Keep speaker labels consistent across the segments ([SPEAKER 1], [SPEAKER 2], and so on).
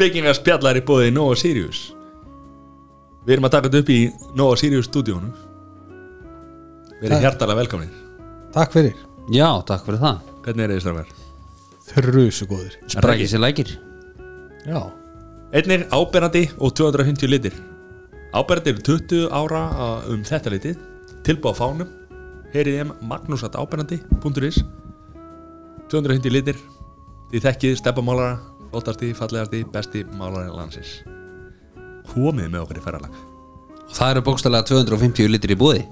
[SPEAKER 1] byggingarspjallar í bóði Nova Sirius Við erum að taka þetta upp í Nova Sirius stúdíónu Við erum
[SPEAKER 2] Það-
[SPEAKER 1] hjartalega velkomni
[SPEAKER 2] Takk fyrir
[SPEAKER 3] Já, takk fyrir það
[SPEAKER 1] Hvernig er þið strafgar?
[SPEAKER 2] Þrjusu góðir
[SPEAKER 1] Sprækir.
[SPEAKER 3] Sprækið sér lækir
[SPEAKER 2] Já
[SPEAKER 1] Einnig áberandi og 250 litir Áberandi eru 20 ára uh, um þetta litið Tilbúið á fánum Heyrið um þeim magnúsatáberandi.is 250 litir Þið þekkið steppamálara Óttasti, fallegasti, besti málari landsins Komið með okkur í ferðalag
[SPEAKER 3] Og það eru bókstælega 250 litri í búði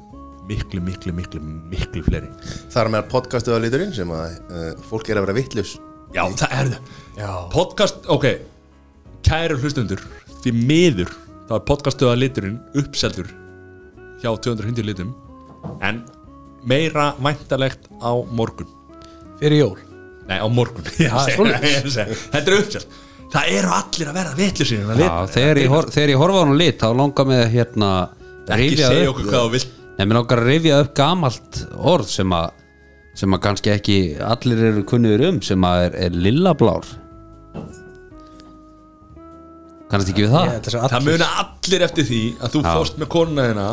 [SPEAKER 1] miklu, miklu, miklu, miklu fleiri
[SPEAKER 4] Þar með podcastuða liturinn sem að uh, fólk er að vera vittljus
[SPEAKER 1] Já, það er það Podcast, ok Kæru hlustundur, því miður þá er podcastuða liturinn uppseldur hjá 200 litum en meira væntalegt á morgun
[SPEAKER 2] Fyrir jól
[SPEAKER 1] Nei, á morgun Ég
[SPEAKER 2] Ah,
[SPEAKER 1] segi-
[SPEAKER 2] svoleiðis.
[SPEAKER 1] ég segi- Þetta er uppselt Það eru allir að hérna, vera vitlusir
[SPEAKER 3] Já, þegar ég, hor, þegar ég horfa á hann lit þá langar mig að hérna
[SPEAKER 1] Ekki
[SPEAKER 3] rifja
[SPEAKER 1] segja
[SPEAKER 3] upp-
[SPEAKER 1] okkur hvað þú vilt
[SPEAKER 3] Nei, mér langar að rifja upp gamalt orð sem að sem að kannski ekki allir eru kunnur um sem að er, er lillablár kannast ekki við það
[SPEAKER 2] Ég ætla að segja
[SPEAKER 1] Það
[SPEAKER 2] allir
[SPEAKER 1] muna allir eftir því að þú fórst með konuna þina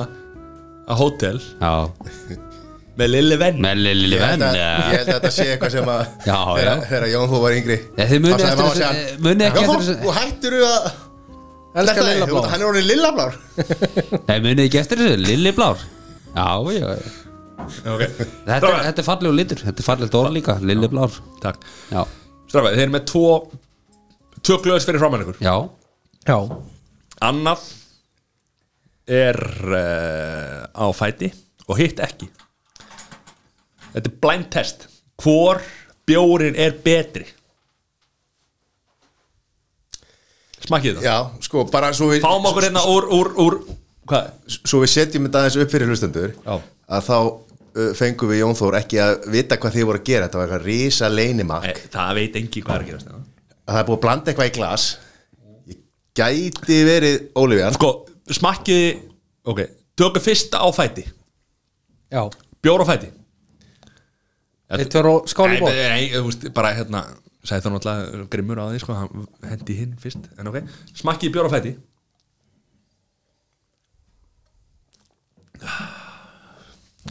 [SPEAKER 1] að hótel
[SPEAKER 3] já,
[SPEAKER 1] með lilli venn
[SPEAKER 3] með lilli
[SPEAKER 4] Ég held
[SPEAKER 3] venn
[SPEAKER 4] að-
[SPEAKER 3] já.
[SPEAKER 4] Ég held að þetta sé eitthvað sem að
[SPEAKER 3] Já,
[SPEAKER 4] þegar-
[SPEAKER 3] já.
[SPEAKER 4] Þegar Jón Fó var yngri
[SPEAKER 3] Nei, þið munið
[SPEAKER 4] þá sagði
[SPEAKER 3] eftir
[SPEAKER 4] mamma
[SPEAKER 3] þessu- eh,
[SPEAKER 4] sig hann,
[SPEAKER 3] munið ekki
[SPEAKER 4] Jón
[SPEAKER 3] eftir
[SPEAKER 4] Fó,
[SPEAKER 3] þessu-
[SPEAKER 4] þú hættir þú að
[SPEAKER 2] Elskar
[SPEAKER 4] Þetta er-
[SPEAKER 2] Lilla Blá.
[SPEAKER 4] Hann er orðin lillablár
[SPEAKER 3] Nei, munið ekki eftir þessu, lilliblár Já, já
[SPEAKER 1] okay.
[SPEAKER 3] Þetta, er- þetta er fallegur litur, þetta er fallegt orð líka Lilliblár,
[SPEAKER 1] Takk
[SPEAKER 3] já,
[SPEAKER 1] Strafið, þeir eru með tvo Tvö glöðs fyrir framann ykkur
[SPEAKER 3] já
[SPEAKER 2] Já
[SPEAKER 1] Annað er uh, á fæti og hitt ekki Þetta er blind test Hvor bjórin er betri? Smakkið það
[SPEAKER 4] Já, sko, bara svo við
[SPEAKER 1] Fáum okkur hérna úr, úr, úr Hvað?
[SPEAKER 4] Svo við setjum þetta aðeins upp fyrir hlustendur
[SPEAKER 1] Já.
[SPEAKER 4] Að þá uh, fengum við Jón Þór ekki að vita hvað þið voru að gera Þetta var eitthvað risa leinimak
[SPEAKER 1] Nei, það veit engin hvað er að gerast hérna.
[SPEAKER 4] Að það er búið að blanda eitthvað í glas Ég gæti verið Ólífiðan
[SPEAKER 1] Sko, smakkið Ok, tökum fyrsta á fæti
[SPEAKER 2] Já
[SPEAKER 1] Bjór á fæti
[SPEAKER 2] Eitt var á skáli
[SPEAKER 1] Nei,
[SPEAKER 2] bóð
[SPEAKER 1] nei, nei, þú veist, bara hérna sagði það náttúrulega grimmur á því sko, hann hendi hinn fyrst, en ok smakkið bjór á fæti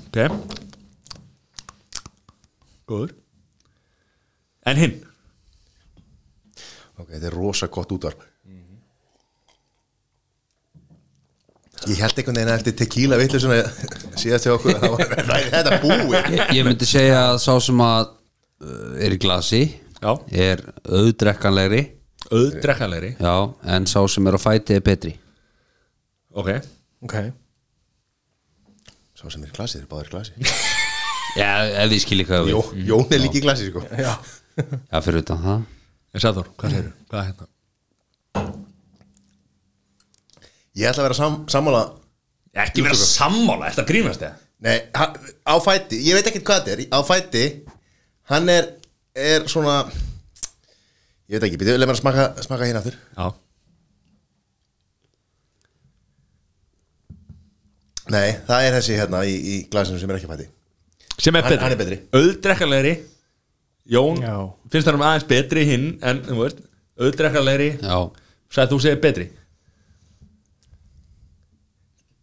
[SPEAKER 1] ok góður en hinn
[SPEAKER 4] Ok, þetta er rosa gott útvarp Ég held einhvern veginn að eftir tequila vitlu svona síðast hjá okkur að það var ræði þetta búið
[SPEAKER 3] Ég, ég myndi segja að sá sem að uh, er í glasi
[SPEAKER 1] Já.
[SPEAKER 3] er auðdrekkanlegri
[SPEAKER 1] auðdrekkalegri,
[SPEAKER 3] já, en sá sem er á fæti er betri
[SPEAKER 1] ok
[SPEAKER 2] Ok
[SPEAKER 4] Svo sem er í glasi, þeir eru báðir í glasi
[SPEAKER 3] Já, ef ég skil ekki hvað
[SPEAKER 4] Jó,
[SPEAKER 3] við
[SPEAKER 4] Jón er líka í glasi sko Já,
[SPEAKER 3] Já, fyrir utan það
[SPEAKER 1] en Sæður, hvað segir hvað er hérna
[SPEAKER 4] Ég ætla að vera sam, sammála
[SPEAKER 1] ekki vera sammála, þetta grínast það
[SPEAKER 4] Nei, hann, á fæti, ég veit ekkert hvað þetta er Á fæti, hann er, er svona Ég veit ekki, býttu, leið mér að smaka, smaka hérna aftur
[SPEAKER 1] já,
[SPEAKER 4] Nei, það er þessi hérna í, í glasinu sem er ekki á fæti
[SPEAKER 1] sem er
[SPEAKER 4] Hann-
[SPEAKER 1] betri,
[SPEAKER 4] hann er betri.
[SPEAKER 1] auðdrekkalegri Jón,
[SPEAKER 2] Já.
[SPEAKER 1] finnst hann um aðeins betri hinn en, þú veist, auðdrekkalegri
[SPEAKER 3] Já,
[SPEAKER 1] sagði þú segir betri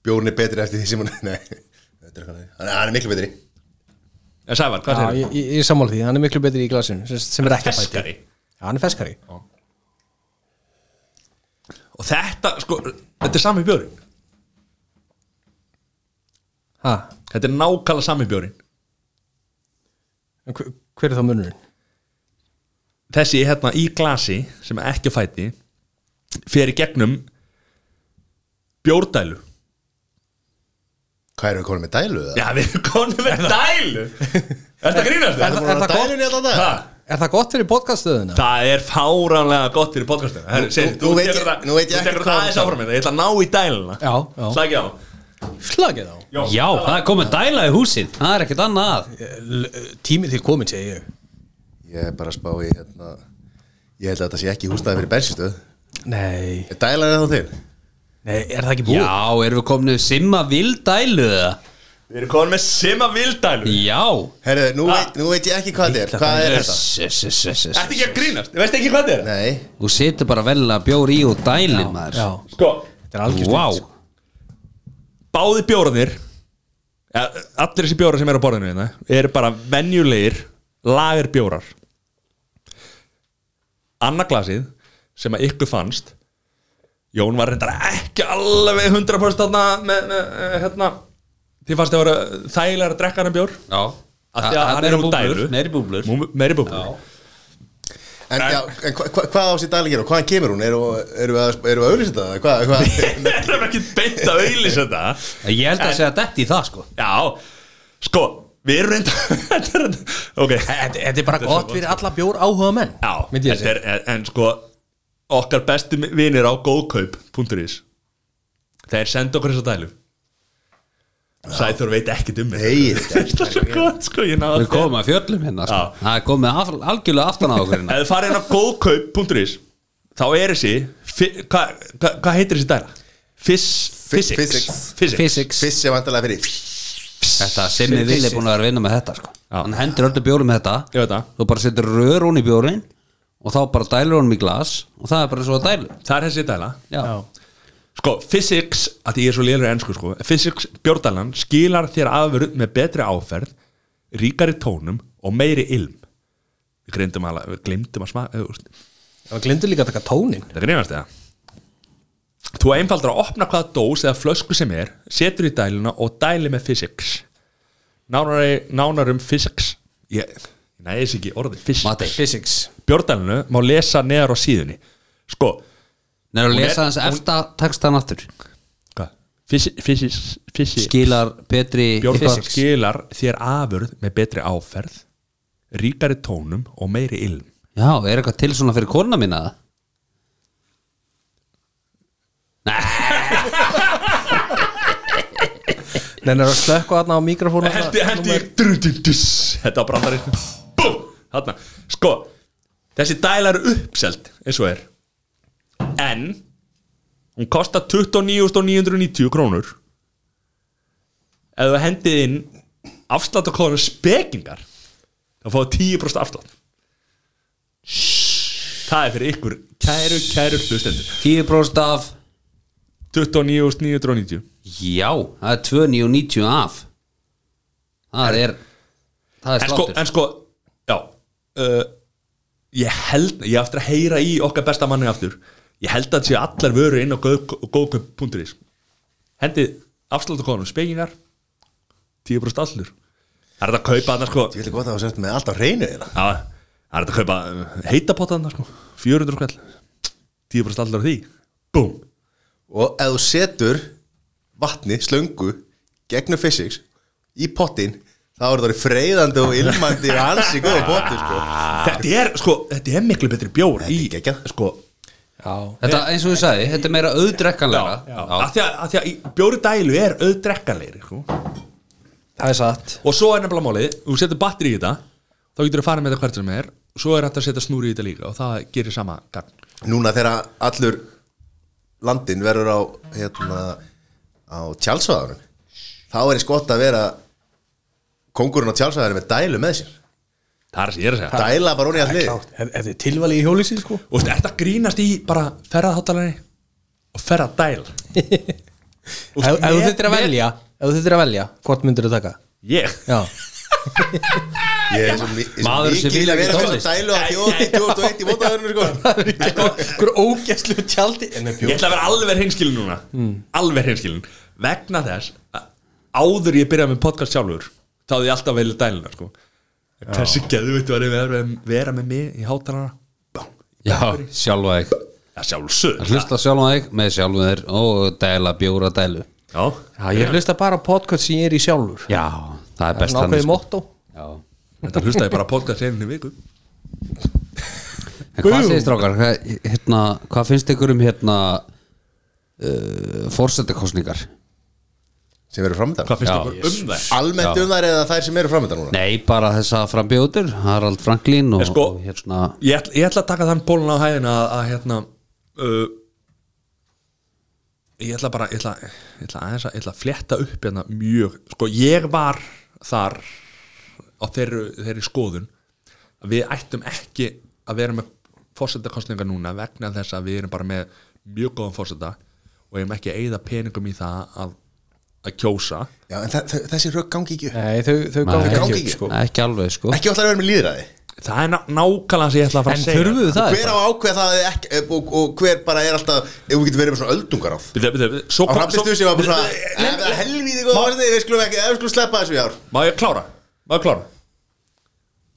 [SPEAKER 4] Bjórn er betri eftir því sem hann Nei, þetta er hann Hann hann er miklu betri
[SPEAKER 1] en Sævar, hvað
[SPEAKER 2] Já,
[SPEAKER 1] segir
[SPEAKER 2] ég, ég, ég sammála því, hann er miklu betri í glasinu sem, sem er ekki að bæti
[SPEAKER 1] feskari
[SPEAKER 2] Já, hann er feskari
[SPEAKER 1] og þetta, sko, þetta er sami bjórin
[SPEAKER 2] Ha,
[SPEAKER 1] þetta er nákvæmlega sami bjórin
[SPEAKER 2] en hver, hver er þá munurinn?
[SPEAKER 1] þessi hérna í glasi sem er ekki á fæti fer í gegnum bjórdælu
[SPEAKER 4] Hvað erum við konum með dælu það?
[SPEAKER 1] já, við erum konum með dælu er þetta grínast það?
[SPEAKER 2] Er það-
[SPEAKER 4] Búin að
[SPEAKER 2] það
[SPEAKER 4] dælunni alltaf það?
[SPEAKER 1] Ha,
[SPEAKER 2] Er það gott fyrir podcaststöðuna?
[SPEAKER 1] það er fáránlega gott fyrir podcastinu Herri, segðu,
[SPEAKER 4] nú- nú veit ég-
[SPEAKER 1] tekur það-
[SPEAKER 4] nú veit ég
[SPEAKER 1] þú
[SPEAKER 4] ekki
[SPEAKER 1] tekur
[SPEAKER 4] hvað
[SPEAKER 1] það
[SPEAKER 4] þú
[SPEAKER 1] aðeins
[SPEAKER 4] sagði.
[SPEAKER 1] áfram þetta ég ætla að ná í dæluna
[SPEAKER 2] Já, já.
[SPEAKER 1] slagi á
[SPEAKER 2] Slagið á
[SPEAKER 3] já það er komið dæla í húsið Það er ekkert annað að.
[SPEAKER 2] Eh, Tímið til komin, segi ég
[SPEAKER 4] Ég er bara að spá í hérna Ég held að þetta sé ekki húsnaði fyrir bensinstöð
[SPEAKER 2] Nei,
[SPEAKER 4] Er dælan eða þá þinn?
[SPEAKER 2] nei, er það ekki búið?
[SPEAKER 3] Já, erum við komin simma vildælu eða?
[SPEAKER 1] Við erum komin með Sima Vildælu
[SPEAKER 3] Já
[SPEAKER 4] Herru, nú,
[SPEAKER 1] Ah.
[SPEAKER 4] veit, nú veit ég ekki hvað þetta er Hvað er þetta?
[SPEAKER 3] þetta?
[SPEAKER 1] Ertu ekki að grínast, veistu ekki hvað þetta er?
[SPEAKER 4] Nei,
[SPEAKER 3] Þú setur bara velna bjór í og dælir maður
[SPEAKER 2] Já,
[SPEAKER 1] Sko,
[SPEAKER 2] þetta er algjörst
[SPEAKER 3] Vá
[SPEAKER 1] báði bjóraðir ja, Allir þessi bjórar sem eru á borðinu hérna Eru bara venjulegir Lager bjórar Annaglasið Sem að ykkur fannst Jón var reyndar ekki alveg 100% þarna með, með, eh, hérna. Þið fannst þið voru þægilega að drekka hann bjór
[SPEAKER 3] Já
[SPEAKER 1] Af því að hann er
[SPEAKER 3] meiri
[SPEAKER 1] úr
[SPEAKER 3] búblur,
[SPEAKER 1] dælu.
[SPEAKER 3] Meiri búblur
[SPEAKER 1] Mú- Meiri búbúr
[SPEAKER 3] Já.
[SPEAKER 4] en, já, en hva, hva, hvað á sér dæli gera? Hvaðan kemur hún? Eru eru við að, eru við að auðvitað það? Hvað, hvað?
[SPEAKER 1] Við erum ekki beint að auðlýs þetta
[SPEAKER 3] Ég held að segja detti í það sko
[SPEAKER 1] Já, sko, við erum reynda Þetta er Ok,
[SPEAKER 2] Þetta þetta er bara gott fyrir alla bjór áhuga menn
[SPEAKER 1] já
[SPEAKER 2] myndi ég
[SPEAKER 1] þetta er, en, en sko, okkar bestu vinir á góðkaup.is Þeir senda okkur þessa dælu Sæþór veit ekki um þetta.
[SPEAKER 4] Nei, þetta
[SPEAKER 1] Þetta er svo gott, sko, ég náða
[SPEAKER 3] Við komum að fjöllum hérna sko
[SPEAKER 1] Já.
[SPEAKER 3] Það er komið af, algjörlega aftan á okkur hérna
[SPEAKER 1] Ef þið farið inn á góðkaup.is Þá er þessi fi- Hvað hva, hva heitir þessi dæla? Fis, physics.
[SPEAKER 4] physics.
[SPEAKER 1] physics
[SPEAKER 3] Physics
[SPEAKER 4] Fiss er vantarlega fyrir
[SPEAKER 3] Þetta sem við vilja búin að vera að vinna með þetta sko
[SPEAKER 1] Já.
[SPEAKER 3] Hann hendur öllu bjórum með þetta
[SPEAKER 1] Ég veit það
[SPEAKER 3] Þú bara setur rör hún í bjórin Og þá bara dælur honum í glas Og það er bara svo að dælu
[SPEAKER 1] Það er þessi dæla
[SPEAKER 3] Já,
[SPEAKER 1] Sko, physics, að því ég er svo lélur ennsku sko, physics bjórdalan skilar þér aðveru með betri áferð, ríkari tónum og meiri ilm. Við glemdum að, við glemdum að smaka, þú veist,
[SPEAKER 2] Það glindur líka að taka tónin
[SPEAKER 1] þetta greinast það. Þú einfaldur að opna hvaða dós eða flösku sem er, setur í dæluna og dæli með physics. Nánari, nánar um physics, ég, ég næði þess ekki orðið, physics.
[SPEAKER 3] Mati
[SPEAKER 2] Physics
[SPEAKER 1] Bjórdalinu má lesa neðar á síðunni. Sko,
[SPEAKER 3] Nei, að
[SPEAKER 1] Hún er-
[SPEAKER 3] lesa hans eftir textan aftur
[SPEAKER 1] hvað? Physi- Physics, physics.
[SPEAKER 3] Skilar betri
[SPEAKER 1] Bjórn
[SPEAKER 3] Physics.
[SPEAKER 1] skilar þér afurð með betri áferð ríkari tónum og meiri ilm
[SPEAKER 3] Já, er eitthvað til svona fyrir kona mína það?
[SPEAKER 2] Nennar að slökka þarna á mikrofónu
[SPEAKER 1] Hendi, hendi, drudindus Þetta var brandarinn Bú, þarna Sko, þessi dæla eru uppselt eins og er En hún kostar 29.990 krónur Ef þú hendið inn afsláttakonu spekingar þá fáið 10% afslátt Það er fyrir ykkur kæru, kæru hlustendur
[SPEAKER 3] 10% af
[SPEAKER 1] 29.990
[SPEAKER 3] Já, það er 2,90 af Það er Það er
[SPEAKER 1] en sko,
[SPEAKER 3] sláttur
[SPEAKER 1] en sko já uh, ég held, ég á eftir að heyra í okkar besta manni aftur ég held að sé allar vöru inn á góðköp.is hendið afsláttakonu spekingar 10% allur það er þetta að kaupa þarna sko
[SPEAKER 4] Ég vil ekki gott að það sérst með allt á hreinu þeirra
[SPEAKER 1] já, það er þetta að kaupa uh, heitapotta þarna sko 400 skall 10% allur af því búm
[SPEAKER 4] Og ef þú setur vatni, slöngu gegnum physics í pottin þá er það orðið freyðandi og ilmandi og ansi góða potti sko.
[SPEAKER 1] þetta er sko, þetta er miklu betri bjór í
[SPEAKER 4] Þetta er geggjað.
[SPEAKER 1] sko
[SPEAKER 2] Já
[SPEAKER 3] Þetta eins og ég sagði, þetta er meira auðdrekkanlega
[SPEAKER 1] já, Af því að, að, því að í- bjóri dælu er auðdrekkanleiri sko.
[SPEAKER 2] Það er satt
[SPEAKER 1] Og svo er nefnilega málið, þú setur batteri í þetta Þá getur þú farið með þetta hvert sem er Svo er hægt að setja snúri í þetta líka Og það gerir sama gang
[SPEAKER 4] Núna þegar allur landin verður á hérna, á tjálsvæðarun þá er ég skott að vera kongurinn á tjálsvæðarun með dælu með sér
[SPEAKER 1] Það er það sem ég er að segja
[SPEAKER 4] Dæla bara honum í allir
[SPEAKER 2] Klárt. Ef ef þið tilvali í hjólísi sko
[SPEAKER 1] Og þú veist, ert að grínast í bara ferðaháttalari Og ferðadæl
[SPEAKER 2] Ef ef þú þurftir að velja Ef þú þurftir að velja Hvort myndir þú taka
[SPEAKER 1] Ég
[SPEAKER 2] Já
[SPEAKER 4] Ég er svo mi- ég er svo
[SPEAKER 3] Maður sem
[SPEAKER 4] mikið
[SPEAKER 3] vill
[SPEAKER 4] vilja
[SPEAKER 3] ekki
[SPEAKER 4] að vera
[SPEAKER 3] tónlist.
[SPEAKER 4] svona dælu á þjóðin 2001 í mótaðurinn sko.
[SPEAKER 2] Einhver ógæslu tjaldi En
[SPEAKER 1] Ég ætla að vera alveg hinskilin núna
[SPEAKER 2] Mm.
[SPEAKER 1] Alveg hinskilin Vegna þess að áður ég byrjaði með podcast sjálfur Þá hafði ég alltaf velið dæluna sko. Hversu geðvitt var ég að vera- vera með mig í hátalara
[SPEAKER 3] Já, sjálfa þig
[SPEAKER 1] Já, sjálfsög
[SPEAKER 3] Hlusta sjálfa þig með sjálfa þér og dæla bjóra dælu
[SPEAKER 1] Já,
[SPEAKER 2] Já, ég hlusta bara á podcast sem ég er í sjálfur
[SPEAKER 3] Já, það er best sko.
[SPEAKER 2] Nákvæði motto
[SPEAKER 3] Já.
[SPEAKER 1] þetta hlusta ég bara að podcast einu viku
[SPEAKER 3] En hvað segir strákar, hvað, hérna, hvað finnst ykkur um hérna uh, fórsetakosningar?
[SPEAKER 4] sem eru framöndan
[SPEAKER 1] Hvað finnst
[SPEAKER 3] Já.
[SPEAKER 1] ykkur um það?
[SPEAKER 4] Almennt um þær eða þær sem eru framöndan núna
[SPEAKER 3] Nei, bara þessa frambjóður, Harald Franklín og,
[SPEAKER 1] En sko-
[SPEAKER 3] og hérna
[SPEAKER 1] ég ætla, ég ætla að taka þann bólun á hæðina að, að hérna uh, ég ætla bara, ég ætla, ég ætla aðeins að ég ætla að fletta upp hérna mjög sko, ég var þar á þeirri, þeirri skoðun að við ættum ekki að vera með fórsetakostningar núna vegna þess að við erum bara með mjög góðan fórseta og erum ekki að eyða peningum í það að, að kjósa
[SPEAKER 4] Já, en þa- þa- þessi rögg gangi ekki upp
[SPEAKER 2] Nei, þau, þau gangi
[SPEAKER 4] gangi
[SPEAKER 2] ekki
[SPEAKER 4] ekki.
[SPEAKER 2] upp sko.
[SPEAKER 3] ekki alveg sko
[SPEAKER 4] Ekki alltaf að vera með líðræði
[SPEAKER 1] það er ná, nákvæmlega sem ég ætla að fara
[SPEAKER 2] En
[SPEAKER 1] að segja
[SPEAKER 2] þurfuðu það
[SPEAKER 4] Hver á að ákveða það eða ekki, og, og hver bara er alltaf Ef við getum verið með svona öldungar á
[SPEAKER 1] Bíddu, bíddu, bíddu, svo
[SPEAKER 4] Á
[SPEAKER 1] kom- svo-
[SPEAKER 4] hrapistu sem var bara svona "Eh, Helvíði góð orðið, við skulum ekki, við skulum sleppa þessu í ár
[SPEAKER 1] Má ég klára? Má ég klára?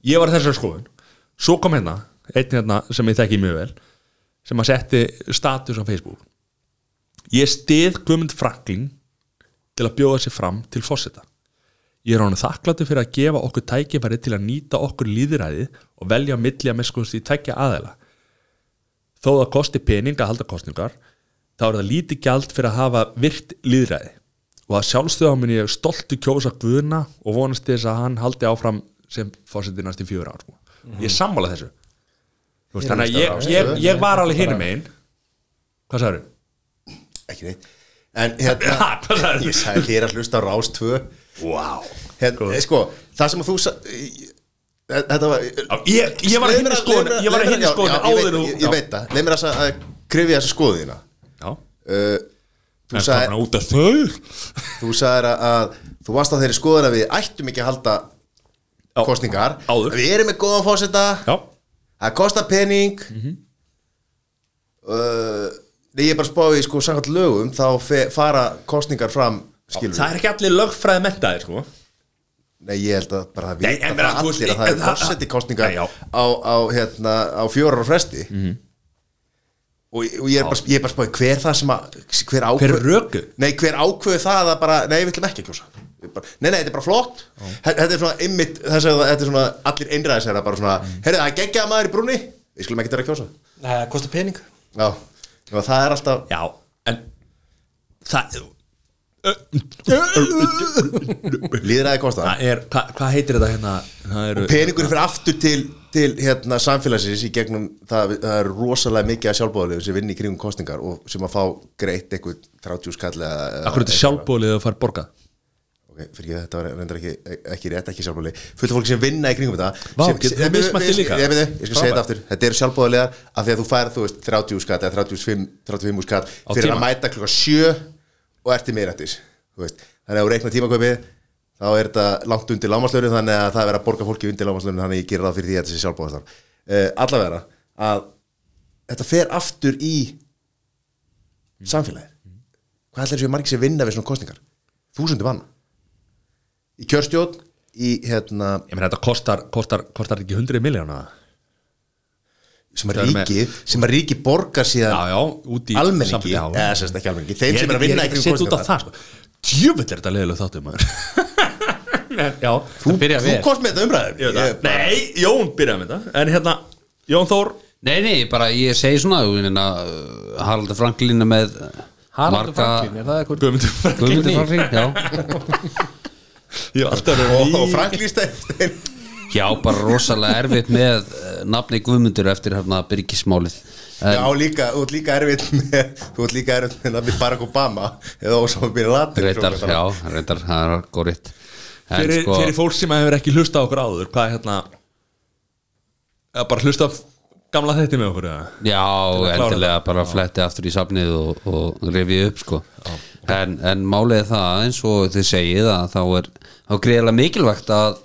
[SPEAKER 1] Ég var í þessari skoðun Svo kom hérna, einn hérna sem ég þekki mjög vel sem að setti status á Facebook Ég stið Guðmund Franklin til að bjóða sér fram til fósita Ég er honum þakkláttur fyrir að gefa okkur tækifæri til að nýta okkur líðræði og velja milli að meskunst í tækja aðeila Þó það kosti pening að halda kostningar þá er það lítið gjald fyrir að hafa virkt líðræði og að sjálfstöða mun ég stoltu kjósa Guðna og vonast til þess að hann haldi áfram sem fórseti næst í fjögur ár sko. Ég er sammála þessu Þú veist, Þannig að ég, ég, ég var alveg hinum einn Hvað sagður?
[SPEAKER 4] Ekki neitt En hérna
[SPEAKER 1] Hvað sagður?
[SPEAKER 4] Ég sagði þér að hlusta á Rás 2
[SPEAKER 1] Wow.
[SPEAKER 4] hérna, eh, Sko, það sem að þú sa- í- Þetta var
[SPEAKER 1] Ég, ég var að hinni skoðun Ég var að hinni skoðun áður
[SPEAKER 4] Ég, ég veit það, leið mér að sa- að krifja þessa skoðina
[SPEAKER 1] Já
[SPEAKER 4] uh, Þú
[SPEAKER 1] Það
[SPEAKER 4] sagði
[SPEAKER 1] er út af þau
[SPEAKER 4] Þú sagðir að, að þú varst á þeirri skoðar að við ættum ekki að halda kostningar
[SPEAKER 1] áður.
[SPEAKER 4] Við erum með góðan fóseta
[SPEAKER 1] Já Mhm.
[SPEAKER 4] Það kostar pening mm -hmm. Ég er bara að spá í sko samkvæmt lögum þá fe, fara kostningar fram skilur
[SPEAKER 1] Það er ekki allir lögfræði mentaðir sko
[SPEAKER 4] Nei, ég held að bara að
[SPEAKER 1] Nei,
[SPEAKER 4] vita
[SPEAKER 1] en
[SPEAKER 4] það
[SPEAKER 1] bara, þú veist,
[SPEAKER 4] allir að það
[SPEAKER 1] en
[SPEAKER 4] er
[SPEAKER 1] það-
[SPEAKER 4] fórseti kostningar
[SPEAKER 1] Nei, já. Mhm.
[SPEAKER 4] á, á, hérna, á fjórar og fresti og, og ég er bara, ég er bara að spá í hver það sem að hver ákveð
[SPEAKER 1] Hver röku?
[SPEAKER 4] Nei, hver ákveðu það að bara, nei, við ætlum ekki að kjósa Við bara, Nei, nei, þetta er bara flott Þe- Þetta er svona ymmit, þess að þetta er svona allir einræðis er bara svona,
[SPEAKER 1] Mhm.
[SPEAKER 4] heyrðu það geggjaða maður í brúni Við skulum ekki vera að kjósa
[SPEAKER 2] Nei, það kostar pening
[SPEAKER 4] Já, og það er alltaf
[SPEAKER 1] Já En Það
[SPEAKER 4] líðræði kosta
[SPEAKER 1] Það er Hvað hva heitir þetta hérna? Það eru
[SPEAKER 4] Peningur fyrir aftur til, til hérna, samfélagsins í gegnum, það, það er rosalega mikið að sjálfbóðalegu sem vinni í kringum kostningar og sem að fá greitt eitthvað 30 skall eða eða-
[SPEAKER 1] Akkur þetta sjálfbólið að fara borgað
[SPEAKER 4] Ok, fyrir ekki þetta var reyndar ekki, ekki rétt, ekki sjálfbóðali Fullt af fólki sem vinna í kringum þetta
[SPEAKER 1] Vá,
[SPEAKER 4] sem,
[SPEAKER 1] getur þú
[SPEAKER 4] sem- ég-
[SPEAKER 1] mismælt þig
[SPEAKER 4] ég-
[SPEAKER 1] líka?
[SPEAKER 4] Ég veit, ég skal segja
[SPEAKER 1] Frábært.
[SPEAKER 4] þetta aftur Þetta eru sjálfbóðalegar af því að þú færð, þú veist, 30 skatt eða 35, 35 skatt fyrir
[SPEAKER 1] tíma.
[SPEAKER 4] að mæta klukka 7 og ert í meðrættis Þannig að þú reikna tímaköpið þá er þetta langt undir lámaslaunin þannig að það er verið að borga fólki undir lámaslaunin þannig að ég gerir það fyrir því að þetta sé sjálfbóðastar uh, Allavega að þetta fer aftur í samfélagið Hvað ætlar þessu margir sem vinna við svona kostningar? Þúsundu manna í kjörstjórn í hérna
[SPEAKER 1] Ég meina þetta kostar, kostar, kostar ekki 100 miljóna
[SPEAKER 4] sem
[SPEAKER 1] Það
[SPEAKER 4] að
[SPEAKER 1] er með-
[SPEAKER 4] ríki, sem að ríki borgar
[SPEAKER 1] Já,
[SPEAKER 4] síðan
[SPEAKER 1] já, út í
[SPEAKER 4] almenningi,
[SPEAKER 1] sambandi, já.
[SPEAKER 4] eða sérst ekki almenningi
[SPEAKER 1] Ég
[SPEAKER 4] þeim
[SPEAKER 1] er
[SPEAKER 4] sem er að
[SPEAKER 1] ekki- ég
[SPEAKER 4] vinna
[SPEAKER 1] er
[SPEAKER 4] í
[SPEAKER 1] ekki að
[SPEAKER 4] kringum
[SPEAKER 1] setja út á það
[SPEAKER 4] kosningarnar.
[SPEAKER 1] sko. Djöfull er þetta leiðilega þáttum maður En, Já
[SPEAKER 4] þú,
[SPEAKER 2] Það byrjar
[SPEAKER 4] þú
[SPEAKER 2] vel.
[SPEAKER 4] komst með þetta umræðum
[SPEAKER 1] ég veit það. Nei, Jón byrjaði með þetta En hérna, Jón Þór
[SPEAKER 3] Nei, nei, bara ég segi svona þú minna, uh, Haraldur Franklin er með uh,
[SPEAKER 2] Haraldur
[SPEAKER 3] marga-
[SPEAKER 2] Franklin, er það eitthvað
[SPEAKER 1] Guðmundur Franklin
[SPEAKER 3] Guðmundur Franklin, já
[SPEAKER 1] Ég hef alltaf verið
[SPEAKER 4] og,
[SPEAKER 1] ný-
[SPEAKER 4] og Frank Lístein
[SPEAKER 3] Já, bara rosalega erfitt með uh, nafni Guðmundur eftir hérna byrgismálið
[SPEAKER 4] já líka, þú ert líka erfitt með þú ert líka erfitt með nafni Barack Obama eða Osama Bin Laden
[SPEAKER 3] Reyndar, já, reyndar, það er góriðt
[SPEAKER 1] fyrir,
[SPEAKER 3] sko-
[SPEAKER 1] fyrir fólk sem hefur ekki hlusta á okkur áður Hvað er hérna eða Bara hlusta á f- gamla þetta með okkur eða?
[SPEAKER 3] Já,
[SPEAKER 1] Til að klára
[SPEAKER 3] endilega bara fletti aftur í safnið og, og rifið upp sko. en, en málið er það eins og þið segið að þá er þá er greiðlega mikilvægt að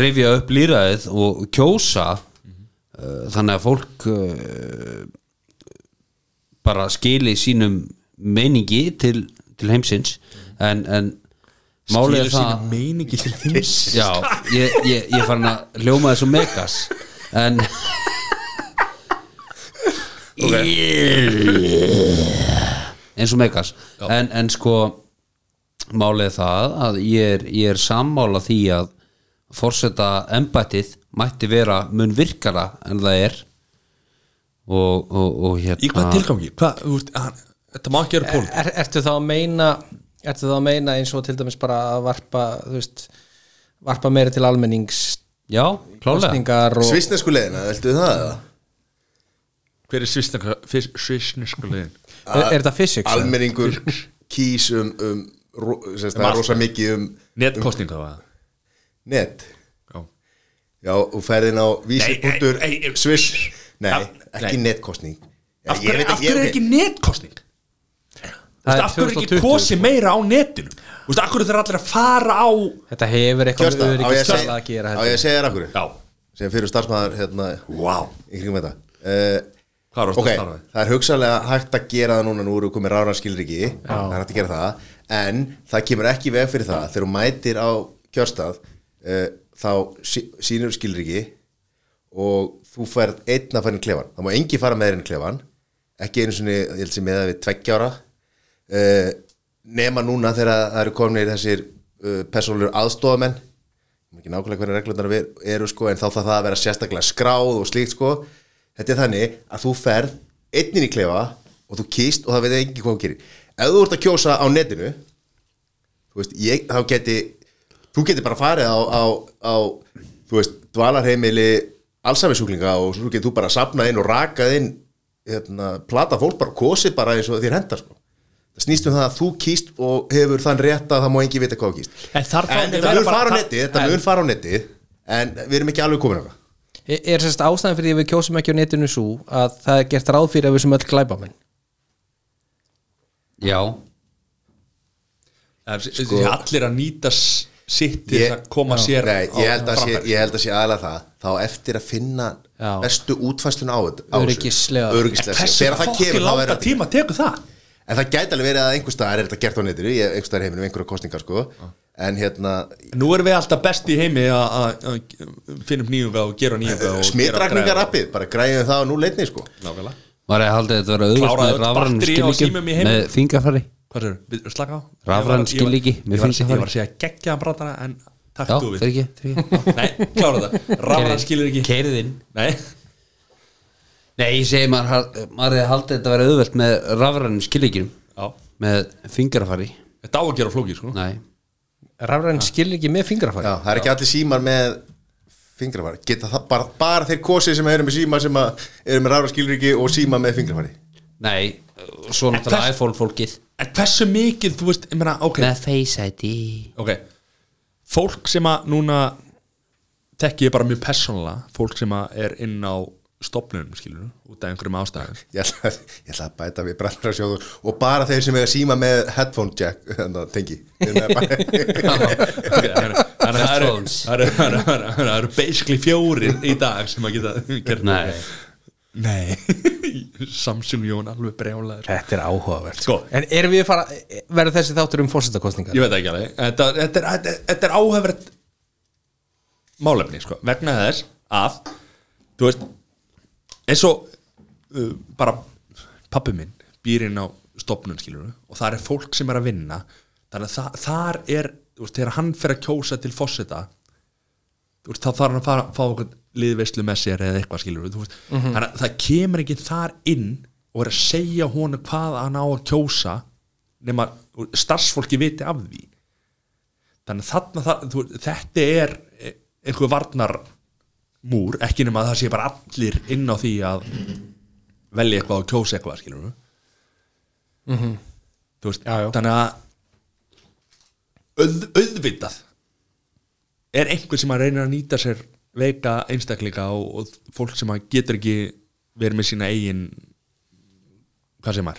[SPEAKER 3] rifja upp lýræðið og kjósa
[SPEAKER 1] Mhm.
[SPEAKER 3] uh, þannig að fólk uh, bara skili sínum meiningi til, til heimsins en, en málið
[SPEAKER 1] Mhm.
[SPEAKER 3] er
[SPEAKER 1] Skilur
[SPEAKER 3] það
[SPEAKER 1] sínu meiningi til heims
[SPEAKER 3] Já, ég, ég, ég fann að hljóma þessu megas En eins og megas en, en sko málið er það að ég er, ég er sammála því að forseta embættið mætti vera mun virkara en það er og, og, og hérna
[SPEAKER 1] Í hvað tilgangi? Hvað, þú veist, hann- þetta má ekki vera pól
[SPEAKER 2] er, Ertu þá að meina Ertu þá að meina eins og til dæmis bara að varpa Þú veist Varpa meira til almennings
[SPEAKER 3] Já, klálega
[SPEAKER 2] Kostningar og
[SPEAKER 4] svisnesku leiðina, viltu það eða?
[SPEAKER 1] Hver er svisneska liðin?
[SPEAKER 2] Er, er þetta physics? eða?
[SPEAKER 4] almenningur kýs um, um, um það
[SPEAKER 1] allt.
[SPEAKER 4] er rosa mikið um
[SPEAKER 1] Netkostning þá að
[SPEAKER 4] net
[SPEAKER 1] Já.
[SPEAKER 4] já, og ferðin á vísi.ur
[SPEAKER 1] Nei, ei, ei,
[SPEAKER 4] sviss, nei,
[SPEAKER 1] Af-
[SPEAKER 4] ekki
[SPEAKER 1] nei.
[SPEAKER 4] netkostning Já,
[SPEAKER 1] Af
[SPEAKER 4] ég
[SPEAKER 1] hverju
[SPEAKER 4] veit
[SPEAKER 1] af hverju er
[SPEAKER 4] ég-
[SPEAKER 1] ekki netkostning? Þú
[SPEAKER 2] Það
[SPEAKER 1] veist,
[SPEAKER 2] er
[SPEAKER 1] af hverju er ekki
[SPEAKER 2] 2020,
[SPEAKER 1] kosi meira á netinu? Þú veist, af hverju þeir allir að fara á
[SPEAKER 2] Þetta hefur eitthvað
[SPEAKER 4] Kjörsta,
[SPEAKER 2] með
[SPEAKER 4] á ég að
[SPEAKER 2] öryggislega
[SPEAKER 4] segja-
[SPEAKER 2] að gera
[SPEAKER 4] á ég að segja þér akkur
[SPEAKER 1] Já,
[SPEAKER 4] sem fyrir starfsmæðar hérna,
[SPEAKER 1] vá
[SPEAKER 4] í kringum þetta uh,
[SPEAKER 1] Hvað er
[SPEAKER 4] ok,
[SPEAKER 1] það starfið?
[SPEAKER 4] það er hugsalega hægt að gera það núna nú eru komið ráðan skilriki það er hægt að gera það, en það kemur ekki í veg fyrir það, þegar þú mætir á kjörstað uh, þá sí, sýnur skilriki og þú færð einn að fara inn í klefan það má engi fara með þér inn í klefan ekki einu sinni, ég held sem með það við tveggjára uh, nema núna þegar það eru komnir þessir uh, persónulegur aðstofamenn Ég man ekki nákvæmlega hverja reglundar eru sko en þá þarf það að vera sérstaklega skráð og slíkt sko þetta er þannig að þú ferð einnin í klefa og þú kýst og það veit ekki hvað þú gerir ef þú ert að kjósa á netinu þú veist, ég, þá geti þú geti bara farið á, á, á þú veist, dvalarheimili allsaminsjúklinga og svo getur þú bara sapnað inn og rakað inn hérna, plata fólk bara kosið bara eins og þér hendar sko. það snýst um það að þú kýst og hefur þann rétt að það má engin vita hvað þú kýst
[SPEAKER 1] En þar þá-
[SPEAKER 4] en
[SPEAKER 1] við
[SPEAKER 4] þetta
[SPEAKER 1] verðum
[SPEAKER 4] mun
[SPEAKER 1] bara-
[SPEAKER 4] fara á
[SPEAKER 1] þar-
[SPEAKER 4] netið þetta mun fara á netið en við erum ekki alveg komin á það
[SPEAKER 2] Er, er sérst ástæðan fyrir því að við kjósum ekki á netinu svo að það er gert ráð fyrir að við sem öll glæpa menn
[SPEAKER 3] já,
[SPEAKER 1] Ef- þessi Allir að nýta s- sitt til þess
[SPEAKER 4] Sko- ég,
[SPEAKER 1] að koma sér
[SPEAKER 4] nei,
[SPEAKER 1] á
[SPEAKER 4] ég, held að sé,
[SPEAKER 1] framfæri.
[SPEAKER 4] ég held að sé aðlega það þá eftir að finna
[SPEAKER 2] Já.
[SPEAKER 4] bestu útfæstun á þetta á þessu.
[SPEAKER 2] Öryggislega.
[SPEAKER 4] öryggislega sér.
[SPEAKER 1] Hversu
[SPEAKER 4] þegar það
[SPEAKER 1] fokki
[SPEAKER 4] kemur þá
[SPEAKER 1] langa
[SPEAKER 4] verður þetta
[SPEAKER 1] tíma tekur það?
[SPEAKER 4] en það gæti alveg verið að einhver staðar er þetta gert á neytinu einhver staðar í heiminum, einhverja kostningar sko en hérna,
[SPEAKER 1] Nú erum við alltaf best í heimi að- að að finna upp nýjunga og gera nýjunga og
[SPEAKER 4] smitrakningar appið bara græðum það og nú leitni sko
[SPEAKER 1] Nákvæmlega
[SPEAKER 3] var ég haldið að þetta vera auðvitað
[SPEAKER 1] Kláraðu
[SPEAKER 3] með
[SPEAKER 1] öll
[SPEAKER 3] rafrænum
[SPEAKER 1] batterí á símum í
[SPEAKER 3] skilíkjum
[SPEAKER 1] heiminum.
[SPEAKER 3] með fingrafari
[SPEAKER 1] Hvað er það? Slaka á
[SPEAKER 3] Rafræn
[SPEAKER 1] Ég var-
[SPEAKER 3] skilríki,
[SPEAKER 1] ég var-
[SPEAKER 3] mér
[SPEAKER 1] Ég var
[SPEAKER 3] finnst
[SPEAKER 1] ég
[SPEAKER 3] það
[SPEAKER 1] var
[SPEAKER 3] þannig.
[SPEAKER 1] að segja geggja hann brandara en takk
[SPEAKER 3] já,
[SPEAKER 1] þú við
[SPEAKER 3] fyrir ekki, fyrir ekki
[SPEAKER 1] Nei, klára það Rafræn skilur ekki
[SPEAKER 3] keirðinn
[SPEAKER 1] Nei,
[SPEAKER 3] Nei, ég segi maður, hal- maður hefði haldið þetta að vera auðvelt með rafrænum skilíkjum
[SPEAKER 1] já
[SPEAKER 3] með fingrafari
[SPEAKER 1] Þetta á að gera flókið sko
[SPEAKER 3] Nei,
[SPEAKER 2] Rafræn skilur ekki með
[SPEAKER 4] Ah. já,
[SPEAKER 2] fingrafæri
[SPEAKER 4] það er ekki allir símar með fingrafari, geta það bara, bara þeir kosið sem eru með síma sem að, eru með rára skilriki og síma með fingrafari
[SPEAKER 3] nei, svo
[SPEAKER 1] En
[SPEAKER 3] náttúrulega
[SPEAKER 1] hvers-
[SPEAKER 3] iPhone fólkið
[SPEAKER 1] En hversu mikið, þú veist, ég meina, ok
[SPEAKER 3] með Face ID
[SPEAKER 1] Ok Fólk sem að núna tekki ég bara mjög persónulega Fólk sem að er inn á stopnunum, skilur Út af einhverjum ástæðum
[SPEAKER 4] ég ætla, ég ætla að bæta við brandara sjóðu og bara þeir sem er að síma með headphone jack þannig að tengi Þeir með bara-
[SPEAKER 1] Ok, Þannig þannig að það eru-
[SPEAKER 3] Headphones.
[SPEAKER 1] það eru- það eru- það eru- það eru basically fjórir í dag sem að geta gert
[SPEAKER 3] Nei,
[SPEAKER 1] Nei Samsung Jón alveg brjálaður
[SPEAKER 2] Þetta er áhugavert
[SPEAKER 1] Sko.
[SPEAKER 2] En erum við fara, verður þessi þáttur um fórsetakostningar?
[SPEAKER 1] Ég veit það ekki alveg Þetta, þetta, er, þetta, þetta er áhefrið málefni sko. vegna þess að þú veist eins og uh, bara pappi minn býr inn á stopnun skilur og þar er fólk sem er að vinna þannig að það, þar er þú veist, þegar hann fer að kjósa til fósita þú veist, þá þarf hann að fara, fá okkur liðveislu með sér eða eitthvað skilur mm
[SPEAKER 2] Mhm.
[SPEAKER 1] -hmm. þannig að það kemur ekki þar inn og er að segja honum hvað hann á að kjósa nema starfsfólki viti af því þannig að þarna það, þú, þetta er e- einhver varnar múr, ekki nema að það sé bara allir inn á því að velja eitthvað og kjósa eitthvað skilur við þú veist,
[SPEAKER 2] Mhm. Já, já.
[SPEAKER 1] þannig að auð, auðvitað er einhver sem að reyna að nýta sér veika einstaklinga og, og fólk sem að getur ekki verið með sína eigin hvað sem er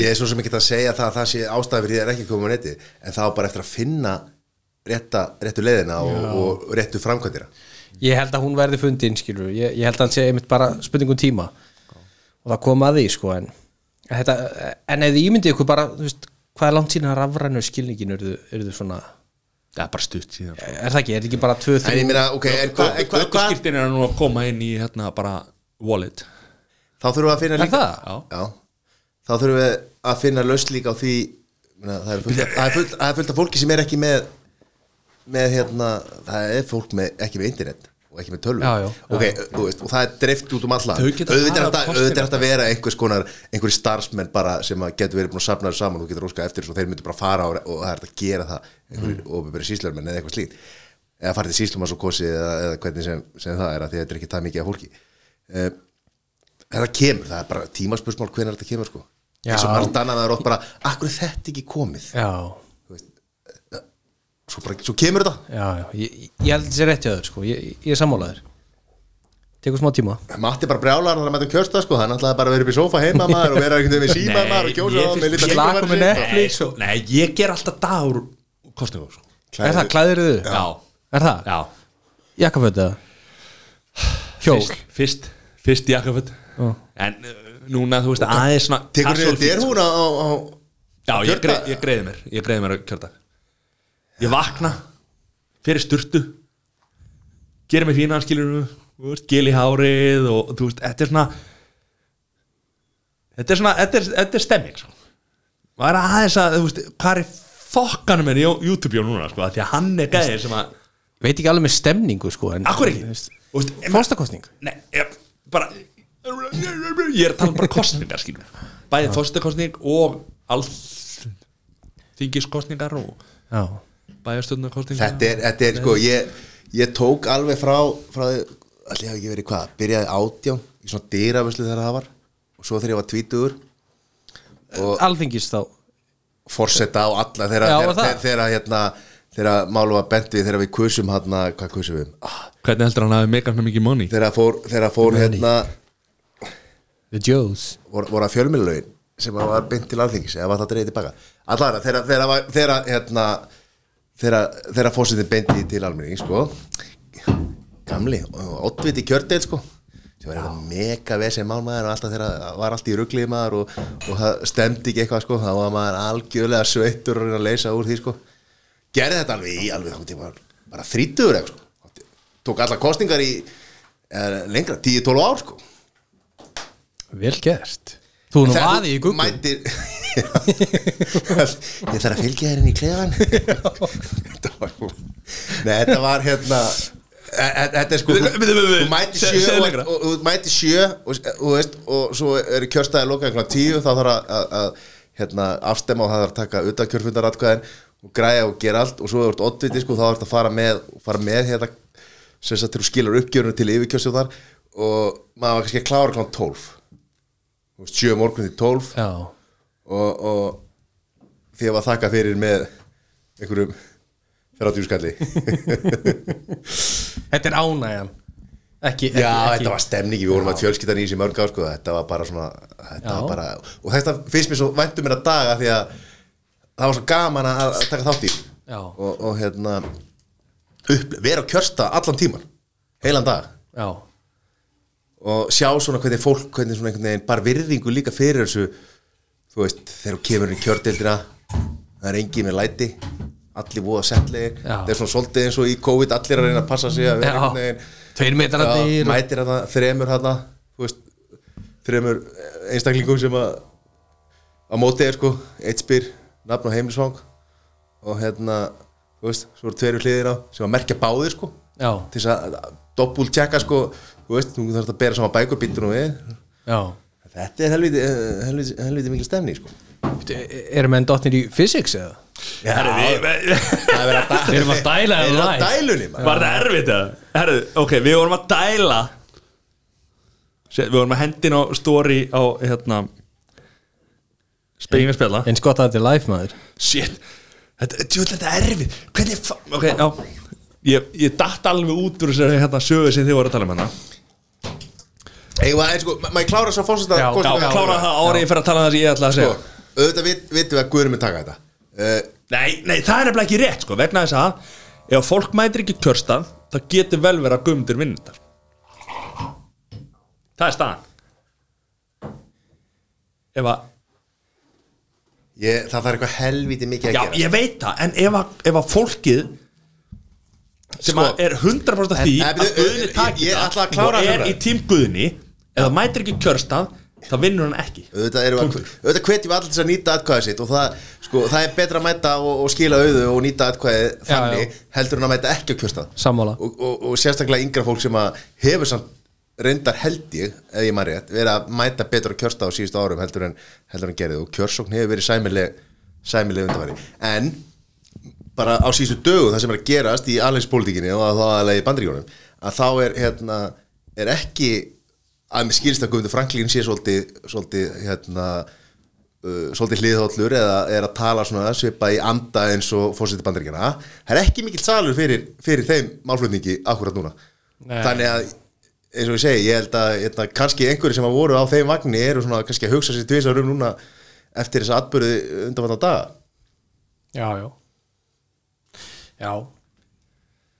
[SPEAKER 4] ég er svo sem ekki að segja það að það sé ástæði fyrir því að það er ekki að koma á neti en það á bara eftir að finna rétta, réttu leiðina og, og réttu framkvæmdina
[SPEAKER 2] Ég held að hún verði fundin skilur ég, ég held að hann sé einmitt bara spurningum tíma og það kom að því sko en, en þetta, en eða ímyndið ykkur bara, þú veist, hvað er langt sína rafrænu skilningin eru, eru svona
[SPEAKER 1] það er bara stutt síðan
[SPEAKER 2] er það ekki, er þetta ekki bara 2-3
[SPEAKER 4] en ég meina, ok, en hvað Eh, hva, hva, hva,
[SPEAKER 1] Götuskirtin er nú að koma inn í hérna bara wallet
[SPEAKER 4] þá þurfum við að finna
[SPEAKER 2] Er
[SPEAKER 4] líka
[SPEAKER 2] það?
[SPEAKER 4] Já. þá þurfum við að finna lausn líka á því ég meina, það er fullt af- það er fullt- það er fullt af fólki sem er ekki með með hérna, það er fólk með, ekki með internet og ekki með tölvu
[SPEAKER 2] Já, já,
[SPEAKER 4] ok, þú veist, og það er dreift út um alla
[SPEAKER 1] Þau geta farið
[SPEAKER 4] auðvitað er
[SPEAKER 1] á
[SPEAKER 4] þetta-
[SPEAKER 1] kostina.
[SPEAKER 4] auðvitað er þetta að vera einhvers konar einhverjir starfsmenn bara sem að getur verið búin að safna þér saman og þú getur óskað eftir þessu og þeir myndu bara fara á, og það er hægt að gera það einhverjir mm. ofinbæri síslarmenn eða eitthvað slíkt eða farið til síslumanns og kosið eða, eða hvernig sem, sem það er að því að þetta er ekki það mikið af fólki þetta kemur, það er bara tímaspursmál hvenær þetta kemur sko
[SPEAKER 2] Já.
[SPEAKER 4] eins og margt annað það er oft bara akkur er þetta ekki komið
[SPEAKER 2] já,
[SPEAKER 4] svo, bara, svo kemur þetta,
[SPEAKER 2] já, já. Ég, ég held þessi rétt hjá þér sko, ég, ég er sammálaður tekur smá tíma
[SPEAKER 4] Matti bara brjálar þannig að mæta um kjörsta sko, hann ætlaði bara að vera upp í sófa heima maður og vera einhvern veginn með síma
[SPEAKER 1] Nei,
[SPEAKER 4] maður og kjósa
[SPEAKER 1] ég
[SPEAKER 4] það með
[SPEAKER 1] finnst-
[SPEAKER 4] lítið
[SPEAKER 2] Slaka með nett.
[SPEAKER 1] Nei, sko, nei, ég ger alltaf dag úr kostningum sko.
[SPEAKER 2] er það klæðirðu?
[SPEAKER 1] Já,
[SPEAKER 2] er það?
[SPEAKER 1] já
[SPEAKER 2] jakkafötu? hjól?
[SPEAKER 1] Fyrst, fyrst, fyrst jakkaföt
[SPEAKER 2] Já.
[SPEAKER 1] En uh, núna, þú veist, aðeins svona
[SPEAKER 4] tekur
[SPEAKER 1] casual
[SPEAKER 4] þetta
[SPEAKER 1] fit,
[SPEAKER 4] er
[SPEAKER 1] sko.
[SPEAKER 4] hún á, á, á
[SPEAKER 1] Já, ég,
[SPEAKER 4] kjördag?
[SPEAKER 1] greið, ég greiði mér, ég greiði mér á kjördag Ég vakna Fyrir sturtu Gerir mér fína, skilur þú veist, Gil í hárið og þú veist, þetta er svona Þetta er svona, þetta er, þetta er stemming sko. Maður er aðeins að, þú veist, hvað er fokkanum en YouTube-jón núna, sko, af því að hann er gæðið sem að
[SPEAKER 2] veit ekki alveg með stemningu sko en-
[SPEAKER 1] Akkur ekki
[SPEAKER 2] Þú veist,
[SPEAKER 1] Þú veist, em-
[SPEAKER 2] Fórstakostning
[SPEAKER 1] Nei, ég, bara Ég er að tala um bara kostningar skilur Bæði fórstakostning og all Þingiskostningar og
[SPEAKER 2] Já,
[SPEAKER 1] bæjarstjórnarkostningar
[SPEAKER 4] þetta er, þetta er sko, ég, ég tók alveg frá, frá allir hafi ekki verið hvað, byrjaði átján í svona dýravöslu þegar það var og svo þegar ég var tvítugur
[SPEAKER 2] alþingis þá
[SPEAKER 4] forseta á alla þegar,
[SPEAKER 2] Já,
[SPEAKER 4] þegar,
[SPEAKER 2] var það?
[SPEAKER 4] þegar, þegar hérna þegar málum var bent við þegar við kusum hérna, hvað kusum við Ah,
[SPEAKER 1] Hvernig heldur hann hafi megan mikið money?
[SPEAKER 4] þegar fór, þegar fór hérna
[SPEAKER 2] The Joes
[SPEAKER 4] voru, voru að fjölmiðlaugin sem að var beint til alþingis eða var það dreigði tilbaka allara þegar, þegar, var- þegar hérna þegar, þegar fórsetin beinti til almenning sko gamli og oddviti kjördeit sko sem var eitthvað mega vesið málmaður og alltaf þegar var allt í ruglið maður og, og það stemdi ekki eitthvað sko þá var maður algjörlega sveittur og reyna að leysa úr því sko gerði þetta alveg í alveg þá tíma bara þrítugur eitthvað sko. tók alla kostningar í eh, lengra 10-12 ár sko
[SPEAKER 2] Vel gert Þú nú
[SPEAKER 4] Þegar
[SPEAKER 2] vaði í
[SPEAKER 4] þú
[SPEAKER 2] Google
[SPEAKER 4] mætir Ég þarf að fylgja þér inn í klefan Þetta var Nei, þetta var hérna e- e- Þetta er sko
[SPEAKER 1] Við- við- við- við-
[SPEAKER 4] Þú mætir
[SPEAKER 1] segðu-
[SPEAKER 4] sjö
[SPEAKER 1] segðu
[SPEAKER 4] og-
[SPEAKER 1] lengra.
[SPEAKER 4] og- og þú mætir sjö og þú veist og svo eru kjörstæði lokað einhvern tíu þá þarf að- að- að hérna, afstemma og það þarf að taka utan kjörfundaratkvæðin og græja og gera allt og svo eru oddviti sko þá þarf að fara með fara með hérna sem sagt til þú skilur uppgjörunum til yfirkjörstjóðar og maður var kannski að klára klant 12 Þú veist, sjö morgun til 12
[SPEAKER 2] Já
[SPEAKER 4] og, og því að var þakka fyrir með einhverjum 30 skalli
[SPEAKER 2] Þetta er ánægjan Ekki, ekki,
[SPEAKER 4] Já,
[SPEAKER 2] ekki.
[SPEAKER 4] þetta var stemningi, við vorum að fjölskyldan í þessi mörg ár sko, þetta var bara svona þetta
[SPEAKER 2] Já.
[SPEAKER 4] var bara, og þetta finnst mér svo væntum mér að daga því að það var svo gaman að að taka þátt í því.
[SPEAKER 2] Já.
[SPEAKER 4] og, og hérna upp, vera á kjörsta allan tíman heilan dag
[SPEAKER 2] Já
[SPEAKER 4] og sjá svona hvernig fólk hvernig svona einhvern veginn bara virðingu líka fyrir þessu þú veist, þegar þú kemur inn í kjördildina það er engin með læti allir voða settlegir,
[SPEAKER 2] Já.
[SPEAKER 4] það er svona svolítið eins og í COVID allir að reyna að passa sig að vera einhvern
[SPEAKER 2] Já
[SPEAKER 4] veginn
[SPEAKER 2] Tveir
[SPEAKER 4] Já,
[SPEAKER 2] metrarnir og-
[SPEAKER 4] mætir þarna þremur þarna þú veist, þremur einstaklingum sem að á móti er sko, eitt spyr nafn og heimilisvang og hérna, þú veist, svo eru tveir við hliðina sem að merkja báðir sko
[SPEAKER 2] Já
[SPEAKER 4] til þess að doppul tjekka sko, þú veist, þú þarf að bera saman bækur býttur og við,
[SPEAKER 2] Já
[SPEAKER 4] þetta er helviti eh, helviti, helviti mikil stemni sko
[SPEAKER 2] Bíddu, e- Eru menn dottir í physics eða?
[SPEAKER 4] Já,
[SPEAKER 1] Það
[SPEAKER 4] það er verið að
[SPEAKER 2] Við erum að dæla
[SPEAKER 4] það
[SPEAKER 2] þeim
[SPEAKER 4] er að
[SPEAKER 2] live.
[SPEAKER 4] dælunni maður.
[SPEAKER 1] Var þetta erfitt eða? Herðu, ok, við vorum að dæla Se- Við vorum að hendin á story á hérna Spengið spjalla
[SPEAKER 2] Eins gott að þetta er live maður
[SPEAKER 1] Shit, þetta, djúl, þetta er erfitt Hvernig, fa- ok, já Ég, ég datt alveg út úr þessari hérna sögu sem þið voru að tala um hérna
[SPEAKER 4] Eigum að- en sko, ma- maður klára svo fórseta
[SPEAKER 2] Já,
[SPEAKER 1] Já, kláraði það árið ég fer að tala um það sem ég ætla að segja
[SPEAKER 4] Sko, auðvitað vit- vitum við að Guðurum er taka þetta Eh,
[SPEAKER 1] Nei, nei, það er nefnilega ekki rétt sko, vegna þess að ef fólk mætir ekki kjörstað það getur vel verið að guðmundur vinna þetta Það er staðan Ef að,
[SPEAKER 4] ég, það þarf eitthvað helviti mikið að
[SPEAKER 1] já,
[SPEAKER 4] gera
[SPEAKER 1] ég veit það en ef að, ef að fólkið sem
[SPEAKER 4] Sko,
[SPEAKER 1] að er 100% af því
[SPEAKER 4] en- en
[SPEAKER 1] að
[SPEAKER 4] byrju,
[SPEAKER 1] guðni
[SPEAKER 4] ég-
[SPEAKER 1] taki
[SPEAKER 4] ég ætla að
[SPEAKER 1] það
[SPEAKER 4] klára
[SPEAKER 1] og er
[SPEAKER 4] þetta.
[SPEAKER 1] í tím guðni ef það mætir ekki kjörstað þá vinnur hann ekki
[SPEAKER 4] auðvitað erum við að,
[SPEAKER 1] Punktur.
[SPEAKER 4] auðvitað hvetjum við allir til að nýta atkvæðið sitt og það, sko, það er betra að mæta og, og skila auðu og nýta atkvæðið þannig heldur en að mæta ekki á kjörstað
[SPEAKER 2] Sammála.
[SPEAKER 4] og, og, og sérstaklega yngra fólk sem að hefur samt reyndar held ég, ef ég maður rétt, verið að mæta betra á kjörstað á síðustu árum heldur en, heldur en gerðið og kjörsókn hefur verið sæmileg sæmileg undanfæri, en bara á síðustu dögu það sem er að gerast í alvegspólitíkinni og þá aðlega í bandaríkjónum að þá er, hérna, er ekki að mér skilst að Guðmundur Franklín sé svolítið, svolítið hérna uh, svolítið hliðhóllur eða er að tala svona svipa í anda eins og fórseti bandaríkjana það er ekki mikill salur fyrir, fyrir þeim málflutningi akkurat núna
[SPEAKER 2] Nei.
[SPEAKER 4] þannig að eins og ég segi, ég held að hérna, kannski einhverju sem að voru á þeim vagnni eru svona kannski að hugsa sér tvisar um núna eftir þessa atbyrði undanvandan dag
[SPEAKER 2] Já, já Já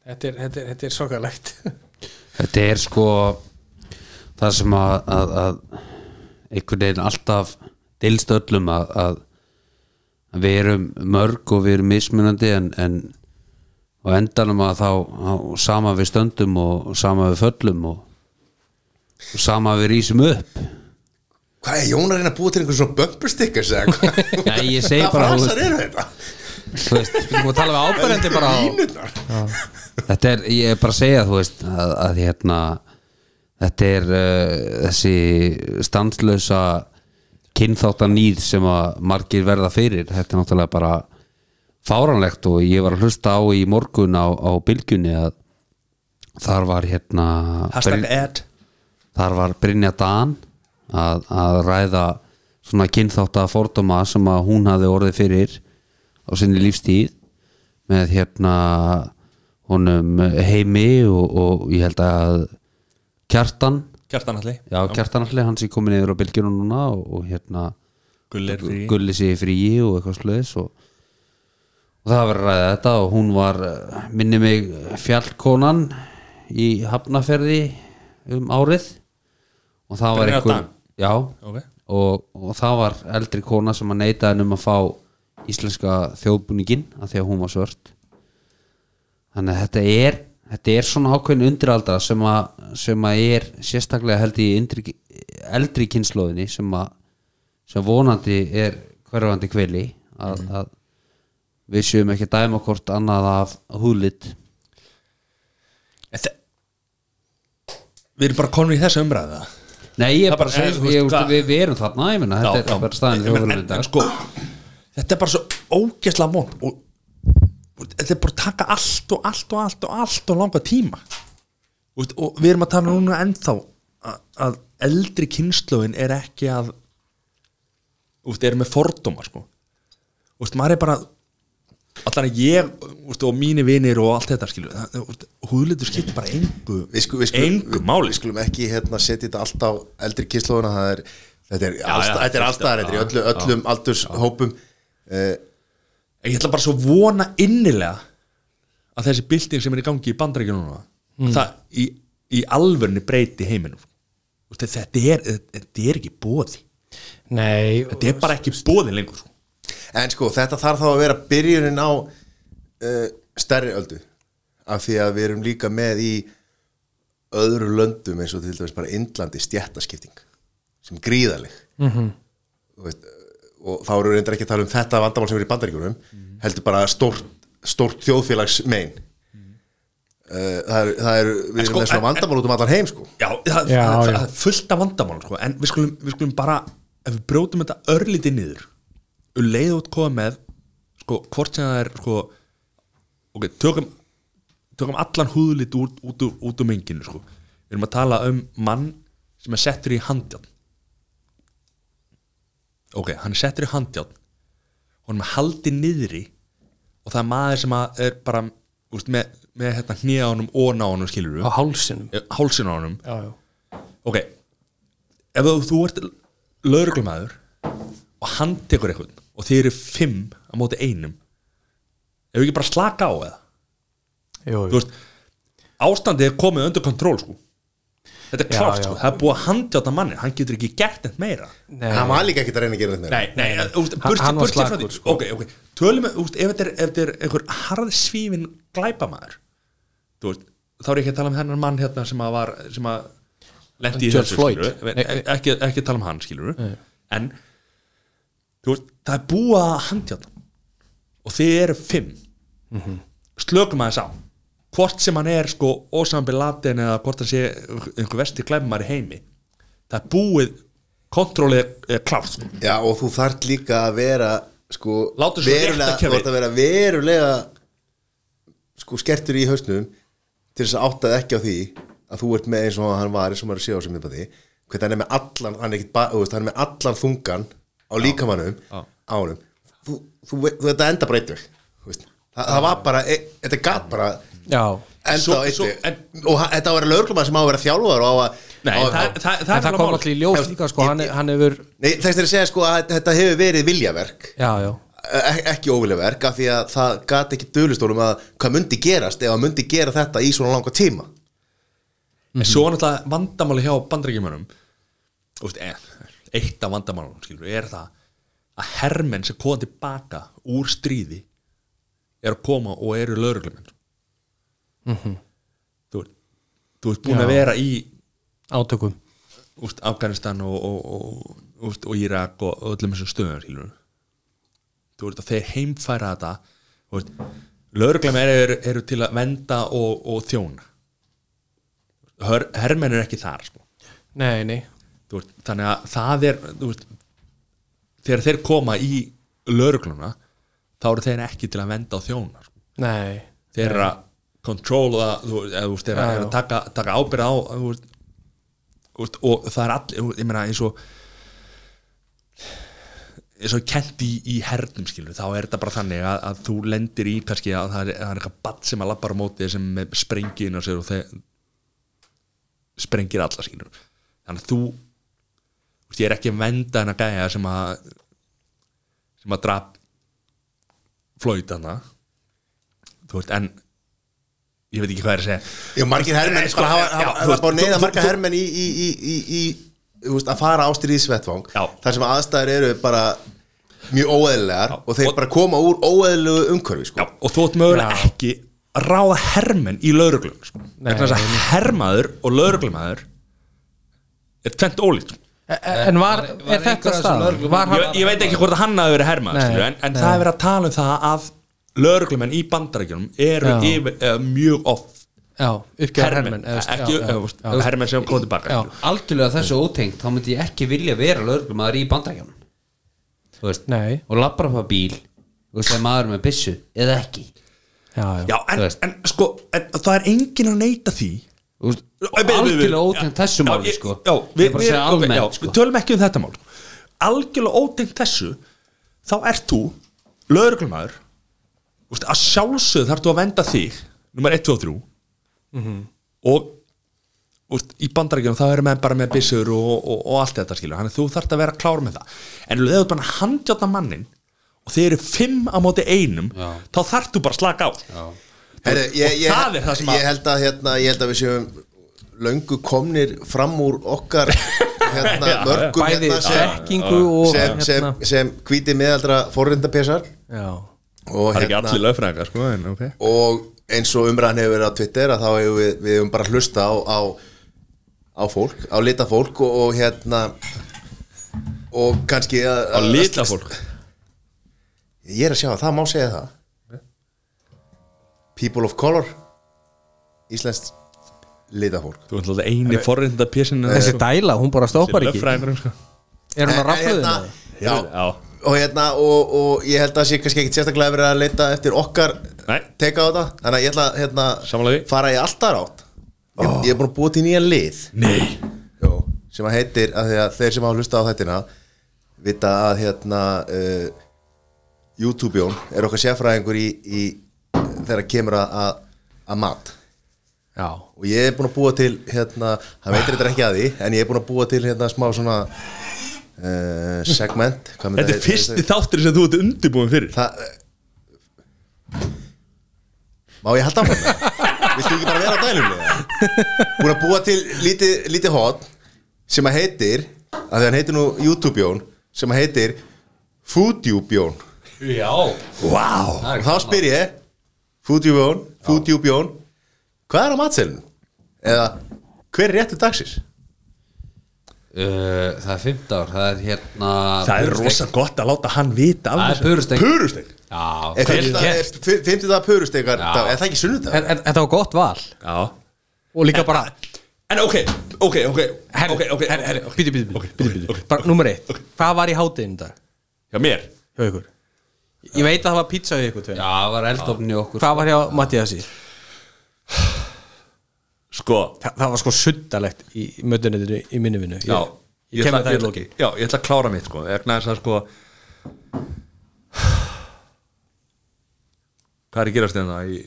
[SPEAKER 2] Þetta er, þetta er, þetta er sorgalegt
[SPEAKER 3] Þetta er sko það sem að, að, að einhvern veginn alltaf deilst öllum að, að, að við erum mörg og við erum mismunandi en, en á endanum að þá, þá sama við stöndum og sama við föllum og, og sama við rísum upp
[SPEAKER 4] Hvað er Jón að reyna að búa til einhverjum svona bumper stickers eða hvað?
[SPEAKER 3] Nei, ég segi
[SPEAKER 4] Hvað
[SPEAKER 3] bara, þú
[SPEAKER 4] frasar
[SPEAKER 3] veist-
[SPEAKER 4] eru þetta?
[SPEAKER 3] Þú veist,
[SPEAKER 2] Við erum að tala við ábærandi bara á
[SPEAKER 4] Línurnar
[SPEAKER 3] þetta er, ég er bara að segja þú veist að, að hérna þetta er uh, þessi stanslösa kynþáttanýð sem að margir verða fyrir, þetta er náttúrulega bara fáranlegt og ég var að hlusta á í morgun á, á bylgjunni að þar var hérna
[SPEAKER 1] Hashtag
[SPEAKER 3] Bryn-
[SPEAKER 1] ad
[SPEAKER 3] þar var Brynja Dan að, að ræða svona kynþátt að fordóma sem að hún hafði orðið fyrir á sinni lífstíð með hérna honum heimi og, og ég held að Kjartan
[SPEAKER 1] Kjartan Alli
[SPEAKER 3] já Kjartan allir hans er komin yfir á bylgjuna núna og, og hérna
[SPEAKER 1] Gullir því
[SPEAKER 3] gulli sig í fríi og eitthvað sluðis og, og það var að ræða þetta og hún var, eh, minni mig fjallkonan í hafnaferði um árið og það var
[SPEAKER 1] Brynjar
[SPEAKER 3] einhver
[SPEAKER 1] Dan?
[SPEAKER 3] já,
[SPEAKER 1] Ok.
[SPEAKER 3] og, og það var eldri kona sem að neita henn um að fá íslenska þjóðbúningin af því að hún var svört þannig að þetta er þetta er svona ákveðin undiraldra sem að, sem að er sérstaklega held í yndri, eldri kynnslóðinni sem að sem vonandi er hverfandi kveli að,
[SPEAKER 1] Mm.
[SPEAKER 3] að við séum ekki að dæma hvort annað af húlit
[SPEAKER 1] En þe- Við erum bara konur í þessa umræða
[SPEAKER 3] Nei, ég
[SPEAKER 1] Það
[SPEAKER 3] er bara að segja,
[SPEAKER 1] er,
[SPEAKER 3] ég,
[SPEAKER 1] þú veist,
[SPEAKER 3] ég, veist,
[SPEAKER 1] hvað-
[SPEAKER 3] við, við erum þarna, ég menna, þetta er bara staðin
[SPEAKER 1] en,
[SPEAKER 3] þjóðurum
[SPEAKER 1] en,
[SPEAKER 3] þetta
[SPEAKER 1] en sko Þetta er bara svo ógeðslega vond og, og þetta er bara að taka allt og allt og allt og allt og langa tíma og, veist, og við erum að tala núna ennþá að, að eldri kynnslóðin er ekki að út, er með fordóma sko út, maður er bara allan að ég út, og mínu vinir og allt þetta skilur það- þú veist, húðlitur skiptir bara engu
[SPEAKER 4] Við skulum, við skulum,
[SPEAKER 1] engu
[SPEAKER 4] við-
[SPEAKER 1] máli
[SPEAKER 4] við skulum ekki hérna, setja þetta allt á eldri kyslóðuna það er, þetta er allsta-
[SPEAKER 1] já,
[SPEAKER 4] þetta er allstaðar þetta er í öllu, öllum aldurshópum
[SPEAKER 1] ég ætla bara svo að vona innilega að þessi bylting sem er í gangi í bandarækjunum núna það í, í alvörni breyti heiminum Þú veist, þetta er, þetta er ekki bóði
[SPEAKER 2] Nei,
[SPEAKER 1] þetta er bara ekki bóði lengur sko.
[SPEAKER 4] en sko þetta þarf þá að vera byrjunin á uh, stærri öldu af því að við erum líka með í öðru löndum eins og til dæmis bara Indlandi stjættaskipting sem gríðaleg
[SPEAKER 1] Mhm.
[SPEAKER 4] Þú veist, og þá eru við reyndar ekki að tala um þetta vandamál sem er í bandaríkunum
[SPEAKER 1] Mhm.
[SPEAKER 4] heldur bara stórt, stórt þjóðfélags mein það er, það er við erum
[SPEAKER 1] sko,
[SPEAKER 4] með
[SPEAKER 1] Mhm. en-
[SPEAKER 4] svona
[SPEAKER 1] en-
[SPEAKER 4] vandamál út um allan heim sko
[SPEAKER 1] já, það,
[SPEAKER 2] Já,
[SPEAKER 1] það,
[SPEAKER 2] já.
[SPEAKER 1] það er fullt af vandamál sko. en við skulum, við skulum bara ef við brjótum þetta örlítið niður um og leiðu út koma með sko, hvort sem það er sko, ok, tökum tökum allan húðlit út, út, úr- út um enginu sko. við erum að tala um mann sem er settur í handján ok, hann er settur í handján honum er haldið niðri og það er maður sem að er bara úst, með, með hérna, hnýja honum og ná honum skilur
[SPEAKER 2] á hálsinum
[SPEAKER 1] hálsinn á honum
[SPEAKER 2] Já, já
[SPEAKER 1] ok, ef þú, þú ert lögreglumæður og hann tekur eitthvað og þið eru fimm á móti einum ef ekki bara slaka á eða
[SPEAKER 2] Jú,
[SPEAKER 1] þú
[SPEAKER 2] jú.
[SPEAKER 1] veist, ástandið er komið undir kontról sko þetta er
[SPEAKER 2] Já,
[SPEAKER 1] klárt
[SPEAKER 2] já.
[SPEAKER 1] sko, það er búið að handjáta manni hann getur ekki gert neitt meira
[SPEAKER 2] Nei,
[SPEAKER 4] hann var líka ekki að reyna að gera þetta meira
[SPEAKER 1] nei, nei, nei. Úst,
[SPEAKER 2] Hann-
[SPEAKER 1] burti,
[SPEAKER 2] hann var
[SPEAKER 1] burti frá því
[SPEAKER 2] slakur, sko.
[SPEAKER 1] sko. ok, ok, tölum við, úst, ef þetta er, ef þetta er einhver harðsvífin glæpamaður þú veist, þá er ég ekki að tala um þennan mann hérna sem að var, sem að lendi í
[SPEAKER 2] George Floyd.
[SPEAKER 1] skilurðu.
[SPEAKER 2] Nei,
[SPEAKER 1] Ek- ekki, ekki að tala um hann, skilur en þú veist, það er búið að handjáta og þið eru fimm
[SPEAKER 2] Mhm.
[SPEAKER 1] slökum aðeins á hvort sem hann er sko ósambi latin eða hvort hann sé einhver vesti glæmar í heimi það er búið kontrólið er- er klárt sko.
[SPEAKER 4] Já og þú þart líka að vera sko,
[SPEAKER 1] Látum svo
[SPEAKER 4] verulega,
[SPEAKER 1] réttarkerfi.
[SPEAKER 4] þú þart að vera verulega sko skertur í hausnum til þess að áttaði ekki á því að þú ert með eins og hann var eins og maður sé á sem miðbæti hvernig hann er með allan hann er, ekkit, ba- þú veist, hann er með allan þungan á líkamannum
[SPEAKER 1] Já.
[SPEAKER 4] á honum þú, þú, veit- þú þetta enda breytur það, það var bara, e, þetta gat bara
[SPEAKER 2] Já,
[SPEAKER 4] enda
[SPEAKER 1] Svo-
[SPEAKER 4] á
[SPEAKER 1] svo-
[SPEAKER 4] eitthi
[SPEAKER 1] en-
[SPEAKER 4] og hann- þetta á að vera lögreglumann sem á að vera þjálfur og á að
[SPEAKER 1] Nei,
[SPEAKER 4] á,
[SPEAKER 1] það,
[SPEAKER 4] á,
[SPEAKER 1] það, það
[SPEAKER 2] en
[SPEAKER 1] er
[SPEAKER 2] það kom
[SPEAKER 1] mál.
[SPEAKER 2] allir í ljós líka sko, hann, hann hefur
[SPEAKER 4] nei, þess að segja sko að þetta hefur verið viljaverk
[SPEAKER 2] Já, já,
[SPEAKER 4] e- ekki óviljaverk af því að það gat ekki dölustólum að hvað myndi gerast ef að myndi gera þetta í svona langa tíma
[SPEAKER 2] Mhm.
[SPEAKER 1] En svo er náttúrulega vandamáli hjá bandrækjumönum veist, eh, Eitt af vandamálunum skilur, er það að hermenn sem koma tilbaka úr stríði er að koma og eru lögreglumenn þú, ert- þú ert búin að
[SPEAKER 2] Mhm. Já.
[SPEAKER 1] vera í
[SPEAKER 2] átökum
[SPEAKER 1] úst, Afganistan og, og, og, úst, og Írak og og öllum þessum stöðum skilur. þú veist að þeir heimfæra þetta lögreglamenn eru, eru til að venda og, og þjóna Her, hermenn er ekki þar sko.
[SPEAKER 2] Nei, nei,
[SPEAKER 1] Þú veist, þannig að það er þú veist, þegar þeir koma í lögregluna þá eru þeir ekki til að venda á þjóna sko.
[SPEAKER 2] nei
[SPEAKER 1] þeir eru að kontróla þeir eru að,
[SPEAKER 2] Já,
[SPEAKER 1] eru að
[SPEAKER 2] já.
[SPEAKER 1] taka, taka ábyrð á þú veist, þú veist, og það er allir ég meina eins og eins og kent í, í hernum skilur þá er þetta bara þannig að, að þú lendir í kannski að það er, það er eitthvað batt sem að lappar á móti þér sem er með sprengi inn á sér og þeir sprengir alla skilur þannig að þú þú veist, ég er ekki að venda hennar gæja sem að sem að drap flöyt hana þú veist en ég veit ekki hvað er að segja
[SPEAKER 4] Já, margir herrmenn,
[SPEAKER 1] Nei,
[SPEAKER 4] sko,
[SPEAKER 1] sko,
[SPEAKER 4] hafa,
[SPEAKER 1] já,
[SPEAKER 4] hafa,
[SPEAKER 1] þú
[SPEAKER 4] hafa
[SPEAKER 1] veist,
[SPEAKER 4] bara
[SPEAKER 1] þú-
[SPEAKER 4] neyða
[SPEAKER 1] þú-
[SPEAKER 4] marga
[SPEAKER 1] þú-
[SPEAKER 4] herrmenn í, í, í, í, í, í úst, að fara á stríðsvettvang
[SPEAKER 1] Já.
[SPEAKER 4] þar sem aðstæður eru bara mjög óeðlegar
[SPEAKER 1] Já.
[SPEAKER 4] og þeir
[SPEAKER 1] Og-
[SPEAKER 4] bara koma úr óeðlegu
[SPEAKER 1] Já,
[SPEAKER 4] umhverfi sko.
[SPEAKER 1] og þú átt mögulega ekki að ráða hermenn í lauruglum sko.
[SPEAKER 2] Nei.
[SPEAKER 1] vegna þess að hermaður og lauruglumæður er tvent ólít
[SPEAKER 2] En E, en var, er þetta stað?
[SPEAKER 1] ég,
[SPEAKER 2] Var hann,
[SPEAKER 1] ég veit ekki hvort að hann hafi verið hermaður
[SPEAKER 2] Nei.
[SPEAKER 1] skilur, en, en
[SPEAKER 2] Nei.
[SPEAKER 1] það er verið að tala um það að lauruglumenn í bandarækjunum eru
[SPEAKER 2] Já.
[SPEAKER 1] yfir, eða, mjög oft
[SPEAKER 2] já, uppgjöður
[SPEAKER 1] hermenn,
[SPEAKER 2] hermenn eða veist,
[SPEAKER 1] ekki,
[SPEAKER 2] já,
[SPEAKER 1] eða, veist,
[SPEAKER 2] já, já,
[SPEAKER 1] hermenn sem komið tilbaka
[SPEAKER 2] já.
[SPEAKER 1] skilur.
[SPEAKER 3] algjörlega þessu ótengt þá myndi ég ekki vilja vera lögreglumæður í bandarækjanum þú veist
[SPEAKER 2] Nei.
[SPEAKER 3] og labbar upp á bíl og það er maður með byssu eða ekki
[SPEAKER 2] já,
[SPEAKER 1] já,
[SPEAKER 2] já.
[SPEAKER 1] en,
[SPEAKER 3] Þú veist.
[SPEAKER 1] en sko en, það er enginn að neyta því
[SPEAKER 3] Þú veist,
[SPEAKER 1] Æ, byrju, byrju, byrju.
[SPEAKER 3] algjörlega ótengt
[SPEAKER 1] Já,
[SPEAKER 3] þessu
[SPEAKER 1] já,
[SPEAKER 3] máli
[SPEAKER 1] ég-
[SPEAKER 3] sko
[SPEAKER 1] já,
[SPEAKER 3] Ég
[SPEAKER 1] við,
[SPEAKER 3] er bara
[SPEAKER 1] við,
[SPEAKER 3] að segja
[SPEAKER 1] okay, já,
[SPEAKER 3] almennt
[SPEAKER 1] við
[SPEAKER 3] sko
[SPEAKER 1] tölum ekki um þetta mál algjörlega ótengt þessu þá ert þú lögreglumæður úst, að sjálfsögð þarf þú að venda þig nummer 1, 2 og 3
[SPEAKER 3] Mhm.
[SPEAKER 1] og úst, í bandarækjunum þá eru menn bara með byssur og, og, og allt þetta skilur þannig að þú þarft að vera klár með það en ef þú erum bara að handjáta mannin og þeir eru 5 á móti einum
[SPEAKER 3] Já.
[SPEAKER 1] þá þarft þú bara að slaka á
[SPEAKER 4] Herri, ég,
[SPEAKER 1] Og
[SPEAKER 4] ég,
[SPEAKER 1] það er það sem að-
[SPEAKER 4] ég, held að, hérna, ég held að við séum löngu komnir fram úr okkar hérna,
[SPEAKER 1] Já,
[SPEAKER 4] mörgum
[SPEAKER 2] Bæði
[SPEAKER 4] hérna, sem,
[SPEAKER 2] þekkingu og hérna-
[SPEAKER 4] sem, sem, sem hvíti meðaldra forrindapesar
[SPEAKER 2] Já,
[SPEAKER 4] og
[SPEAKER 1] það
[SPEAKER 4] hérna-
[SPEAKER 1] er
[SPEAKER 3] Hérna-
[SPEAKER 1] ekki allir lögfræðingar sko en ok
[SPEAKER 4] og eins og umræðan hefur verið á Twitter að þá hefur við, við hefum bara að hlusta á, á, á fólk, á lita fólk og, og hérna og kannski að,
[SPEAKER 1] á
[SPEAKER 4] að-
[SPEAKER 1] litla fólk
[SPEAKER 4] ég er að sjá að það má segja það people of color íslenskt lita fólk
[SPEAKER 1] Þú ert alltaf eini forrinda písinu
[SPEAKER 2] þessi dæla, hún bara stoppar ekki
[SPEAKER 1] Löffræðingur
[SPEAKER 2] Er hún að
[SPEAKER 4] Eh,
[SPEAKER 2] rafluðinu?
[SPEAKER 4] hérna- já,
[SPEAKER 1] sko. Já
[SPEAKER 4] og hérna og, og ég held að það sé kannski ekkit sérstaklega verið að leita eftir okkar
[SPEAKER 1] Nei.
[SPEAKER 4] teka á þetta þannig að ég ætla að hérna,
[SPEAKER 1] Sammála því.
[SPEAKER 4] fara í alltaf rátt ég, ég er búin að búa til nýjan lið
[SPEAKER 1] Nei
[SPEAKER 4] Jó, sem að heitir að að þeir sem hafa hlusta á þættina vita að hérna uh, YouTube-jón er okkar sérfræðingur í, í þegar kemur að, að- að mat
[SPEAKER 2] Já,
[SPEAKER 4] og ég er búin að búa til hérna, hann veitir þetta ekki að því en ég er búin að búa til hérna smá svona uh, segment hvað myndi
[SPEAKER 1] Þetta er
[SPEAKER 4] það-
[SPEAKER 1] fyrsti þáttur sem þú ert undirbúin fyrir
[SPEAKER 4] það Má ég halda á hann? Viltu ekki bara vera á dælum með það? Búin að búa til lítið, lítið hot sem að heitir, að því hann heitir nú YouTube-jón, sem að heitir Foodjúbjón
[SPEAKER 3] já,
[SPEAKER 1] Vá
[SPEAKER 4] og þá spyr ég Foodjúbjón, Foodjúbjón hvað er á matselinu? Eða hver er réttu dagsins?
[SPEAKER 3] Uh, það er 15 ár, það er hérna
[SPEAKER 1] Það er
[SPEAKER 3] purusteik.
[SPEAKER 1] rosa gott að láta hann vita af
[SPEAKER 3] Það er
[SPEAKER 1] þessu.
[SPEAKER 3] purustek
[SPEAKER 1] Purustek
[SPEAKER 3] Já,
[SPEAKER 4] Er
[SPEAKER 1] hérna-
[SPEAKER 4] fimmtudag-
[SPEAKER 3] Ég-
[SPEAKER 4] er fi- fimmtudag purustekar
[SPEAKER 3] Já.
[SPEAKER 4] dag? Er það ekki sunnudag?
[SPEAKER 2] en en- þetta var gott val
[SPEAKER 1] Já
[SPEAKER 2] Og líka bara
[SPEAKER 1] En ok, ok, ok
[SPEAKER 2] Herri,
[SPEAKER 1] Ok, ok,
[SPEAKER 2] herri, herri,
[SPEAKER 1] ok.
[SPEAKER 2] býtu, býtu,
[SPEAKER 1] Ok, ok,
[SPEAKER 2] býtu, býtu, býtu.
[SPEAKER 1] ok.
[SPEAKER 2] Bara nummer eitt, hvað var í hátinn dag?
[SPEAKER 1] Já, mér
[SPEAKER 2] Hjá ykkur Ég veit að það var pizza hjá ykkur tveim
[SPEAKER 3] Já, það var eldofni okkur
[SPEAKER 2] Hvað var hjá Mattiasi?
[SPEAKER 1] sko
[SPEAKER 2] Þa, það var sko suttalegt í mötunetinu í minni vinnu ég,
[SPEAKER 1] já,
[SPEAKER 2] ég kemur
[SPEAKER 1] ætla-
[SPEAKER 2] það í
[SPEAKER 1] ætla-
[SPEAKER 2] loki
[SPEAKER 1] já, ég ætla að klára mitt sko vegna þess að sko hvað er að gerast hérna í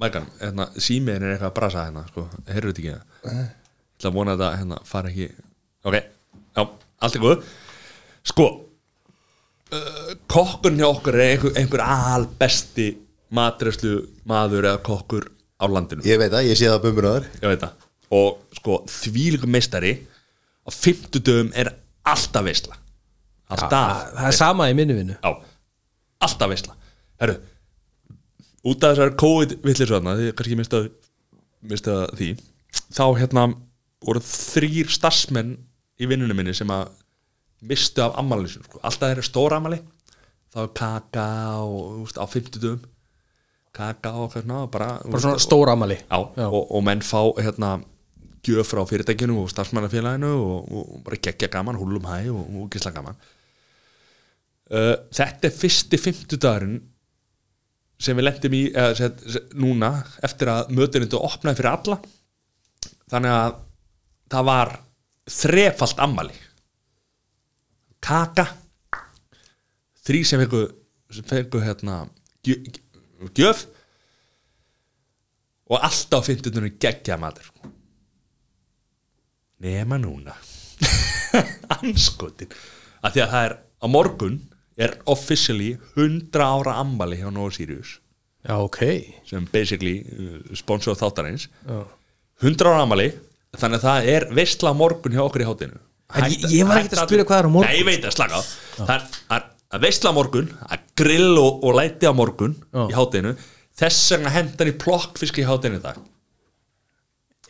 [SPEAKER 1] mækan, hérna símiðin er eitthvað að brasa hérna sko, heyrðu þetta ekki það
[SPEAKER 2] Eh?
[SPEAKER 1] ég ætla að vona að þetta hérna fara ekki ok, já, allt er góð sko uh, kokkurinn hjá okkur er einhver, einhver albesti matreslu maður eða kokkur á landinu
[SPEAKER 4] Ég veit það, ég sé það á bumbun á þér
[SPEAKER 1] ég veit það og sko þvílíku meistari á fimmtudöfum er alltaf veisla alltaf
[SPEAKER 2] það er sama í minni vinnu
[SPEAKER 1] já, alltaf veisla herru, út af þessar COVID villisöðna, þið kannski mistað mistað því þá hérna voru þrýr starfsmenn í vinnunum minni sem að mistu af ammálinu sinu, sko. alltaf þeirra stóra ammáli þá er kaka og úst, á fimmtudöfum kaka og hvað svona bara,
[SPEAKER 2] bara svona stóra amali
[SPEAKER 1] Já, Og, og menn fá hérna gjöf frá fyrirtækinu og starfsmannafélaginu og, og bara geggja gaman, húlum hæ og, og gísla gaman uh, Þetta er fyrsti fimmtudagurinn sem við lendum í eða, set, set, núna eftir að mötunindu opnaði fyrir alla þannig að það var þrefalt ammali kaka þrý sem fengu, sem fengu hérna, gjöf, gjöf og alltaf fimmtudunum geggja matur sko. nema núna anskotin að því að það er á morgun er officially 100 ára ammali hjá Nova Sirius
[SPEAKER 2] já ok
[SPEAKER 1] sem basically uh, sponsor þáttarins
[SPEAKER 2] já.
[SPEAKER 1] 100 ára ammali þannig að það er veistla á morgun hjá okkur í hátinu
[SPEAKER 2] En ég- ég var ekkert að spyrja hvað er á morgun.
[SPEAKER 1] Nei, ég veit að slaka á Það er- það er að veistla á morgun að grill og, og læti á morgun
[SPEAKER 2] Já.
[SPEAKER 1] í hátinu þess vegna hendan í plokkfisk í hátinu í dag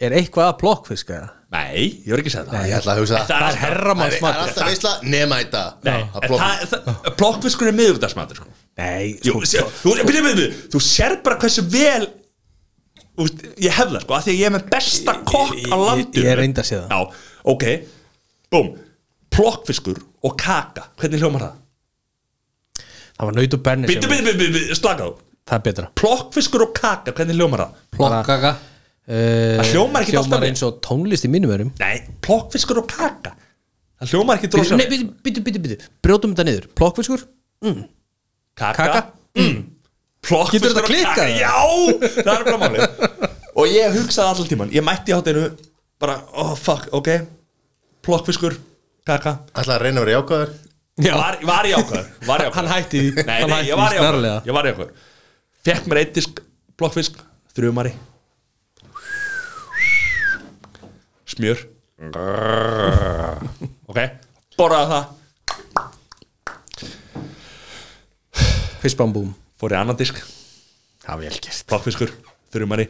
[SPEAKER 2] er eitthvað að blokkfiska eða?
[SPEAKER 1] Nei, ég var ekki að segja það
[SPEAKER 4] Ég ætla að hugsa
[SPEAKER 1] Það er
[SPEAKER 4] alltaf-
[SPEAKER 2] herramannsmatur.
[SPEAKER 4] Það er alltaf veisla, nema í dag
[SPEAKER 1] Nei,
[SPEAKER 4] Það
[SPEAKER 1] en
[SPEAKER 4] blokk-
[SPEAKER 1] það- það- plokkfiskur er miðugdagsmatur sko.
[SPEAKER 2] nei
[SPEAKER 1] Jú,
[SPEAKER 2] sko,
[SPEAKER 1] sé- þú, byrju, byrju, byrju, þú sér bara hversu vel úst, ég hef það sko, af því að ég er með besta kokk á
[SPEAKER 2] ég-
[SPEAKER 1] landinu
[SPEAKER 2] ég reyndi að sé það.
[SPEAKER 1] Já, ok, búm, plokkfiskur og kaka, hvernig hljómar það?
[SPEAKER 2] það var naut og benni
[SPEAKER 1] Bítu, bítu, bítu, bítu, slaka á
[SPEAKER 2] það er betra
[SPEAKER 1] Plokkfiskur og kaka, hvernig hljómar það?
[SPEAKER 3] Plokkaka
[SPEAKER 2] uh,
[SPEAKER 1] Það hljómar ekkert alltaf vel.
[SPEAKER 2] eins og tónlist í mínum verum
[SPEAKER 1] Nei, plokkfiskur og kaka Það hljómar ekki drosa
[SPEAKER 2] nei, bítu, bítu, bítu, bítu brjótum þetta niður, plokkfiskur
[SPEAKER 1] Kaka,
[SPEAKER 2] kaka.
[SPEAKER 1] Mm. Plokkfiskur
[SPEAKER 2] Getur þetta
[SPEAKER 1] og
[SPEAKER 2] klikkað,
[SPEAKER 1] kaka.
[SPEAKER 2] eða?
[SPEAKER 1] Já, það er bara máli Og ég hugsaði allan tíman Ég mætti í hátinu Bara, oh fuck, ok Plokkfiskur, kaka
[SPEAKER 4] Ætla að reyna að vera jákvæður
[SPEAKER 1] var, var ég ákvæður Var ég ákvæður
[SPEAKER 2] Hann hætti því.
[SPEAKER 1] Nei,
[SPEAKER 2] Hann
[SPEAKER 1] nei,
[SPEAKER 2] hætti
[SPEAKER 1] ég var
[SPEAKER 2] því
[SPEAKER 1] ég ákvæður
[SPEAKER 2] snarlega.
[SPEAKER 1] Ég var ég ákvæður Fekk mér eitt disk plokkfisk Þrjumari Smjör Ok, borðaði það
[SPEAKER 2] kvistbambúm
[SPEAKER 1] Fór í annan disk
[SPEAKER 2] það er vel gert
[SPEAKER 1] Plokkfiskur, þrjumari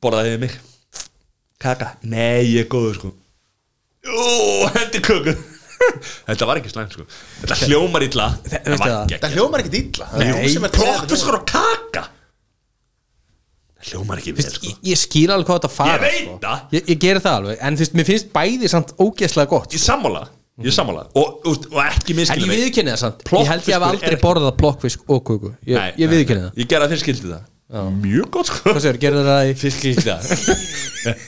[SPEAKER 1] Borðaði yfir mig Kaka, nei ég er góður sko Jú, hendi köku Þetta var ekki slæmt sko Þetta hljómar illa
[SPEAKER 2] veistu
[SPEAKER 1] Þetta var
[SPEAKER 2] það?
[SPEAKER 1] ekki
[SPEAKER 4] Það hljómar ekkert illa Það er
[SPEAKER 2] Nei,
[SPEAKER 4] þú sem ert að-
[SPEAKER 1] Plokkfiskur og kaka Það hljómar ekki vel sko
[SPEAKER 2] ég, ég skýr alveg hvað þetta
[SPEAKER 1] Ég
[SPEAKER 2] fara
[SPEAKER 1] veit
[SPEAKER 2] sko.
[SPEAKER 1] það.
[SPEAKER 2] ég, ég gerir það alveg, en þú veist, mér finnst bæði samt ógeðslega gott sko.
[SPEAKER 1] Ég sammála, ég sammála Og, og, og ekki
[SPEAKER 2] en
[SPEAKER 1] miskilum
[SPEAKER 2] ég viðkynni það samt, ég held ég hafa
[SPEAKER 1] Plokkfiskur er
[SPEAKER 2] aldrei
[SPEAKER 1] ekki-
[SPEAKER 2] borðað plokkfisk og kuku ég, ég viðkynni það,
[SPEAKER 1] Ég gerði að þér skildi það Mjög gott sko
[SPEAKER 2] hvað sér, gerir það í
[SPEAKER 1] Fisk skildi það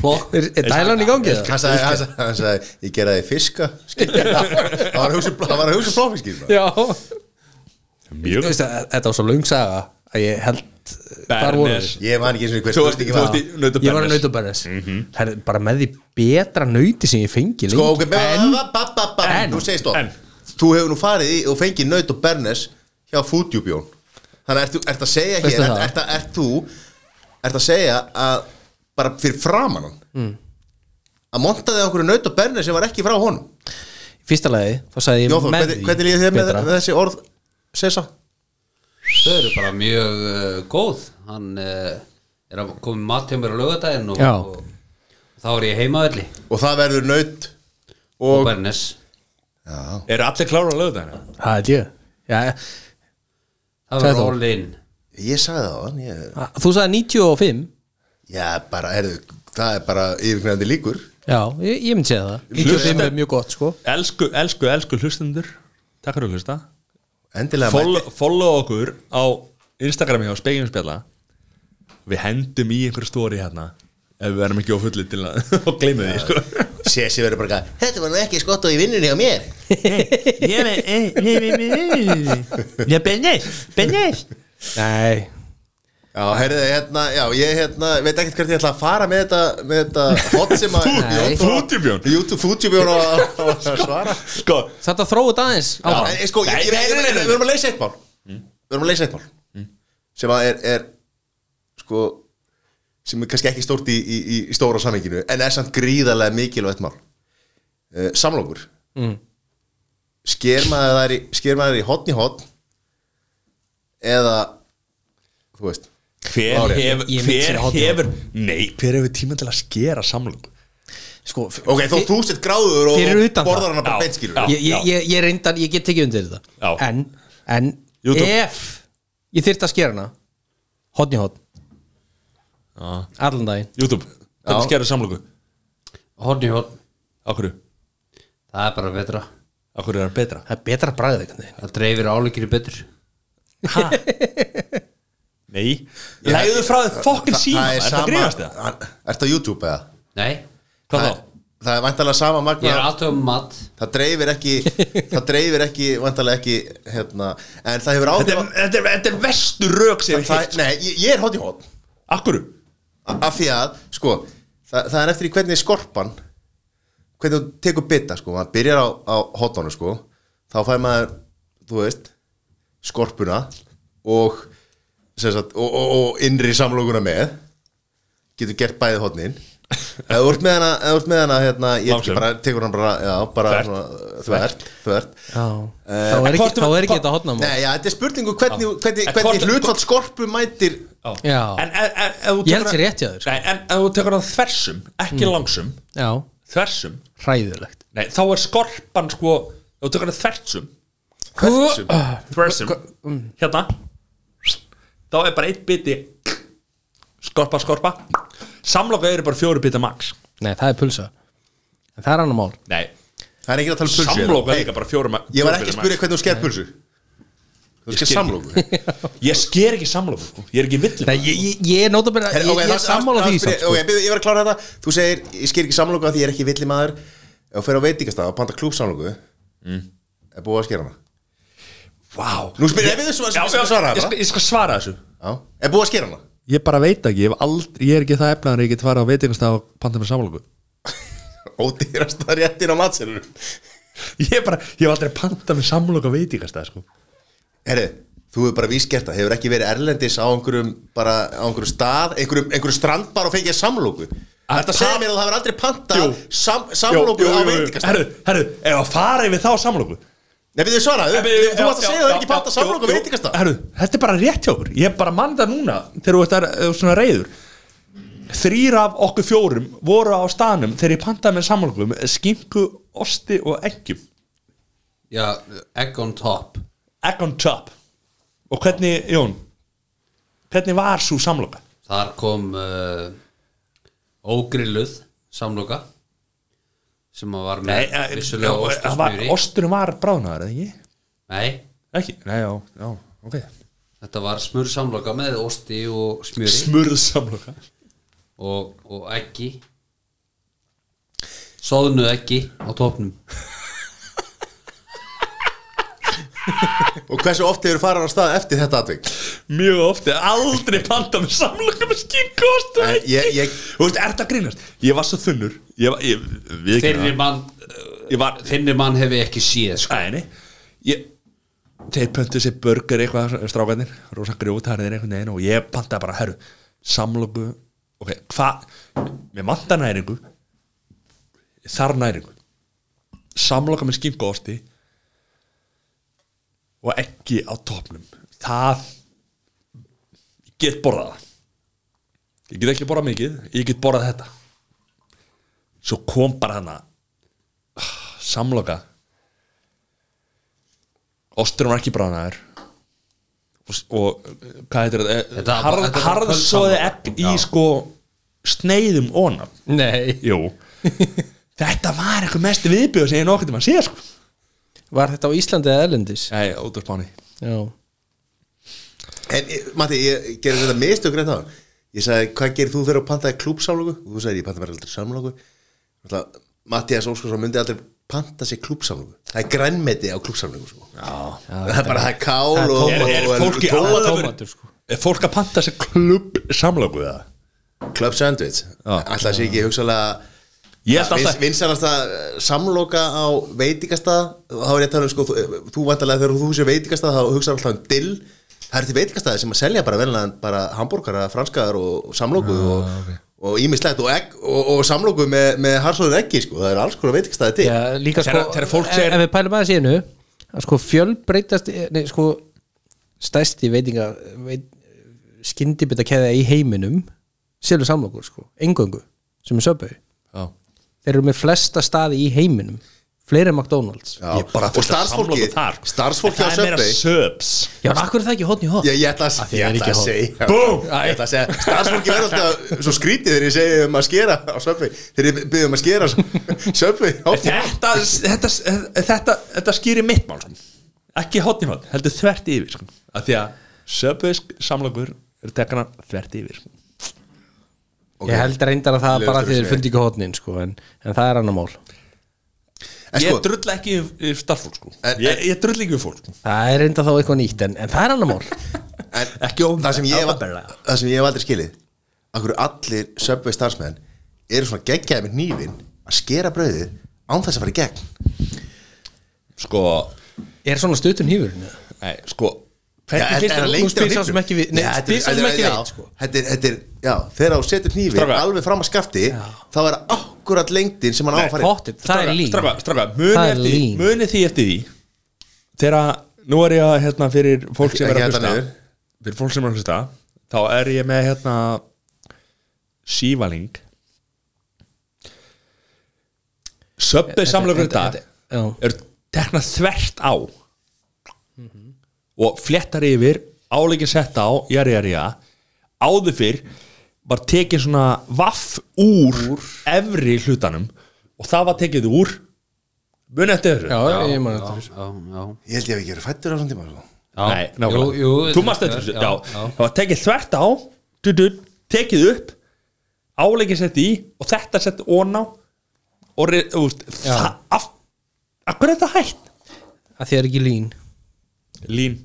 [SPEAKER 2] plokk er, er dælan í gangi það?
[SPEAKER 4] Hann sagði, hann sagði, hann sagði, ég gera þig fiska skilur. Hann var að hugsa- hann var sko. að hugsa plokkfiskir
[SPEAKER 2] já,
[SPEAKER 1] Mjög
[SPEAKER 2] Þú veist, að- þetta var svo löng saga að ég held eh, hvar vorum
[SPEAKER 1] Bernes
[SPEAKER 2] við?
[SPEAKER 4] Ég man ekki eins og hver
[SPEAKER 1] Þú varst í-
[SPEAKER 4] spurningi
[SPEAKER 1] þú
[SPEAKER 4] var
[SPEAKER 1] varst í nautabæmis
[SPEAKER 2] ég var að nauta bernes það er bara með því betra nauti sem ég fengi
[SPEAKER 4] Sko,
[SPEAKER 2] lengi.
[SPEAKER 4] ok, ba-
[SPEAKER 2] en
[SPEAKER 4] ba- ba- ba- ba-
[SPEAKER 2] en-
[SPEAKER 4] Þú segir
[SPEAKER 1] en.
[SPEAKER 4] stopp Þú hefur nú farið í og fengið naut og bernes hjá Foodjúbjón Þannig ertu ert að segja
[SPEAKER 2] Veistu
[SPEAKER 4] hér
[SPEAKER 2] það?
[SPEAKER 4] ert- ert að- Ert þú Ert að segja að bara fyrir framan hann
[SPEAKER 1] Mm.
[SPEAKER 4] að montaði okkur naut og bernes sem var ekki frá honum
[SPEAKER 2] í fyrsta lagi, þá sagði ég
[SPEAKER 4] Jóþór,
[SPEAKER 2] með
[SPEAKER 4] hvernig
[SPEAKER 2] því
[SPEAKER 4] hvernig líður þér með
[SPEAKER 2] betra.
[SPEAKER 4] með þessi orð Sessa?
[SPEAKER 3] Þau eru bara mjög uh, góð Hann uh, er að koma mat hjá mér á laugardaginn og,
[SPEAKER 2] Já.
[SPEAKER 3] og, og þá er ég heimaðalli
[SPEAKER 4] Og það verður naut
[SPEAKER 3] og
[SPEAKER 4] og
[SPEAKER 3] Bernes
[SPEAKER 4] Já,
[SPEAKER 1] Eru allir klára að lögðu þarna?
[SPEAKER 2] það er ég já,
[SPEAKER 3] Það
[SPEAKER 2] Sagði
[SPEAKER 3] var
[SPEAKER 2] þú?
[SPEAKER 3] all in
[SPEAKER 4] Ég sagði það á hann ég...
[SPEAKER 2] að- þú sagði 95
[SPEAKER 4] Já, bara, heyrðu, það er bara yfirknæðandi líkur
[SPEAKER 2] já, ég, ég myndi segja það 95 er mjög gott sko
[SPEAKER 1] Elsku, elsku, elsku hlustendur Takk fyrir að hlusta
[SPEAKER 4] Endilega
[SPEAKER 1] Follow, follow okkur á Instagrami hjá Spegjum Spjalla við hendum í einhver stóri hérna ef við erum ekki á fulli til að og gleymu því sko.
[SPEAKER 4] Sessi verður bara eitthvað, Þetta var nú ekki skott og í vinnunni á mér
[SPEAKER 5] Yeah, man. Hey, hey, hey, hey, hey. Yeah, Bennes. Bennes.
[SPEAKER 2] Nei,
[SPEAKER 4] Já, heyrðu, hérna, já, ég hérna, veit ekkert hvert ég ætla að fara með þetta, með þetta hot sem að
[SPEAKER 2] Nei.
[SPEAKER 1] Fútjubjón.
[SPEAKER 4] YouTube, Fútjubjón á á- á að svara
[SPEAKER 1] sko,
[SPEAKER 2] þetta þróið aðeins
[SPEAKER 4] Já,
[SPEAKER 2] áfram.
[SPEAKER 4] en eh, sko, ég, ég, ég, ég, við erum að leysa eitt mál Við erum að leysa eitt mál
[SPEAKER 1] Mm.
[SPEAKER 4] sem að er, er sko, sem er kannski ekki stórt í, í, í- í stóra samhenginu en er samt gríðarlega mikilvægt mál uh, Samlokur
[SPEAKER 2] Mm.
[SPEAKER 4] Sker maður þær í, sker maður þær í hotn í hotn eða þú veist
[SPEAKER 1] hver
[SPEAKER 4] Ári.
[SPEAKER 1] hefur
[SPEAKER 2] Ég-
[SPEAKER 1] hver
[SPEAKER 2] ég myndi segja
[SPEAKER 1] hefur, nei, hver hefur tíma til að skera samlöku
[SPEAKER 2] Sko,
[SPEAKER 4] Ok, þó þú sett gráður og
[SPEAKER 2] Fyrir utan
[SPEAKER 4] borðar
[SPEAKER 2] það.
[SPEAKER 4] hana bara
[SPEAKER 1] Já,
[SPEAKER 4] beinskilur
[SPEAKER 1] já.
[SPEAKER 2] ég, ég, ég, ég reyndan, ég get ekki undir þetta
[SPEAKER 1] Já.
[SPEAKER 2] en, en
[SPEAKER 1] YouTube.
[SPEAKER 2] ef ég þyrfti að skera hana hodn í hodn
[SPEAKER 1] Já.
[SPEAKER 2] allan daginn
[SPEAKER 1] YouTube, hvernig skera samlöku
[SPEAKER 3] Horn í horn
[SPEAKER 1] á hverju,
[SPEAKER 3] Það er bara betra
[SPEAKER 1] á hverju er það betra
[SPEAKER 2] það er betra að bræða eitthvað
[SPEAKER 3] Það dreifir álíkir betur
[SPEAKER 1] nei, legðu frá þið fokkin síma
[SPEAKER 4] er
[SPEAKER 1] er það
[SPEAKER 4] sama-
[SPEAKER 1] greiðast það,
[SPEAKER 4] hann- Ertu á YouTube eða?
[SPEAKER 3] Nei,
[SPEAKER 1] hvað
[SPEAKER 4] Það,
[SPEAKER 1] þá
[SPEAKER 4] það er væntalega sama magna
[SPEAKER 3] ég er alltaf um mat
[SPEAKER 4] það dreifir ekki það dreifir ekki, vantarlega ekki hérna, en það hefur áhrif
[SPEAKER 1] þetta
[SPEAKER 4] á-
[SPEAKER 1] er, þetta er, þetta er vestu rök sem við
[SPEAKER 4] það,
[SPEAKER 1] heilt
[SPEAKER 4] nei, ég, ég er hótt í hótt
[SPEAKER 1] á hverju,
[SPEAKER 4] af því að, sko, það, það er eftir í hvernig skorpan hvernig þú tekur bita, sko, maður byrjar á, á hóttánu, sko, þá fær maður þú veist, skorpuna og sem sagt, og, og, og innri samlokuna með getur gert bæði hótnin eða þú ert með hana, eða þú ert með hana hérna, ég
[SPEAKER 1] Langsum.
[SPEAKER 4] bara tekur hana bara, já, bara
[SPEAKER 1] Þvert.
[SPEAKER 4] svona, þvert, þvert.
[SPEAKER 2] Já, þá er ekki,
[SPEAKER 1] hvort-
[SPEAKER 2] þá er ekki
[SPEAKER 1] hvort-
[SPEAKER 2] þetta hodnamál
[SPEAKER 4] Nei, já, þetta er spurningu hvernig, hvernig,
[SPEAKER 1] En
[SPEAKER 4] hvernig
[SPEAKER 1] hvort-
[SPEAKER 4] hlutfall skorpu mætir
[SPEAKER 1] á.
[SPEAKER 2] Já.
[SPEAKER 1] en ef- ef- ef þú
[SPEAKER 2] Ég held
[SPEAKER 1] tekur
[SPEAKER 2] sér
[SPEAKER 1] að-
[SPEAKER 2] rétt hjá þér, sko. Mm.
[SPEAKER 1] Nei, en ef þú tekur það þversum, ekki langsum
[SPEAKER 2] já,
[SPEAKER 1] þversum,
[SPEAKER 2] hræðilegt
[SPEAKER 1] nei, þá er skorpan sko, ef þú tekur það þversum
[SPEAKER 4] hversum
[SPEAKER 1] þversum,
[SPEAKER 2] Sko- mm.
[SPEAKER 1] hérna þá er bara eitt biti skorpa, skorpa samloka eru bara fjóri biti max
[SPEAKER 2] Nei, það er pulsa en það er annar mál
[SPEAKER 1] nei,
[SPEAKER 4] Það er ekki að tala um pulsu
[SPEAKER 1] samloka
[SPEAKER 4] hérna.
[SPEAKER 1] er líka bara fjóri
[SPEAKER 4] Nei, Ég var ekki að spyrja hvernig þú sker pulsu Þú sker
[SPEAKER 1] skil
[SPEAKER 4] samlóku
[SPEAKER 1] ég sker ekki samloka, sko. ég er ekki villið
[SPEAKER 2] Nei, ég, ég, ég er nótabæra, ég, ég er sammála því samt, sko.
[SPEAKER 4] Ok, byrju, ég var að klára þetta Þú segir, ég sker ekki samlóku að því ég er ekki villi maður Ef þú fer á veitingastað og panta klúbsamlóku Er búið að skera hana
[SPEAKER 1] wow.
[SPEAKER 4] Nú spyrir- ef við svara- svara- svara
[SPEAKER 1] ég,
[SPEAKER 4] bara.
[SPEAKER 1] skal, ég skal svara þessu
[SPEAKER 4] Já, er búið að skera hana
[SPEAKER 1] ég bara veit ekki, ég, hef aldrei, ég er ekki það efnaðan ég get farið á veitingastaf og panta með samloku
[SPEAKER 4] Ódýrast það réttin á matselur
[SPEAKER 1] ég, er bara, ég hef aldrei panta með samloka veitingastaf sko.
[SPEAKER 4] Herri, þú hefur bara vísgert það Hefur ekki verið erlendis á einhverjum bara á einhverjum stað, einhverjum, einhverjum strandbar og fengið samlóku Þetta segir mér að það hefur aldrei panta
[SPEAKER 1] Jú.
[SPEAKER 4] sam, samlóku á veitingastað
[SPEAKER 1] herru, herru, ef að fara yfir þá samloku
[SPEAKER 4] Nei, við þau svaraðu,
[SPEAKER 1] Nei,
[SPEAKER 4] þú
[SPEAKER 1] beðið- já,
[SPEAKER 4] varst að
[SPEAKER 1] já,
[SPEAKER 4] segja að það
[SPEAKER 1] já,
[SPEAKER 4] er ekki panta
[SPEAKER 1] já,
[SPEAKER 4] samlokk og
[SPEAKER 1] jú, jú.
[SPEAKER 4] veitingastað
[SPEAKER 1] Herru, þetta er bara rétt hjá okkur Ég bara mann það núna þegar þú ert að- þú ert svona reyður Þrýr af okkur fjórum voru á staðnum þegar ég pantaði með samlokum skinku, osti og eggjum
[SPEAKER 3] Já, egg on top
[SPEAKER 1] Egg on top Og hvernig, Jón Hvernig var svo samloka?
[SPEAKER 3] Þar kom uh, ógrilluð samloka sem að var með
[SPEAKER 1] eh,
[SPEAKER 3] vissulega
[SPEAKER 1] já,
[SPEAKER 3] ost og
[SPEAKER 1] það var-
[SPEAKER 3] smjöri
[SPEAKER 1] Osturinn var bráðnaður, eða ekki?
[SPEAKER 3] Nei,
[SPEAKER 1] Ekki? Nei, já, já, ok
[SPEAKER 3] þetta var smur samloka með osti og smjöri
[SPEAKER 1] Smurð samloka
[SPEAKER 3] og, og eggi Soðnu eggi á topnum
[SPEAKER 4] Og hversu oft hefur farað á stað eftir þetta atvik
[SPEAKER 1] Mjög ofti, aldrei panta með samloka með skinku, osti og
[SPEAKER 4] Nei,
[SPEAKER 1] eggjum
[SPEAKER 4] ég- ég-
[SPEAKER 1] Þú veist, er þetta að grínast? Ég var svo þunnur Ég var, ég, við
[SPEAKER 3] Finnir mann,
[SPEAKER 1] Ég var,
[SPEAKER 3] finnir mann hefur ekki séð sko.
[SPEAKER 1] æni Ég, þeir pöntu sér burger eitthvað Strákanir, rosa grjótarðir einhvern veginn Og ég pantaði bara, herru, samlöku Ok, hvað Mér manta næringu Þar næringu Samloka með skinkósti Og ekki á topnum Það Ég get borðað það Ég get ekki borðað mikið Ég get borðað þetta Svo kom bara hana samloka Osturinn var ekki bránaður og, og hvað heitir
[SPEAKER 3] Þetta
[SPEAKER 1] þetta
[SPEAKER 3] var-
[SPEAKER 1] harð,
[SPEAKER 3] þetta var
[SPEAKER 1] harðsóði
[SPEAKER 3] kvöldsamloka.
[SPEAKER 1] egg í sko sneiðum onan
[SPEAKER 2] Nei,
[SPEAKER 1] Jú Þetta var eitthvað mest viðbjöð sem ég nokkuð til maður sé sko
[SPEAKER 2] var þetta á Íslandi eða Erlendis?
[SPEAKER 1] Nei, út á spáni
[SPEAKER 2] Já,
[SPEAKER 4] eh, En, Matti, ég gerði þetta mistök reynd á ég sagði, hvað gerir þú fyrir að panta klúbsálogu? Og þú sagði, ég panta mér aldrei samlogu Mattias Óskarsson myndi aldrei panta sér klúbsálogu Það er grænmeti á klúbsálogu sko. Það er bara það er kál og,
[SPEAKER 1] er, er
[SPEAKER 4] og,
[SPEAKER 1] fólk í
[SPEAKER 4] og,
[SPEAKER 1] alveg
[SPEAKER 2] tómatur, sko.
[SPEAKER 1] er fólk að panta sér klubb samlöku það
[SPEAKER 4] Club sandwich Alltaf sé ekki hugsalega
[SPEAKER 1] ég held alltaf
[SPEAKER 4] Vins- Vinsælasta eh, samloka á veitingastað þá er ég að tala um sko, þú, þú vantarlega þegar þú sé veitingastað þá hugsaðu alltaf um dill það eru til veitingastaði sem að selja bara velnaðan bara hambúrkara, franskaðar og, og samloku
[SPEAKER 1] Ah,
[SPEAKER 4] og, og ímislegt og, egg, og, og samloku með, með harsóður ekki sko, það eru alls konar veitingastaði til
[SPEAKER 2] Já, líka sko,
[SPEAKER 1] Þegar- þegar fólk segir-
[SPEAKER 2] ef ef við pælum aðeins í hennu að sko fjölbreytast nei, sko, stæsti veitinga veit, skyndibita keða í heiminum selur samlokur sko, engöngu sem er söpau
[SPEAKER 1] Já.
[SPEAKER 2] þeir eru með flesta staði í heiminum fleiri en McDonalds já,
[SPEAKER 1] Ég er bara
[SPEAKER 4] og
[SPEAKER 1] fullt af
[SPEAKER 4] starfsfólki
[SPEAKER 1] samlokum þar. sko.
[SPEAKER 4] starfsfólki á
[SPEAKER 1] það er meira
[SPEAKER 4] söpbi
[SPEAKER 1] söps
[SPEAKER 2] já en akkur er það ekki hótt í hótt
[SPEAKER 4] Ég, ég ætla að,
[SPEAKER 2] því það
[SPEAKER 4] ég
[SPEAKER 2] er
[SPEAKER 4] ætla
[SPEAKER 2] ekki
[SPEAKER 4] að
[SPEAKER 2] hot.
[SPEAKER 4] segja
[SPEAKER 1] Búm!
[SPEAKER 4] Ég ætla að segja Starfsfólki verður alltaf svo skrítið þegar ég segi um að skera á söpvi Þegar ég byggjum að skera söpvi
[SPEAKER 1] þetta, þetta, þetta, þetta skýri mitt mál sko. ekki hotni hot, heldur þvert yfir sko. af því að söpvisk samlökur eru tekana þvert yfir sko.
[SPEAKER 2] ég held reyndar að það
[SPEAKER 4] Leifur
[SPEAKER 2] bara
[SPEAKER 4] Steinn
[SPEAKER 2] því þeir
[SPEAKER 4] segir.
[SPEAKER 2] fundi ekki hótnin sko, en, en það er annar mál
[SPEAKER 4] En
[SPEAKER 1] ég
[SPEAKER 4] sko-
[SPEAKER 1] drull ekki yfir starffólk sko.
[SPEAKER 4] En- en-
[SPEAKER 1] ég, ég drull ekki yfir fólk sko.
[SPEAKER 2] það er reyndar þá eitthvað nýtt en, en það er annar mál
[SPEAKER 4] en,
[SPEAKER 1] Ekki opinber-
[SPEAKER 4] það sem ég hef-
[SPEAKER 1] opinberlega.
[SPEAKER 4] það sem ég hef aldrei skilið Akkur allir söpvi starfsmenn eru svona geggjaði með nýfin að skera brauðið án þess að fara í gegn
[SPEAKER 1] sko,
[SPEAKER 2] er svona stutun hýfurinn eða?
[SPEAKER 1] nei, sko
[SPEAKER 4] Já,
[SPEAKER 1] hvernig
[SPEAKER 4] en-
[SPEAKER 1] finnst
[SPEAKER 4] en
[SPEAKER 1] þér
[SPEAKER 4] að
[SPEAKER 1] þú-
[SPEAKER 2] lengi-
[SPEAKER 4] lengja
[SPEAKER 2] spyr sá
[SPEAKER 4] hnífnum?
[SPEAKER 2] sem ekki við- nei,
[SPEAKER 4] Já,
[SPEAKER 2] spyr sá
[SPEAKER 4] þetta er-
[SPEAKER 2] sem ekki
[SPEAKER 4] já,
[SPEAKER 2] veit, sko.
[SPEAKER 4] þetta er- þetta er, já, þegar þú setur nýfin
[SPEAKER 1] Strákar.
[SPEAKER 4] alveg fram að skafti þá er akkurat lengdin sem hann á að fara í.
[SPEAKER 2] Pottit, það er
[SPEAKER 1] Strákar,
[SPEAKER 2] lín
[SPEAKER 1] strákar, strákar,
[SPEAKER 2] Það er
[SPEAKER 1] munið
[SPEAKER 2] lín.
[SPEAKER 1] eftir, muni því eftir því þegar að, nú er ég að hérna, fyrir fólk sem
[SPEAKER 4] Ekki-
[SPEAKER 1] er að
[SPEAKER 4] ekki
[SPEAKER 1] hlusta
[SPEAKER 4] þetta niður.
[SPEAKER 1] fyrir fólk sem er að hlusta þá er ég með hérna sívaling söpbi samlökur í dag
[SPEAKER 2] þetta- já.
[SPEAKER 1] er tekna þvert á og flettar yfir áleikir sett á, jari, jari, ja áður fyrr var tekið svona vaff úr, efri hlutanum og það var tekið úr muni eftir þessu
[SPEAKER 2] já, ég man þetta
[SPEAKER 3] já, já.
[SPEAKER 4] Ég held ég hef ekki verið fættur á svona tíma sko.
[SPEAKER 3] Já.
[SPEAKER 1] Nei, nákvæmlega.
[SPEAKER 3] Jú, jú,
[SPEAKER 1] Þú mást þetta,
[SPEAKER 3] já,
[SPEAKER 1] já,
[SPEAKER 3] já.
[SPEAKER 1] Það var tekið þvert á du, du, Tekið upp Áleikið sett í og þetta sett óná Og re- þú veist, það af, af hverju er þetta hægt?
[SPEAKER 2] að því það er ekki lín
[SPEAKER 1] Lín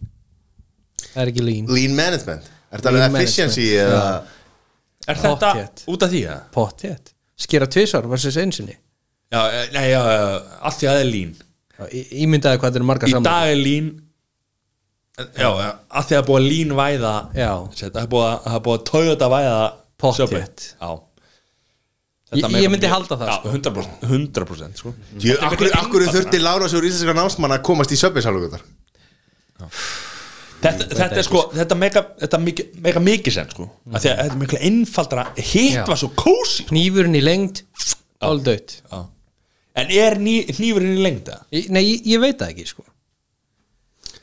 [SPEAKER 2] það er ekki lín
[SPEAKER 4] Lean management Er þetta
[SPEAKER 2] Lean
[SPEAKER 4] alveg efficiency eða
[SPEAKER 1] Er þetta
[SPEAKER 2] Pottþétt.
[SPEAKER 1] út af því að?
[SPEAKER 2] pottet skera tvisvar versus einsinni
[SPEAKER 1] Já, eh, nei, já, eh, af því að það er lín
[SPEAKER 2] ímyndaði hvað þetta eru margar
[SPEAKER 1] Í
[SPEAKER 2] saman
[SPEAKER 1] dag er lín Já, eh, af því að það er búið að lín væða
[SPEAKER 2] Já.
[SPEAKER 1] Það er búið að, það er búið að Toyota væða
[SPEAKER 2] Pottþétt.
[SPEAKER 1] Subway. Já
[SPEAKER 2] Ég-
[SPEAKER 1] Þetta meikar
[SPEAKER 2] ég myndi
[SPEAKER 1] mjög-
[SPEAKER 2] halda það,
[SPEAKER 1] Já,
[SPEAKER 2] sko.
[SPEAKER 1] 100%, 100% sko.
[SPEAKER 4] Jú, akkur, akkur þurfti Lára Sjór íslenska námsmann að komast í söpinsálugutar
[SPEAKER 1] þetta, þetta er sko þetta mega, þetta mega, mega mikið sem sko mm. að því að þetta er mikla einfaldara hitt
[SPEAKER 2] Já.
[SPEAKER 1] var svo kósi
[SPEAKER 2] nýfurinn í lengd áldauð
[SPEAKER 1] en er ný, hnífurinn í lengda
[SPEAKER 2] nei, ég, ég veit það ekki sko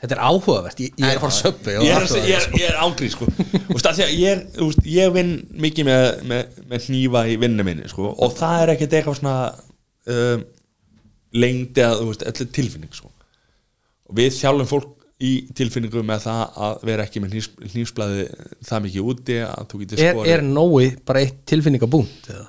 [SPEAKER 2] þetta er áhugavert ég, ég er að fara að söppi
[SPEAKER 1] ég er, ég er, ég er ángrið sko Úst, að því að ég, úst, ég vinn mikið með, með, með hnífa í vinnu minni sko og það er ekkert eitthvað svona um, lengdi að þú veist, öll er tilfinning sko og við þjálfum fólk í tilfinningu með það að vera ekki með hnífsblæði það mikið úti að þú getur
[SPEAKER 2] er, er nógu bara eitt tilfinningabúnt eða?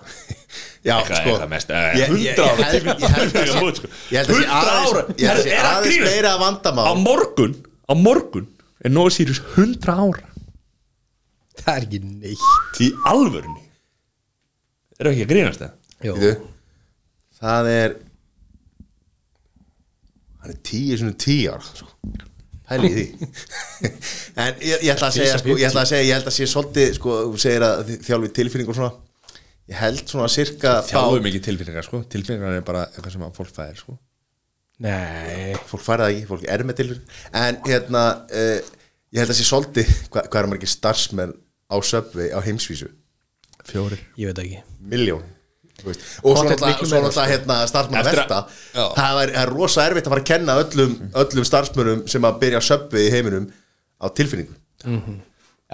[SPEAKER 4] Já, sko.
[SPEAKER 1] Eitthvað- eitthvað mest, eh,
[SPEAKER 4] Ég- ég-
[SPEAKER 1] 100 ára
[SPEAKER 4] ég held- ég held að sé-
[SPEAKER 1] Sko.
[SPEAKER 4] Ég held að sé
[SPEAKER 1] 100 ára.
[SPEAKER 4] aðeins- ég held að sé
[SPEAKER 1] Er- er að
[SPEAKER 4] aðeins
[SPEAKER 1] grínast?
[SPEAKER 4] meira vandamál
[SPEAKER 1] á morgun á morgun er Nói Sirius 100 ára
[SPEAKER 2] það er ekki neitt
[SPEAKER 1] í alvörunni er ekki að grínast það
[SPEAKER 2] Jó.
[SPEAKER 4] Bíddu. Það er Hann er tíu svona tíu ár sko. Pæli í því En ég, ég ætla að segja sko, Ég ætla að segja, ég held að sé svolítið sko, Þú segir að þið þjálfið tilfinning og svona Ég held svona cirka
[SPEAKER 1] þjáum ekki tilfinningar sko tilfinningar er bara eitthvað sem að fólk fæðir sko
[SPEAKER 2] nei
[SPEAKER 4] Fólk færa það ekki, fólk er með tilfinning En hérna, uh, ég held að sé svolítið Hvað hva eru margir starfsmenn á söpvi á heimsvísu?
[SPEAKER 1] fjórir
[SPEAKER 2] ég veit það ekki
[SPEAKER 4] Miljón Og svo
[SPEAKER 2] Pottet
[SPEAKER 4] náttúrulega
[SPEAKER 2] miklu
[SPEAKER 4] svo
[SPEAKER 2] meira, sko.
[SPEAKER 4] náttúrulega, hérna, starfsmenn að
[SPEAKER 1] Eftir að-
[SPEAKER 4] velta
[SPEAKER 1] Já.
[SPEAKER 4] Það er, er rosa erfitt að fara að kenna öllum, öllum starfsmönnum sem að byrja söpvi í heiminum á tilfinningu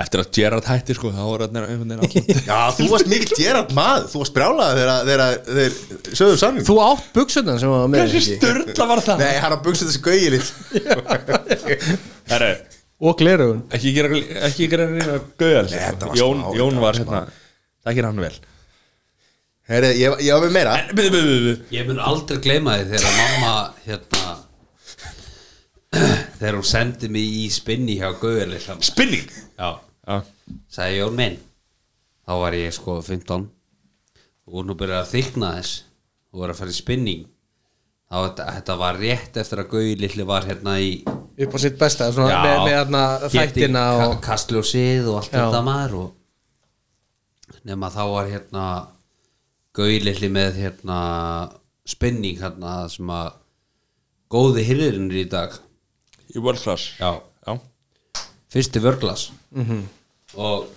[SPEAKER 1] eftir að Gerard hætti sko þá er það einhvern veginn alltaf-
[SPEAKER 4] Já, þú varst mikill gerand maður Þú varst brjálaður þegar- þegar þeir sögðu um sannig
[SPEAKER 2] þú átt buksutna sem var með
[SPEAKER 1] þessi styrla var það
[SPEAKER 4] Nei, hann har buksið þessi gauði lít
[SPEAKER 1] Herru,
[SPEAKER 2] og glerugun
[SPEAKER 1] ekki gera, ekki gera reyna gauðal
[SPEAKER 4] þetta
[SPEAKER 1] sko.
[SPEAKER 4] var
[SPEAKER 1] Jón,
[SPEAKER 4] smá,
[SPEAKER 1] Jón
[SPEAKER 4] þetta
[SPEAKER 1] var hérna það gerir hann vel
[SPEAKER 4] Heri, ég, ég var með meira
[SPEAKER 1] en, byrðu, byrðu, byrðu
[SPEAKER 3] Ég mun aldrei gleyma því þegar mamma hérna þegar hún sendi mig í spinni hjá Gauðli
[SPEAKER 1] spinning
[SPEAKER 3] Já,
[SPEAKER 1] já,
[SPEAKER 3] sagði Jón minn þá var ég sko 15 og nú byrjaði að þykna þess og var að fara í spinning þá þetta, þetta var rétt eftir að Gauði litli var hérna í
[SPEAKER 2] upp á sitt besta svona, með, með hérna, þættina
[SPEAKER 3] og...
[SPEAKER 2] og,
[SPEAKER 3] kastljósið og allt
[SPEAKER 2] Já.
[SPEAKER 3] þetta maður og nema þá var hérna Gauði litli með hérna spinning hérna sem að góði hirðurinn í dag
[SPEAKER 1] í world class
[SPEAKER 3] já
[SPEAKER 1] já,
[SPEAKER 3] fyrsti vörglas
[SPEAKER 2] Mhm.
[SPEAKER 3] og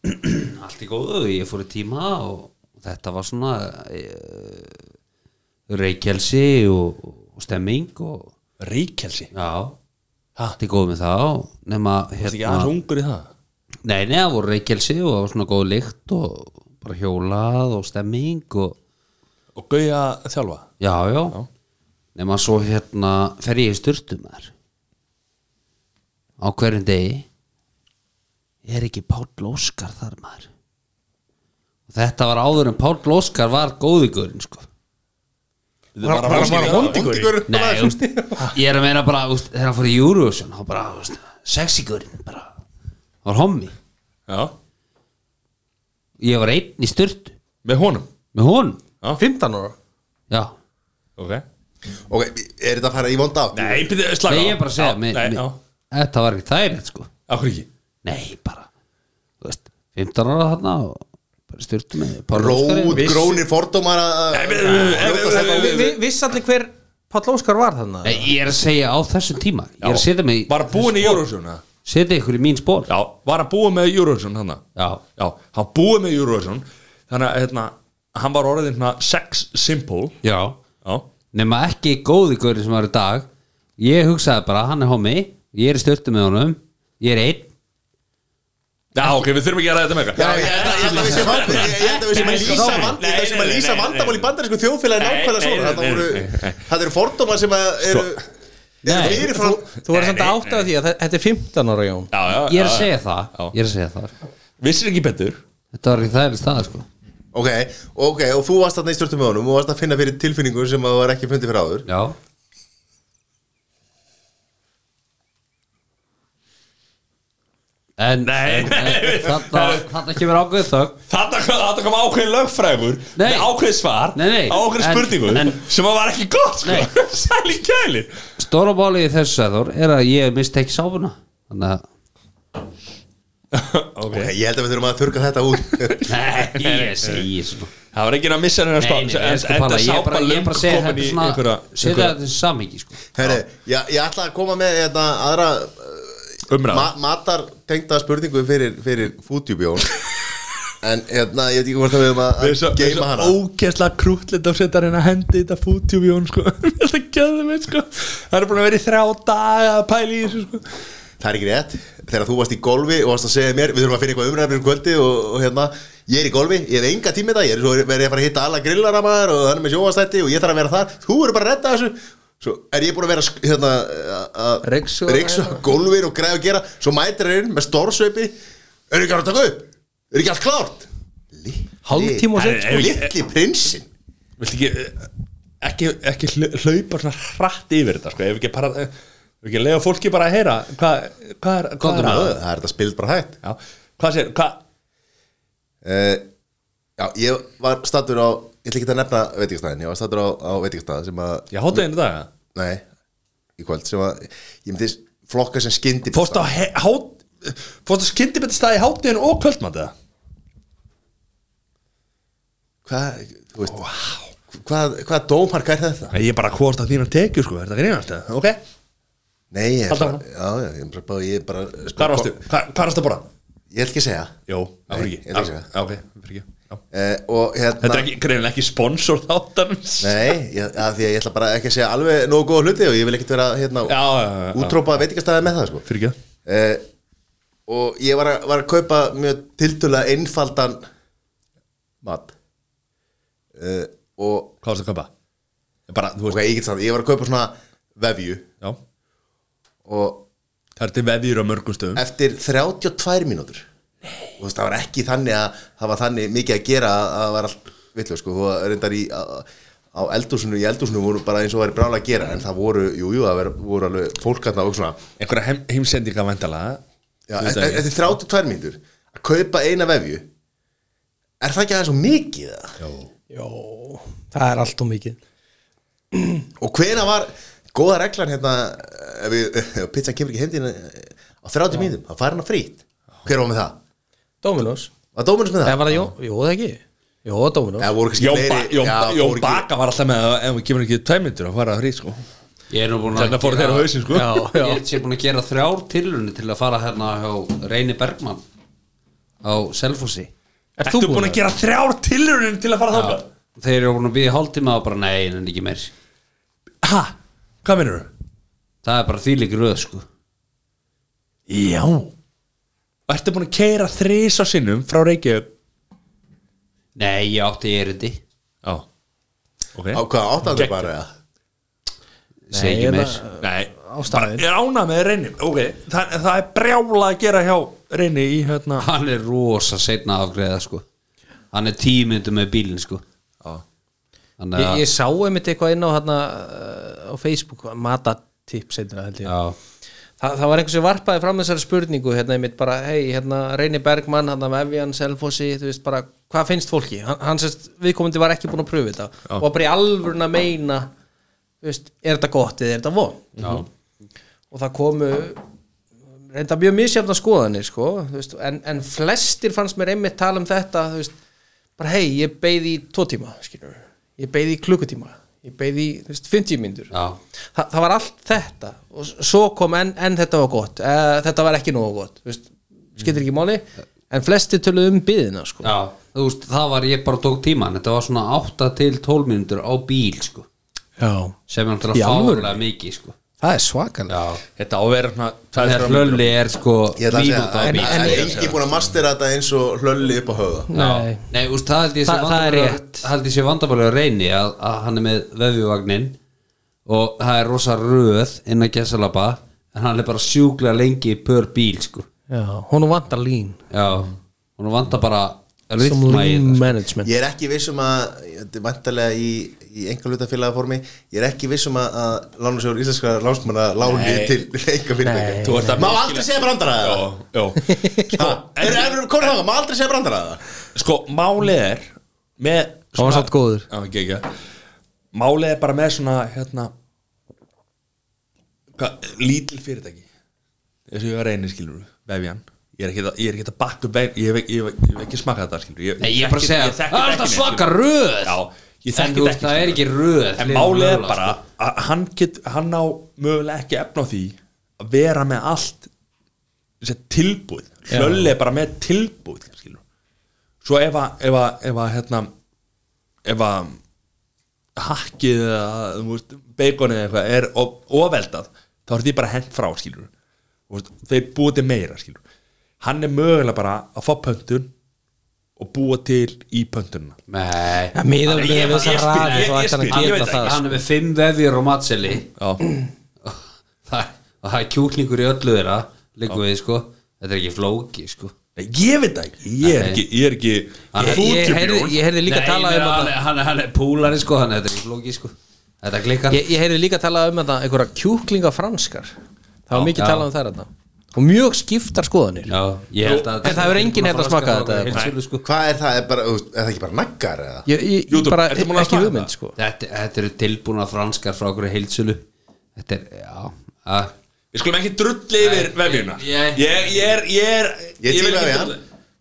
[SPEAKER 3] allt í góðu ég fór í tíma og þetta var svona uh, reykjelsi og, og stemming og
[SPEAKER 1] ríkelsi
[SPEAKER 3] já,
[SPEAKER 1] Ha?
[SPEAKER 3] allt í góðu með það og nema
[SPEAKER 1] það er ekki aðeins
[SPEAKER 3] hérna,
[SPEAKER 1] ungur í það
[SPEAKER 3] nei, nei, það voru reykjelsi og það var svona góð lykt og bara hjólað og stemming og
[SPEAKER 1] og gauða þjálfa
[SPEAKER 3] já, já, nema svo hérna fer ég í styrtu maður á hverjum degi er ekki Páll Óskar þar maður og þetta var áður en Páll Óskar var góðugurinn sko
[SPEAKER 1] Þetta er bara vondur í það.
[SPEAKER 4] Vondigur
[SPEAKER 3] Nei, úst, ég er að meina bara úst, þegar hann fór í Eurovision hann bara, úst, sexigurinn bara, hann var hommi
[SPEAKER 1] já,
[SPEAKER 3] ég var einn í styrtu
[SPEAKER 1] með honum
[SPEAKER 3] með hún,
[SPEAKER 2] 15 ára
[SPEAKER 3] já
[SPEAKER 1] ok
[SPEAKER 4] Ok, er þetta að fara í vonda átt?
[SPEAKER 1] nei, byrðu, slaga
[SPEAKER 3] Nei, ég er bara að segja,
[SPEAKER 1] já,
[SPEAKER 3] mér,
[SPEAKER 1] nei,
[SPEAKER 3] mér,
[SPEAKER 1] já,
[SPEAKER 3] þetta var ekki þægilegt sko
[SPEAKER 1] okkur ekki
[SPEAKER 3] Nei, bara þú veist, 15 ára þarna og bara styrtu með Páll
[SPEAKER 4] Róð,
[SPEAKER 3] Óskari.
[SPEAKER 4] grónir fordómar að-
[SPEAKER 1] Nei, byrðu, byrðu, byrðu,
[SPEAKER 2] Vi,
[SPEAKER 1] byrðu,
[SPEAKER 2] vi, Viss allir hver Páll Óskar var þarna
[SPEAKER 3] Nei, Ég er að segja á þessum tíma Ég er að setja mig
[SPEAKER 1] bara búin í Eurovision eða?
[SPEAKER 3] setja ykkur í mín spór
[SPEAKER 1] já, var að búa með Eurovision hann
[SPEAKER 3] Já.
[SPEAKER 1] já, hann búið með Eurovision þannig að hérna, hann var orðin hérna sex simple
[SPEAKER 3] Já
[SPEAKER 1] já,
[SPEAKER 3] Nema ekki góði góri sem var í dag Ég hugsaði bara, hann er homi Ég er í styrtu með honum Ég er einn
[SPEAKER 1] já ok, við þurfum ekki að ræða þetta með
[SPEAKER 4] Já,
[SPEAKER 1] eitthvað
[SPEAKER 4] ég held að- ég held að við séum að- ég held að við séum að lýsa vand- ég held að við séum að lýsa vandamál í bandarísku þjóðfélagi
[SPEAKER 1] Nei,
[SPEAKER 4] nákvæmlega
[SPEAKER 1] nei,
[SPEAKER 4] svona
[SPEAKER 1] nei,
[SPEAKER 4] Þetta voru-
[SPEAKER 1] nei, nei,
[SPEAKER 4] þetta eru fordómar sem að eru eru
[SPEAKER 3] Nei.
[SPEAKER 4] fyrirfram
[SPEAKER 2] Þú verður samt átt af því að þe- þetta er 15 ára Jón
[SPEAKER 1] já, já,
[SPEAKER 3] Ég er að
[SPEAKER 1] já,
[SPEAKER 3] segja
[SPEAKER 1] Já.
[SPEAKER 3] það Ég er að segja það sko.
[SPEAKER 1] vissir ekki betur
[SPEAKER 3] Þetta var ekki þægilegt það sko
[SPEAKER 4] Ok, ok, og þú varst þarna í stjórnum með honum og varst að finna fyrir tilfinningu sem að var ekki fundið fyrir áður
[SPEAKER 3] Já En, en, en þarna, þarna kemur ágöð þögn
[SPEAKER 1] Þarna þarna kom ákveðin lögfrægur
[SPEAKER 3] Nei.
[SPEAKER 1] með ákveðin svar
[SPEAKER 3] Nei, nei.
[SPEAKER 1] á ákveðin
[SPEAKER 3] En-
[SPEAKER 1] spurningu
[SPEAKER 3] en-
[SPEAKER 1] sem að var ekki gott sko.
[SPEAKER 3] Nei.
[SPEAKER 1] sæli kæli
[SPEAKER 3] Stóra báli í þessu sæður er að ég misti ekki sáfuna Þannig að
[SPEAKER 4] Ok, ég held að við þurfum að þurka þetta út
[SPEAKER 3] Nei, ég segi svona
[SPEAKER 1] það var ekki að missa hennar
[SPEAKER 3] Nei, nei,
[SPEAKER 1] en
[SPEAKER 3] ég sko pala,
[SPEAKER 1] þetta
[SPEAKER 3] ég er
[SPEAKER 1] sápa
[SPEAKER 3] bara, ég er
[SPEAKER 1] löng
[SPEAKER 3] bara að segja
[SPEAKER 1] komin
[SPEAKER 3] þetta
[SPEAKER 1] í
[SPEAKER 3] svona
[SPEAKER 1] einhverja
[SPEAKER 3] Setja
[SPEAKER 1] einhverja
[SPEAKER 3] þetta í samhengi sko
[SPEAKER 4] Herri, ég, ég ætla að koma með þetta aðra uh,
[SPEAKER 1] umræða
[SPEAKER 4] ma matar tengda spurningu fyrir, fyrir fútjúbjón En hérna, ég veit ekki hvort að við höfum að
[SPEAKER 1] Við erum svo- við erum
[SPEAKER 4] geima hana
[SPEAKER 1] svo ógeðslega krútlind að setja hérna hendi þetta fútjúbi hún sko þetta gæðum við sko það er búin að vera í þrjá daga að pæla í þessu sko
[SPEAKER 4] Það er ekki rétt, þegar þú varst í golfi og varst að segja mér Við þurfum að finna eitthvað umræðum kvöldi og, og hérna Ég er í golfi, ég hef enga tími þetta Ég er svo verið að fara að hitta alla grillara maður og hann er með sjóastætti og ég þarf að vera þar Þú eru bara að redda þessu Svo er ég búin að vera sk- hérna, að
[SPEAKER 2] Ryksuga-
[SPEAKER 4] reyksuga gólfin og græða að gera Svo mætir einn með stórsveipi Er ekki að taka upp? Er ekki allt klárt?
[SPEAKER 2] Hálftíma og
[SPEAKER 1] Herri,
[SPEAKER 2] sett
[SPEAKER 1] ef ég-
[SPEAKER 4] Littli prinsinn
[SPEAKER 1] Viltu ekki, eh, ekki, ekki hla- hlaupa svona hratt yfir þetta sko, ef ekki bara ef ekki lega fólki bara að heyra hvað hva er, hva
[SPEAKER 4] Það
[SPEAKER 1] er að
[SPEAKER 4] er þetta spild bara hægt
[SPEAKER 1] já, hvað sér, hvað
[SPEAKER 4] uh, Já, ég var stattur á Ég ætla ekki að nefna veitingastæðin Ég var stattur á, á veitingastæð sem að
[SPEAKER 1] ég hátu einu dag
[SPEAKER 4] Nei, í kvöld sem að Ég myndi flokka sem skyndi
[SPEAKER 1] fórst á he- hát fórst á skyndibætti staði hátuðin og kvöldmanda
[SPEAKER 4] Hvað, þú veist Hvað, hvað dómarka er þetta?
[SPEAKER 1] ég er bara hvort að þínar tekju sko, er þetta grínast eða? ok,
[SPEAKER 4] Nei, ég er
[SPEAKER 1] Halda
[SPEAKER 4] bara,
[SPEAKER 1] áfram.
[SPEAKER 4] já, já, ég er bara, ég er bara
[SPEAKER 1] hvað varstu, hvað hvað varstu að borða
[SPEAKER 4] Ég ætla ekki að segja
[SPEAKER 1] Jó, það fyrir
[SPEAKER 4] Nei, ég ætla ekki að
[SPEAKER 1] ekki
[SPEAKER 4] segja
[SPEAKER 1] Já, ok, fyrir ekki Já.
[SPEAKER 4] uh, Og hérna
[SPEAKER 1] Þetta er ekki, greinilega ekki sponsor þáttanins Já,
[SPEAKER 4] Nei, ég, að því að ég ætla bara ekki að segja alveg nógu góða hluti og ég vil ekkert vera hérna
[SPEAKER 1] já, já, já.
[SPEAKER 4] útrópa veitingastæði með það sko
[SPEAKER 1] Fyrir ekki
[SPEAKER 4] uh, og ég var að, var að kaupa mjög tildulega einfaldan mat uh, og
[SPEAKER 1] Hvað varstu að kaupa? Bara, þú
[SPEAKER 4] ok,
[SPEAKER 1] veist
[SPEAKER 4] ég get sagt, ég var að kaupa svona vefju
[SPEAKER 1] Já
[SPEAKER 4] og
[SPEAKER 1] Það er til veðjur á mörgum stöðum
[SPEAKER 4] eftir 32 mínútur og þú veist, það var ekki þannig að það var þannig mikið að gera að að það var allt vitlu sko, þú reyndar í á- á eldúsinu, í eldúsinu voru bara eins og væri brála að gera en það voru, jú, jú, það verið- voru alveg fólk hérna og svona,
[SPEAKER 1] Einhverja heim, heimsendinga væntalega
[SPEAKER 4] já, eftir, eftir 32 mínútur að kaupa eina vefju er það ekki aðeins og mikið það?
[SPEAKER 2] Jó, það er allt og mikið
[SPEAKER 4] og hvena var góða reglan hérna ef, við, ef pizzan kemur ekki heimdina eh, á 30 mínútum, það fær hana frýtt hver var með það?
[SPEAKER 2] Dominos,
[SPEAKER 4] Var Dóminus með það?
[SPEAKER 2] eða var það Jó, Jó það ekki Jó, Dominos
[SPEAKER 4] Eða voru kannski
[SPEAKER 1] Jón, ba
[SPEAKER 4] fleiri-
[SPEAKER 1] Jón,
[SPEAKER 4] Já,
[SPEAKER 1] ba
[SPEAKER 4] fóru
[SPEAKER 1] Jón
[SPEAKER 4] ekki-
[SPEAKER 1] Baka var alltaf með að ef við kemur ekki tæmyndur að fara að hrýt sko
[SPEAKER 3] Ég er nú búin
[SPEAKER 1] Þannig að fóru þeirra á hausinn sko
[SPEAKER 2] Já,
[SPEAKER 3] Ég
[SPEAKER 2] já.
[SPEAKER 3] er sér búin að gera þrjár tilrunni til að fara hérna hjá Reyni Bergmann á Selfossi
[SPEAKER 2] Ert
[SPEAKER 1] Ertu búin að gera þrjár tilraunin til að fara þáka?
[SPEAKER 3] Þeir eru búin að býja hálftíma og bara nei, en ekki meir
[SPEAKER 1] Ha? Hvað minnur þú?
[SPEAKER 3] Það er bara þýlík röð sko
[SPEAKER 1] Já Ertu búin að keira þrís á sinnum frá Reykjavík?
[SPEAKER 3] Nei, ég átti erindi
[SPEAKER 1] Já Ok
[SPEAKER 4] á hvað, áttandur bara eða?
[SPEAKER 3] Segi ekki meir
[SPEAKER 1] Nei Ástæðin Ég rána með reyni Ok það, það er brjála að gera hjá reyni í hérna
[SPEAKER 3] Hann er rosa seinna að afgreða sko Hann er tímyndu með bílinn sko
[SPEAKER 1] Já
[SPEAKER 3] Þannig
[SPEAKER 2] Ég,
[SPEAKER 3] að
[SPEAKER 2] ég sá einmitt eitthvað inn á hérna uh, á Facebook, matatipp seinna held ég.
[SPEAKER 3] Já,
[SPEAKER 2] Þa, það var einhver sem varpaði fram þessari spurningu hérna einmitt bara, hei, hérna Reyni Bergmann, hérna Vefjan, Selfossi, þú veist bara hvað finnst fólki? Hann, hann sérst viðkomandi var ekki búin að pröfu þetta og var bara í alvörun að meina þú veist, er þetta gott eða er þetta von?
[SPEAKER 3] já,
[SPEAKER 2] og það komu reynda mjög misjafna skoðanir sko, þú veist, en, en flestir fannst mér einmitt tala um þetta þú veist, bara hei, ég beið í tvo tíma skilur, ég beið í klukkutíma ég beið í þú veist, 50 mínútur
[SPEAKER 3] já.
[SPEAKER 2] Þa, það var allt þetta og s- svo kom enn en þetta var gott eða, þetta var ekki nógu gott þú veist, skiptir ekki máli en flestir töluðu um byðina sko.
[SPEAKER 3] já. Þú veist, það var ég bara tók tíman Þetta var svona 8 til 12 mínútur á bíl sko
[SPEAKER 2] Já.
[SPEAKER 3] Sem
[SPEAKER 2] Í
[SPEAKER 3] er náttúrulega
[SPEAKER 2] alvöru?
[SPEAKER 3] fárlega mikið sko
[SPEAKER 2] það er svakalega
[SPEAKER 3] Já
[SPEAKER 1] Þetta á að vera svona Það
[SPEAKER 3] Þegar hlölli er sko
[SPEAKER 4] Ég ætla að
[SPEAKER 3] mínúta
[SPEAKER 4] segja
[SPEAKER 3] á
[SPEAKER 4] að
[SPEAKER 3] bíl sko.
[SPEAKER 4] það er engin búin að mastera þetta eins og hlölli upp á höfða
[SPEAKER 2] Nei.
[SPEAKER 3] Nei, úst, það held ég sé
[SPEAKER 2] Þa- það er
[SPEAKER 3] vandamálið-
[SPEAKER 2] rétt.
[SPEAKER 3] Það held ég sé vandabælega reyni að, að hann er með vefjuvagnin og það er rosa röð inn að gesalaba en hann er bara sjúklega lengi pör bíl sko
[SPEAKER 2] Já, honum vantar lín
[SPEAKER 3] Já, hún vandar bara
[SPEAKER 2] sem
[SPEAKER 3] rytma í
[SPEAKER 2] lín
[SPEAKER 3] þetta
[SPEAKER 2] management
[SPEAKER 4] Ég er ekki viss um að, þetta er vantarlega í, í enga hlutafélaga formi, ég er ekki viss um að, að lánasjóður íslenska lánsmanna láni til enga
[SPEAKER 2] Nei.
[SPEAKER 1] Þú ert
[SPEAKER 4] fyrirtækja.
[SPEAKER 1] að-
[SPEAKER 4] Má aldrei segja brandara það?
[SPEAKER 1] Jó, jó
[SPEAKER 4] Sko, er, er, komið þangað, má aldrei segja brandara það?
[SPEAKER 1] Sko, málið er með
[SPEAKER 2] Það var samt góður.
[SPEAKER 1] Já, ekki, Málið er bara með svona hérna hva, lítil fyrirtæki eins og ég var reynir skilur vefjan Ég er ekki að- ég er ekki að bakka upp veginn, ég hef ekki, ég hef ekki, ég hef ekki smakað þetta skilur Ég,
[SPEAKER 3] Nei, ég er bara að
[SPEAKER 1] þekki-
[SPEAKER 3] segja,
[SPEAKER 1] ég þekki
[SPEAKER 3] það er
[SPEAKER 1] þetta ekki
[SPEAKER 3] alltaf
[SPEAKER 1] neitt,
[SPEAKER 3] svaka
[SPEAKER 1] skilurðu.
[SPEAKER 3] röð
[SPEAKER 1] Já, ég
[SPEAKER 3] En
[SPEAKER 1] þekki þetta
[SPEAKER 3] þú veist, það er
[SPEAKER 1] skilurðu.
[SPEAKER 3] ekki röð
[SPEAKER 1] En
[SPEAKER 3] hlið
[SPEAKER 1] málið er
[SPEAKER 3] mögulega,
[SPEAKER 1] bara að hann, get, hann á mögulega ekki efna á því að vera með allt þessi tilbúið hlölli er bara með tilbúið skilur. svo ef að ef að, ef að, hérna, ef að hakkið eða þú veist, beikonið eða eitthvað er of- ofveldað þá er því bara hent frá skilur Þú veist, þeir búa til meira skilur hann er mögulega bara að fá pöntun og búa til í pöntunna
[SPEAKER 3] Nei
[SPEAKER 2] Já, miðað við
[SPEAKER 1] Ég-
[SPEAKER 2] þessar
[SPEAKER 1] ég spyr-
[SPEAKER 2] raðir
[SPEAKER 1] ég-
[SPEAKER 2] þá
[SPEAKER 1] ég
[SPEAKER 2] ætti hann
[SPEAKER 1] spyr-
[SPEAKER 2] að
[SPEAKER 1] ég
[SPEAKER 2] geta
[SPEAKER 1] veit
[SPEAKER 2] það
[SPEAKER 1] ekki.
[SPEAKER 2] sko.
[SPEAKER 3] Hann er með fimm vefjur og matseli
[SPEAKER 1] já
[SPEAKER 3] Það og það er kjúklingur í öllu þeirra Liggum við sko Þetta er ekki flóki sko
[SPEAKER 1] Nei, ég veit það ekki, ég er ekki, ég er ekki
[SPEAKER 3] Hann er-
[SPEAKER 2] Ég- ég heyrði-
[SPEAKER 1] fútjubjón.
[SPEAKER 2] ég heyrði líka
[SPEAKER 3] Nei,
[SPEAKER 2] tala um
[SPEAKER 3] ég meina,
[SPEAKER 2] þetta
[SPEAKER 3] hann, hann, hann er púlari sko Hann er þetta er ekki flóki sko Þetta klikkar
[SPEAKER 2] ég, ég heyrði líka tala um þetta einhverja kjúklinga franskar það var mikið
[SPEAKER 3] já.
[SPEAKER 2] talað um þær þetta og mjög skiptar skoðanir
[SPEAKER 3] Já, ég held að
[SPEAKER 2] En það hefur enginn hérna smakað þetta,
[SPEAKER 3] Heilsölu, sko.
[SPEAKER 4] Hvað er það, er, bara, þú veist, er það ekki bara naggar eða?
[SPEAKER 2] ég, ég,
[SPEAKER 1] Jú,
[SPEAKER 2] ég
[SPEAKER 1] þú-
[SPEAKER 2] bara
[SPEAKER 1] ertu búin að
[SPEAKER 2] ekki
[SPEAKER 1] smakka
[SPEAKER 2] hugmynd
[SPEAKER 1] það?
[SPEAKER 2] sko
[SPEAKER 3] Þetta þetta eru tilbúna franskar frá okkur heilsulu Þetta er, já að-
[SPEAKER 1] Við skulum ekki drulli yfir vefjuna
[SPEAKER 3] ég-
[SPEAKER 1] Ég ég er, ég er
[SPEAKER 4] Ég
[SPEAKER 1] vil
[SPEAKER 4] tíma
[SPEAKER 1] ekki
[SPEAKER 4] við
[SPEAKER 1] drulla.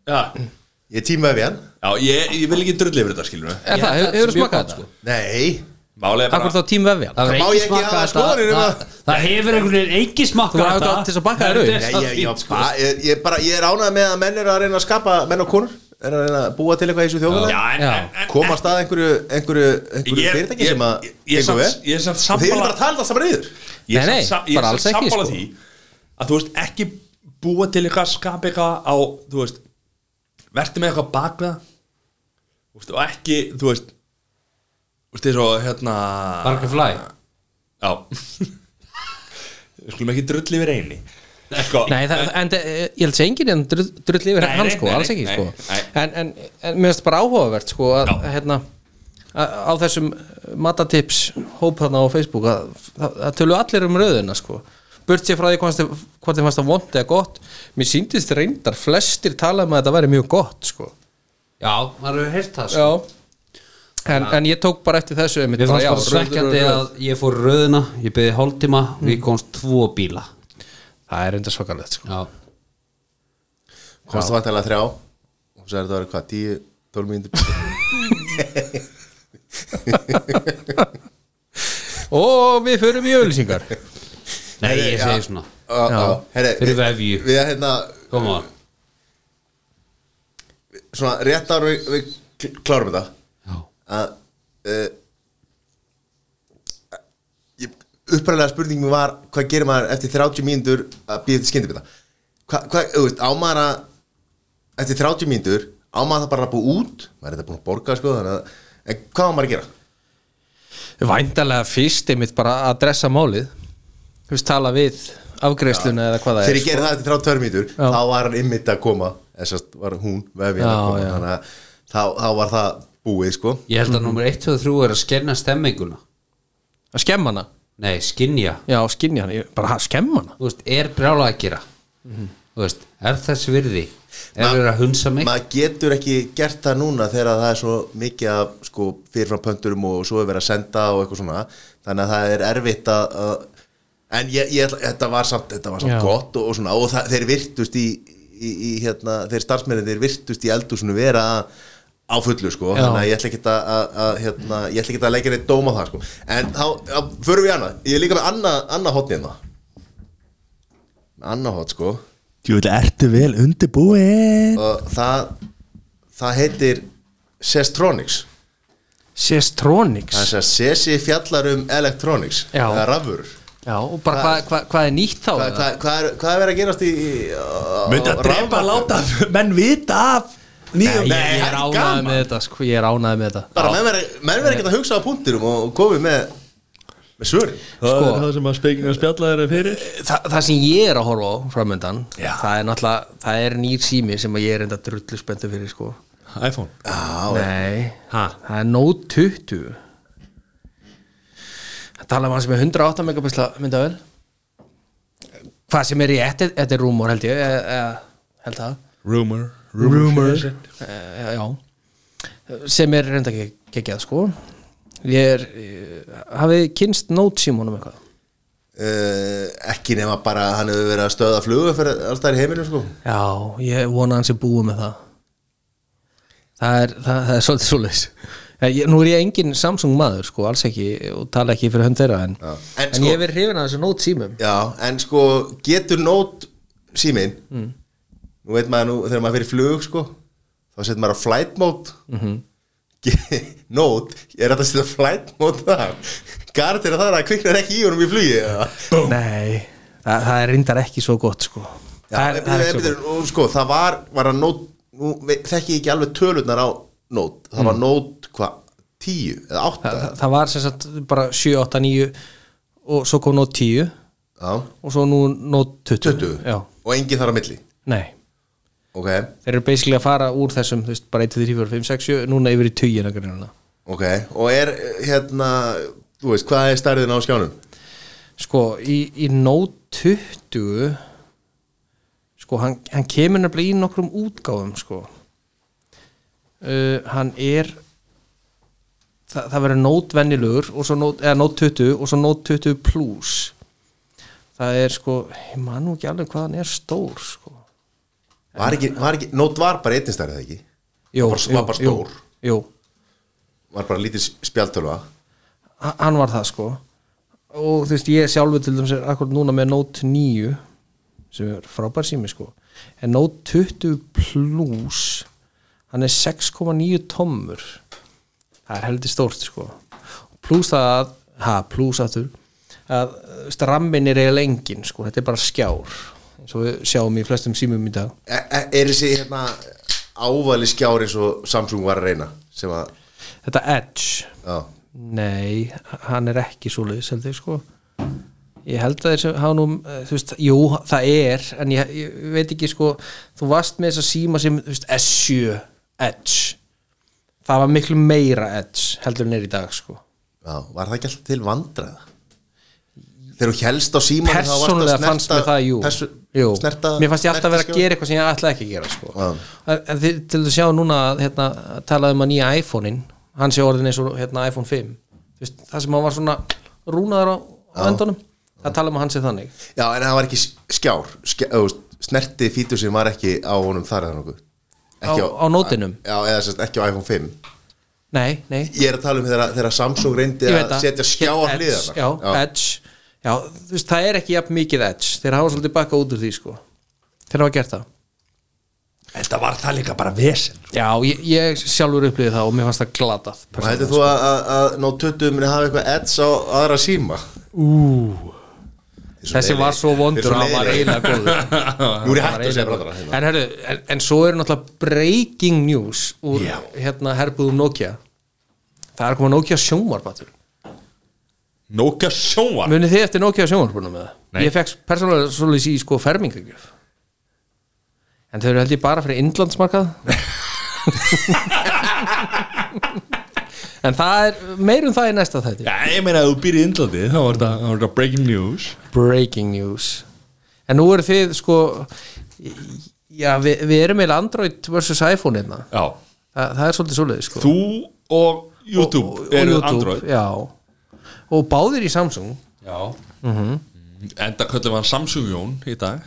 [SPEAKER 1] Já,
[SPEAKER 4] Ég tímaði við hann?
[SPEAKER 1] já ég, ég vil ekki drulli yfir þetta, skilur við
[SPEAKER 2] er það,
[SPEAKER 3] Ég held að
[SPEAKER 2] hefur
[SPEAKER 3] þetta sé mjög
[SPEAKER 2] smakað
[SPEAKER 3] gott,
[SPEAKER 2] þetta?
[SPEAKER 3] sko.
[SPEAKER 4] Nei,
[SPEAKER 1] Málega
[SPEAKER 2] Akkur
[SPEAKER 1] bara
[SPEAKER 2] þá tím vefjan
[SPEAKER 3] Það hefur
[SPEAKER 4] má
[SPEAKER 3] enginn
[SPEAKER 4] ég
[SPEAKER 3] smakað
[SPEAKER 4] ekki hafa
[SPEAKER 3] þetta.
[SPEAKER 4] skoðanir um
[SPEAKER 3] Það-
[SPEAKER 4] það.
[SPEAKER 3] Það hefur einhvern veginn engin
[SPEAKER 2] Þú
[SPEAKER 3] smakka
[SPEAKER 2] var átt til þess að bakka þér auð
[SPEAKER 4] Nei,
[SPEAKER 3] Það
[SPEAKER 4] ég,
[SPEAKER 3] fínt,
[SPEAKER 4] ég,
[SPEAKER 3] sko.
[SPEAKER 4] ba, ég, ég, bara, ég er ánægð með að menn eru að reyna að skapa menn og konur, er að reyna að búa til eitthvað í þessu
[SPEAKER 1] Já,
[SPEAKER 4] þjóðfélag,
[SPEAKER 1] en,
[SPEAKER 2] Já.
[SPEAKER 1] en, en
[SPEAKER 4] koma að stað einhverju, einhverju, einhverju
[SPEAKER 1] Ég-
[SPEAKER 4] fyrirtæki
[SPEAKER 1] ég-
[SPEAKER 4] sem að
[SPEAKER 1] ég- ég
[SPEAKER 4] gengur
[SPEAKER 1] samt-
[SPEAKER 4] vel.
[SPEAKER 1] ég samt
[SPEAKER 4] og þeir eru
[SPEAKER 1] sammála-
[SPEAKER 4] bara að tala það saman yður
[SPEAKER 1] Ég
[SPEAKER 2] Nei, nei,
[SPEAKER 1] er samt- ég er
[SPEAKER 2] bara
[SPEAKER 1] samt
[SPEAKER 2] alls ekki,
[SPEAKER 1] sammála
[SPEAKER 2] sko.
[SPEAKER 1] því að þú veist ekki búa til eitthvað skapa eitthvað á, þú veist verði með eitthvað bakveða þú veist, og ekki, þú veist þú veist, þess að hérna
[SPEAKER 3] Barkaflæ
[SPEAKER 1] Já Við skulum ekki drulli yfir eini Sko- Eitthvað.
[SPEAKER 2] Nei, það, en eh, ég held að enginn er drull, drull yfir
[SPEAKER 1] Nei,
[SPEAKER 2] hann
[SPEAKER 1] nei,
[SPEAKER 2] sko,
[SPEAKER 1] nei,
[SPEAKER 2] alls
[SPEAKER 1] nei,
[SPEAKER 2] ekki
[SPEAKER 1] nei,
[SPEAKER 2] sko.
[SPEAKER 1] nei.
[SPEAKER 2] En, en, en mér finnst bara áhugavert sko að
[SPEAKER 1] Já.
[SPEAKER 2] hérna að, á þessum eh, matatips hóp þarna á Facebook að það það tölu allir um röðina sko burt sér frá því hvort þið- hvort þið fannst það vond eða gott mér síndist reyndar flestir tala um að þetta væri mjög gott sko
[SPEAKER 3] Já, maður hefur heyrt það sko.
[SPEAKER 2] Já En, en ég tók bara eftir þessu einmitt,
[SPEAKER 3] Mér
[SPEAKER 2] bara, já,
[SPEAKER 3] fannst bara
[SPEAKER 2] röð-
[SPEAKER 3] svekkjandi
[SPEAKER 2] röð-
[SPEAKER 3] að ég fór röðina Ég beði hálftíma og
[SPEAKER 2] Mm.
[SPEAKER 3] ég komst tvo bíla
[SPEAKER 2] Það er reyndar svakalegt sko.
[SPEAKER 3] Já,
[SPEAKER 4] komst það vantanlega þrjá og svo er þetta að vera hvað, 10, 12 mínútur
[SPEAKER 2] Og við förum í auðlýsingar
[SPEAKER 3] nei ég
[SPEAKER 4] já.
[SPEAKER 3] segi svona
[SPEAKER 4] Já, já. Herri,
[SPEAKER 3] Fyrir
[SPEAKER 4] við-
[SPEAKER 3] vefju.
[SPEAKER 4] Við að hérna,
[SPEAKER 3] Koma on
[SPEAKER 4] svona rétt ára við, við kl- klárum þetta
[SPEAKER 3] Já,
[SPEAKER 4] að uh, uppræðlega spurning mér var hvað gerir maður eftir 30 mínútur að býða til skyndibita hvað, hvað, þú veist, á maður að eftir 30 mínútur á maður það bara að búa út maður er þetta búin að borga sko þannig að en hvað á maður að gera?
[SPEAKER 2] Væntalega fyrst einmitt bara að dressa málið Þú veist, tala við afgreiðsluna eða hvað það er
[SPEAKER 4] þegar
[SPEAKER 2] sko.
[SPEAKER 4] ég gerði það eftir 32 mínútur
[SPEAKER 2] Já.
[SPEAKER 4] þá var hann ymmit að koma þessast var hún vefið að
[SPEAKER 2] Já,
[SPEAKER 4] koma
[SPEAKER 2] já.
[SPEAKER 4] þannig að þá, þá var það búið sko
[SPEAKER 3] Ég held að
[SPEAKER 2] Mm.
[SPEAKER 3] nummer 1 og 3 er að skenna stemminguna
[SPEAKER 2] Að skemma hana,
[SPEAKER 3] Nei, skinja
[SPEAKER 2] já, skinja hana Ég- Bara að skemma hana
[SPEAKER 3] Þú veist, er brjála að gera Þú veist, er þess virði Er
[SPEAKER 4] Ma-
[SPEAKER 3] verið að hunsa mig
[SPEAKER 4] maður getur ekki gert það núna þegar það er svo mikið af sko, fyrirfram pönturum og svo er verið að senda og eitthvað svona þannig að það er erfitt að, að en ég, ég, ætla- þetta var samt, þetta
[SPEAKER 2] Já.
[SPEAKER 4] var samt gott og, og svona og það, þeir virtust í, í, í hérna, þeir starfsmennin þeir virtust í eldúsinu vera að á fullu sko,
[SPEAKER 2] Já.
[SPEAKER 4] þannig að ég ætla ekki að, að, að hérna, ég ætla ekki að leggja neitt dóma það sko, en þá, þá förum við í annað ég er líka með annað, annað hotnið það annað hot sko
[SPEAKER 5] Þú vil ertu vel undirbúin
[SPEAKER 4] og það það heitir Sestronics það er
[SPEAKER 2] Sestronics
[SPEAKER 4] þess að Sesi fjallar um Electronics
[SPEAKER 2] Já.
[SPEAKER 4] eða rafur
[SPEAKER 2] Já, og bara hvað hva, hva er nýtt þá
[SPEAKER 4] hvað hva, hva er, hva er verið að gerast í, í á-
[SPEAKER 1] Myndi
[SPEAKER 4] á
[SPEAKER 1] að drepa
[SPEAKER 4] rafmarkaði?
[SPEAKER 1] láta menn vita af
[SPEAKER 2] Nei,
[SPEAKER 1] nýjum
[SPEAKER 2] ég, ég
[SPEAKER 4] það
[SPEAKER 2] er
[SPEAKER 4] er
[SPEAKER 2] ánæði
[SPEAKER 4] gaman.
[SPEAKER 2] með þetta sko, Ég er ánæði með þetta
[SPEAKER 4] bara menn verið- menn verið ekki að hugsa á punktinum og komið með með svörin
[SPEAKER 1] Það
[SPEAKER 2] Sko.
[SPEAKER 1] er það sem að spekinga spjallar er fyrir
[SPEAKER 2] Þa, það sem ég er að horfa á framöndan
[SPEAKER 1] Já.
[SPEAKER 2] það er náttúrulega, það er nýr sími sem að ég er enda drullu spenntu fyrir sko
[SPEAKER 1] iPhone
[SPEAKER 2] Nei,
[SPEAKER 1] Ha?
[SPEAKER 2] það er Note 20 Það tala um hann sem er 108 megapixla myndavel Hvað sem er rétt, þetta er rumor held ég, ég, ég held það
[SPEAKER 1] Rumor
[SPEAKER 2] Eh, já sem er reynda ekki geggjað sko ég er eh, hafið kynst Note símónum eitthvað
[SPEAKER 4] uh, ekki nema bara að hann hefur verið að stöða flugu fyrir alls það í heiminum sko
[SPEAKER 2] Já, ég vona að hans er búið með það Það er, það, það er svolítið svoleiðis Eh, ég, Nú er ég engin Samsung maður sko, alls ekki og tala ekki fyrir hönd þeirra en,
[SPEAKER 4] Já.
[SPEAKER 2] en,
[SPEAKER 4] En sko-
[SPEAKER 2] ég hef verið hrifin að þessu nót símum
[SPEAKER 4] Já, en sko getur nót símin nú veit maður nú, þegar maður fyrir flug sko, þá setur maður á flight mode mm -hmm. nót er þetta að setja flight mode þar gardir að það er að kviknar ekki í honum í flugi eða?
[SPEAKER 2] Nei, það, það er reyndar ekki svo gott sko
[SPEAKER 4] Já,
[SPEAKER 2] það, er, það er ekki svo
[SPEAKER 4] eftir, og, sko, það var, var að nót nú ve- þekki ég ekki alveg tölurnar á nót það var nót, hvað, tíu eða átta,
[SPEAKER 2] gott Mm. það, það var sem sagt bara 7, 8, 9 og svo kom nót 10
[SPEAKER 4] já,
[SPEAKER 2] og svo nú nót 20
[SPEAKER 4] tuttugu
[SPEAKER 2] Já,
[SPEAKER 4] og engin þar á milli
[SPEAKER 2] nei
[SPEAKER 4] ok,
[SPEAKER 2] Þeir eru basically að fara úr þessum, þú veist, bara 1, 2, 3, 4, 5, 6, 7 núna yfir í 10 greinina
[SPEAKER 4] ok, og er hérna, þú veist, hvað er stærðin á skjánum?
[SPEAKER 2] sko, í, í Note 20 sko, hann, hann kemur nefnilega í nokkrum útgáfum sko uh, hann er það, það verður Note venjulegur og svo Note, eða Note 20 og svo Note 20 Plus það er sko, ég man nú ekki alveg hvað hann er stór sko
[SPEAKER 4] Var ekki, var ekki, nót var bara einnig stærðið ekki
[SPEAKER 2] Jó,
[SPEAKER 4] Bara- var bara
[SPEAKER 2] jú,
[SPEAKER 4] stór.
[SPEAKER 2] jú, jú,
[SPEAKER 4] Var bara lítið spjaltölva
[SPEAKER 2] Ha- hann var það sko og þú veist ég sjálfur til dæmis er akkur núna með Note 9 sem er frábær sími sko en Note 20 Plus hann er 6,9 tommur það er heldur stórt sko plus það að ha, plus aftur að þú veist, ramminn er eiginlega engin sko, þetta er bara skjár eins og við sjáum í flestum símum í dag
[SPEAKER 4] e e- Er þessi hérna ávali skjár eins og Samsung var að reyna sem að,
[SPEAKER 2] þetta Edge
[SPEAKER 4] já,
[SPEAKER 2] Nei, hann er ekki svo leiðis heldur sko ég held að þeir sem hafa nú eh, þú veist, jú, það er en ég, ég veit ekki sko þú varst með þess að síma sem þú veist, S7 Edge það var miklu meira Edge heldur en er í dag sko
[SPEAKER 4] Já, var það ekki alltaf til vandræða? Þegar þú helst á síman
[SPEAKER 2] persónulega fannst mér það, jú,
[SPEAKER 4] persu,
[SPEAKER 2] jú.
[SPEAKER 4] Snerta,
[SPEAKER 2] mér fannst ég alltaf vera að
[SPEAKER 4] snertiskjá-
[SPEAKER 2] gera eitthvað sem ég ætlaði ekki að gera sko.
[SPEAKER 4] Já.
[SPEAKER 2] en en þið, til að sjá núna að, hérna, talaði um að nýja iPhone-in hann sé orðin eins og hérna, iPhone 5 Þú veist, það sem hann var svona rúnaður á, á endunum, það talaði um að hann sé þannig
[SPEAKER 4] Já, en það var ekki s- skjár skjá, veist, Snerti fítur sem var ekki á honum þar eða nokkuð Ekki
[SPEAKER 2] Á- á nótinum?
[SPEAKER 4] Já, eða sérst ekki á iPhone 5
[SPEAKER 2] nei, nei,
[SPEAKER 4] Ég er að tala um þegar, þegar Samsung reyndi
[SPEAKER 2] ég veit
[SPEAKER 4] að
[SPEAKER 2] það
[SPEAKER 4] setja skjá á
[SPEAKER 2] Edge,
[SPEAKER 4] hliðarnar
[SPEAKER 2] já, Edge, já, þú veist, það er ekki jafn mikið Edge, þeir hafa svolítið bakka út úr því sko. þeir hafa gert það
[SPEAKER 1] Þetta var það líka bara vesen
[SPEAKER 2] já, ég, ég sjálfur upplýði það og mér fannst það glatað
[SPEAKER 4] Og hættu þú að, að, að nót 20 minni hafa eitthvað ads á aðra síma? Ú
[SPEAKER 2] þessi var svo vondur og hann var eiginlega góður
[SPEAKER 4] Nú er ég hættu að segja brandara hérna.
[SPEAKER 2] en, herru, en, en svo er náttúrulega breaking news úr hérna herbúðum Nokia það er komað Nokia sjónvarpatur
[SPEAKER 1] Nóka sjóar
[SPEAKER 2] munið þið eftir Nokia sjónvarpunum með
[SPEAKER 1] Ah. Nei.
[SPEAKER 2] það ég fekk persónulega svolítið í sko fermingagjöf en þau eru held ég bara fyrir innlandsmarkað en það er meirum það í næsta þætti
[SPEAKER 1] Já, ég meina að þú býr í Indlandi þá var þetta- þá var þetta breaking news
[SPEAKER 2] breaking news en nú eru þið sko já við, við erum eiginlega Android versus iPhone einna
[SPEAKER 1] Já,
[SPEAKER 2] Þa, það er svolítið svolítið sko
[SPEAKER 1] þú og YouTube
[SPEAKER 2] og, og,
[SPEAKER 1] eru
[SPEAKER 2] YouTube,
[SPEAKER 1] Android
[SPEAKER 2] já. og báðir í Samsung
[SPEAKER 1] Já Enda köllum hann Samsung Jón í dag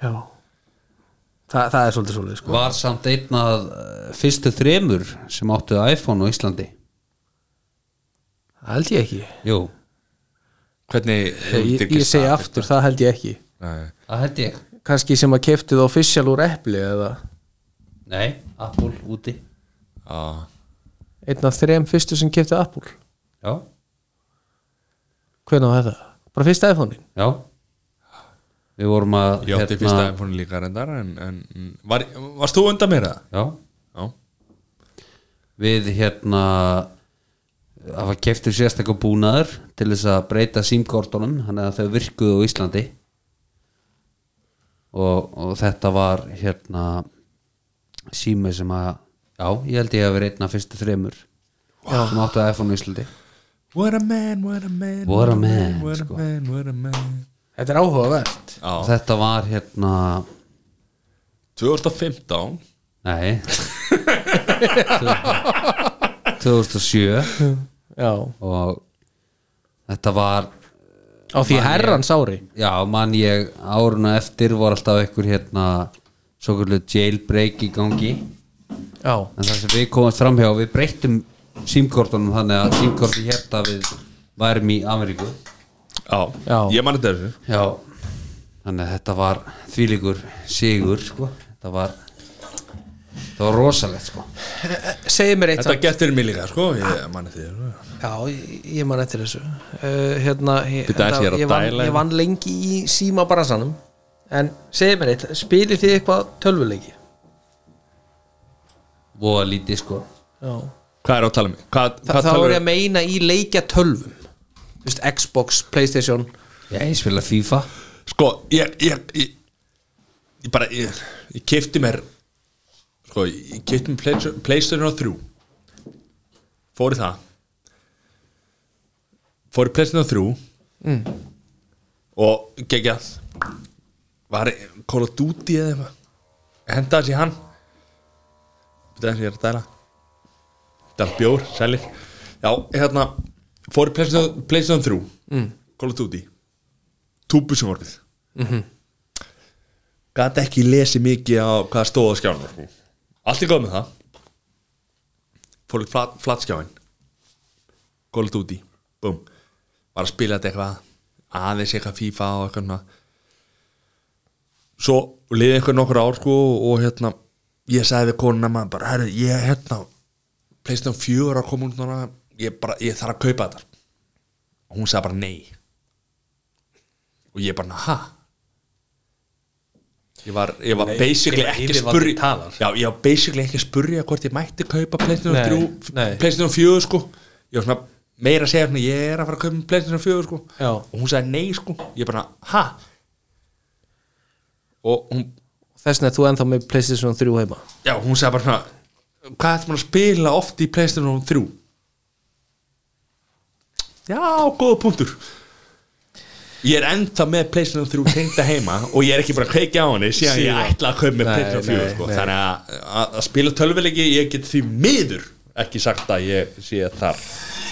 [SPEAKER 2] já. Þa, það er svolítið svolítið sko.
[SPEAKER 3] var samt einn að eh, fyrstu þremur sem áttu iPhone á Íslandi
[SPEAKER 2] það held ég ekki
[SPEAKER 3] jú,
[SPEAKER 1] Hvernig
[SPEAKER 2] ég, ég segi aftur, það held ég ekki
[SPEAKER 1] Nei.
[SPEAKER 3] það held ég
[SPEAKER 2] kannski sem að keftið official úr Apple eða
[SPEAKER 3] nei, Apple úti
[SPEAKER 1] Já.
[SPEAKER 2] einn af þrem fyrstu sem keftið Apple
[SPEAKER 3] já,
[SPEAKER 2] hvernig var þetta? bara fyrsta iPhone-in?
[SPEAKER 3] já við vorum að hérna-
[SPEAKER 1] Ég
[SPEAKER 2] Hérna-
[SPEAKER 1] átti fyrsta iPhone líka reyndar en, en var, varst þú undan mér það?
[SPEAKER 3] já,
[SPEAKER 1] Já
[SPEAKER 3] við hérna að var keftur sérstakar búnaður til þess að breyta símkortunum þannig að þau virkuðu á Íslandi og, og þetta var hérna sími sem að já, ég held ég að vera einn af fyrstu þremur sem áttu að iPhone á Íslandi
[SPEAKER 1] What a man, what a man
[SPEAKER 3] What a man,
[SPEAKER 1] What a
[SPEAKER 3] sko.
[SPEAKER 1] man, what a man
[SPEAKER 2] þetta er áhugavert
[SPEAKER 1] Já,
[SPEAKER 3] og þetta var hérna
[SPEAKER 1] 2015
[SPEAKER 3] nei 2007
[SPEAKER 2] já.
[SPEAKER 3] og þetta var
[SPEAKER 2] á því herrans ári
[SPEAKER 3] Já, mann ég áruna eftir var alltaf einhver hérna svo kvöldu jailbreak í gangi
[SPEAKER 2] já.
[SPEAKER 3] en það sem við komumst framhjá við breyttum símkortunum þannig að símkorti hérna við værum í Ameríku
[SPEAKER 1] Já,
[SPEAKER 2] Já.
[SPEAKER 1] ég mani þetta þessu
[SPEAKER 3] Já Þannig að þetta var þvílíkur sigur sko. þetta var það var rosalegt sko.
[SPEAKER 2] segið mér eitt
[SPEAKER 1] Þetta getur mér líka, sko, ég
[SPEAKER 2] Ah.
[SPEAKER 1] mani því
[SPEAKER 2] Já, ég, ég man eftir þessu uh, hérna, ég,
[SPEAKER 1] Bíddu aðeins, ég er að
[SPEAKER 2] ég, vann,
[SPEAKER 1] dæla
[SPEAKER 2] ég
[SPEAKER 1] hérna.
[SPEAKER 2] vann lengi í síma bransanum en segið mér eitt, spilið þið eitthvað tölvuleiki?
[SPEAKER 3] voða lítið sko.
[SPEAKER 2] Já.
[SPEAKER 1] Hvað er á að tala um? Hvað,
[SPEAKER 2] Þa,
[SPEAKER 1] hvað
[SPEAKER 2] þá
[SPEAKER 1] tala
[SPEAKER 2] er ég að meina í leikja tölvum Þú veist, Xbox, Playstation
[SPEAKER 3] Já, ég spila FIFA
[SPEAKER 1] Sko, ég, ég, ég, ég bara, ég, ég kefti mér Sko, ég kefti mér Playsta- Playstation á þrjú Fór í það Fór í Playstation á þrjú mm. Og geggjað Var Call of Duty eða eitthvað Henda þessi hann Þetta er ég er að dæla Þetta er bjór, sælir Já, hérna, fór í Playstation PlayStation 3 mm. Call of Duty túbusjónvarpið mm -hmm. gat ekki lesið mikið á hvað stóð á skjánum sko. allt í góð með það fólk flat, flatskjáin gólut úti búm, var að spila þetta eitthvað aðeins eitthvað FIFA og eitthvað svona. svo liði eitthvað nokkur ár sko og hérna ég sagði við konuna maður bara, herri, ég hérna Playstation 4 er að koma út núna ég, bara, ég þarf að kaupa þetta og hún sagði bara nei og ég bara, ha ég var, ég var basically
[SPEAKER 2] hvað
[SPEAKER 1] ekki
[SPEAKER 2] yfirvaldið
[SPEAKER 1] spurri
[SPEAKER 2] talar.
[SPEAKER 1] já, ég var basically ekki að spurja hvort ég mætti kaupa Playstation
[SPEAKER 2] Nei,
[SPEAKER 1] 3
[SPEAKER 2] nei.
[SPEAKER 1] Playstation 4 sko ég var svona meira að segja hérna, ég er að fara að kaupa playstation 4 sko.
[SPEAKER 2] Já.
[SPEAKER 1] og hún sagði nei sko ég bara, ha og hún,
[SPEAKER 2] Þess vegna er þú ennþá með Playstation 3 heima
[SPEAKER 1] já, hún sagði bara svona, hvað ætti maður að spila oft í playstation 3 já, góða punktur ég er enda með playstation 3 tengda heima og ég er ekki bara að kveikja á henni síðan ég
[SPEAKER 2] Síðan.
[SPEAKER 1] ætla að kaupa með
[SPEAKER 2] Nei,
[SPEAKER 1] playstation 4
[SPEAKER 2] nei,
[SPEAKER 1] sko.
[SPEAKER 2] nei.
[SPEAKER 1] þannig að, að, að spila tölvileiki ég get því miður ekki sagt að ég sé þar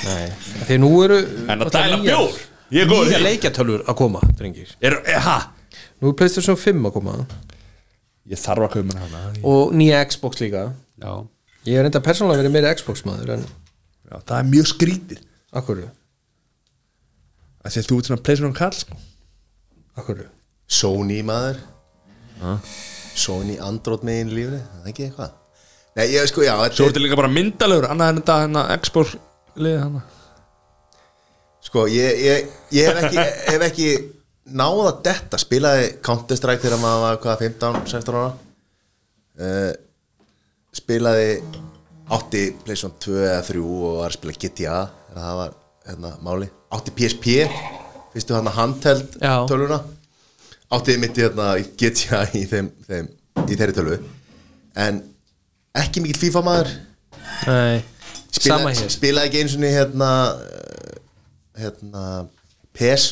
[SPEAKER 2] Nei Þegar nú eru
[SPEAKER 1] en að dæla bjór, ég er góður
[SPEAKER 2] Nýja
[SPEAKER 1] í.
[SPEAKER 2] leikjatölfur að koma, drengir
[SPEAKER 1] Er, er, ha?
[SPEAKER 2] Nú er Playstation 5 að koma
[SPEAKER 1] Ég þarf að kaupa mér hana ég,
[SPEAKER 2] Og nýja Xbox líka
[SPEAKER 3] já,
[SPEAKER 2] Ég er enda persónulega verið meira Xbox maður En
[SPEAKER 1] já, Það er mjög skrítið
[SPEAKER 2] akkurru,
[SPEAKER 1] Það sé þú ert svona pleysur um kall sko.
[SPEAKER 2] akkurru
[SPEAKER 4] Sony maður Sony Android megin lífni það er ekki eitthvað Nei, ég sko, já,
[SPEAKER 1] Svo
[SPEAKER 4] þetta
[SPEAKER 1] ertu líka bara myndalögur Annað en þetta hérna Xbox liðið hana
[SPEAKER 4] Sko, ég, ég, ég hef ekki, hef ekki náða detta, spilaði Counter-Strike þegar maður var hvað, 15, 16 ára uh, spilaði átti Playstation 2 eða 3 og var að spila GTA þegar það var hérna, máli átti PSP, fyrstu hann handheld
[SPEAKER 2] Já.
[SPEAKER 4] tölvuna átti mitt í hérna, GTA í, þeim, þeim, í þeirri tölvu en ekki mikill FIFA maður
[SPEAKER 2] Nei, sama
[SPEAKER 4] spilaði,
[SPEAKER 2] hér
[SPEAKER 4] spilaði ekki eins og hérna eh, hérna PES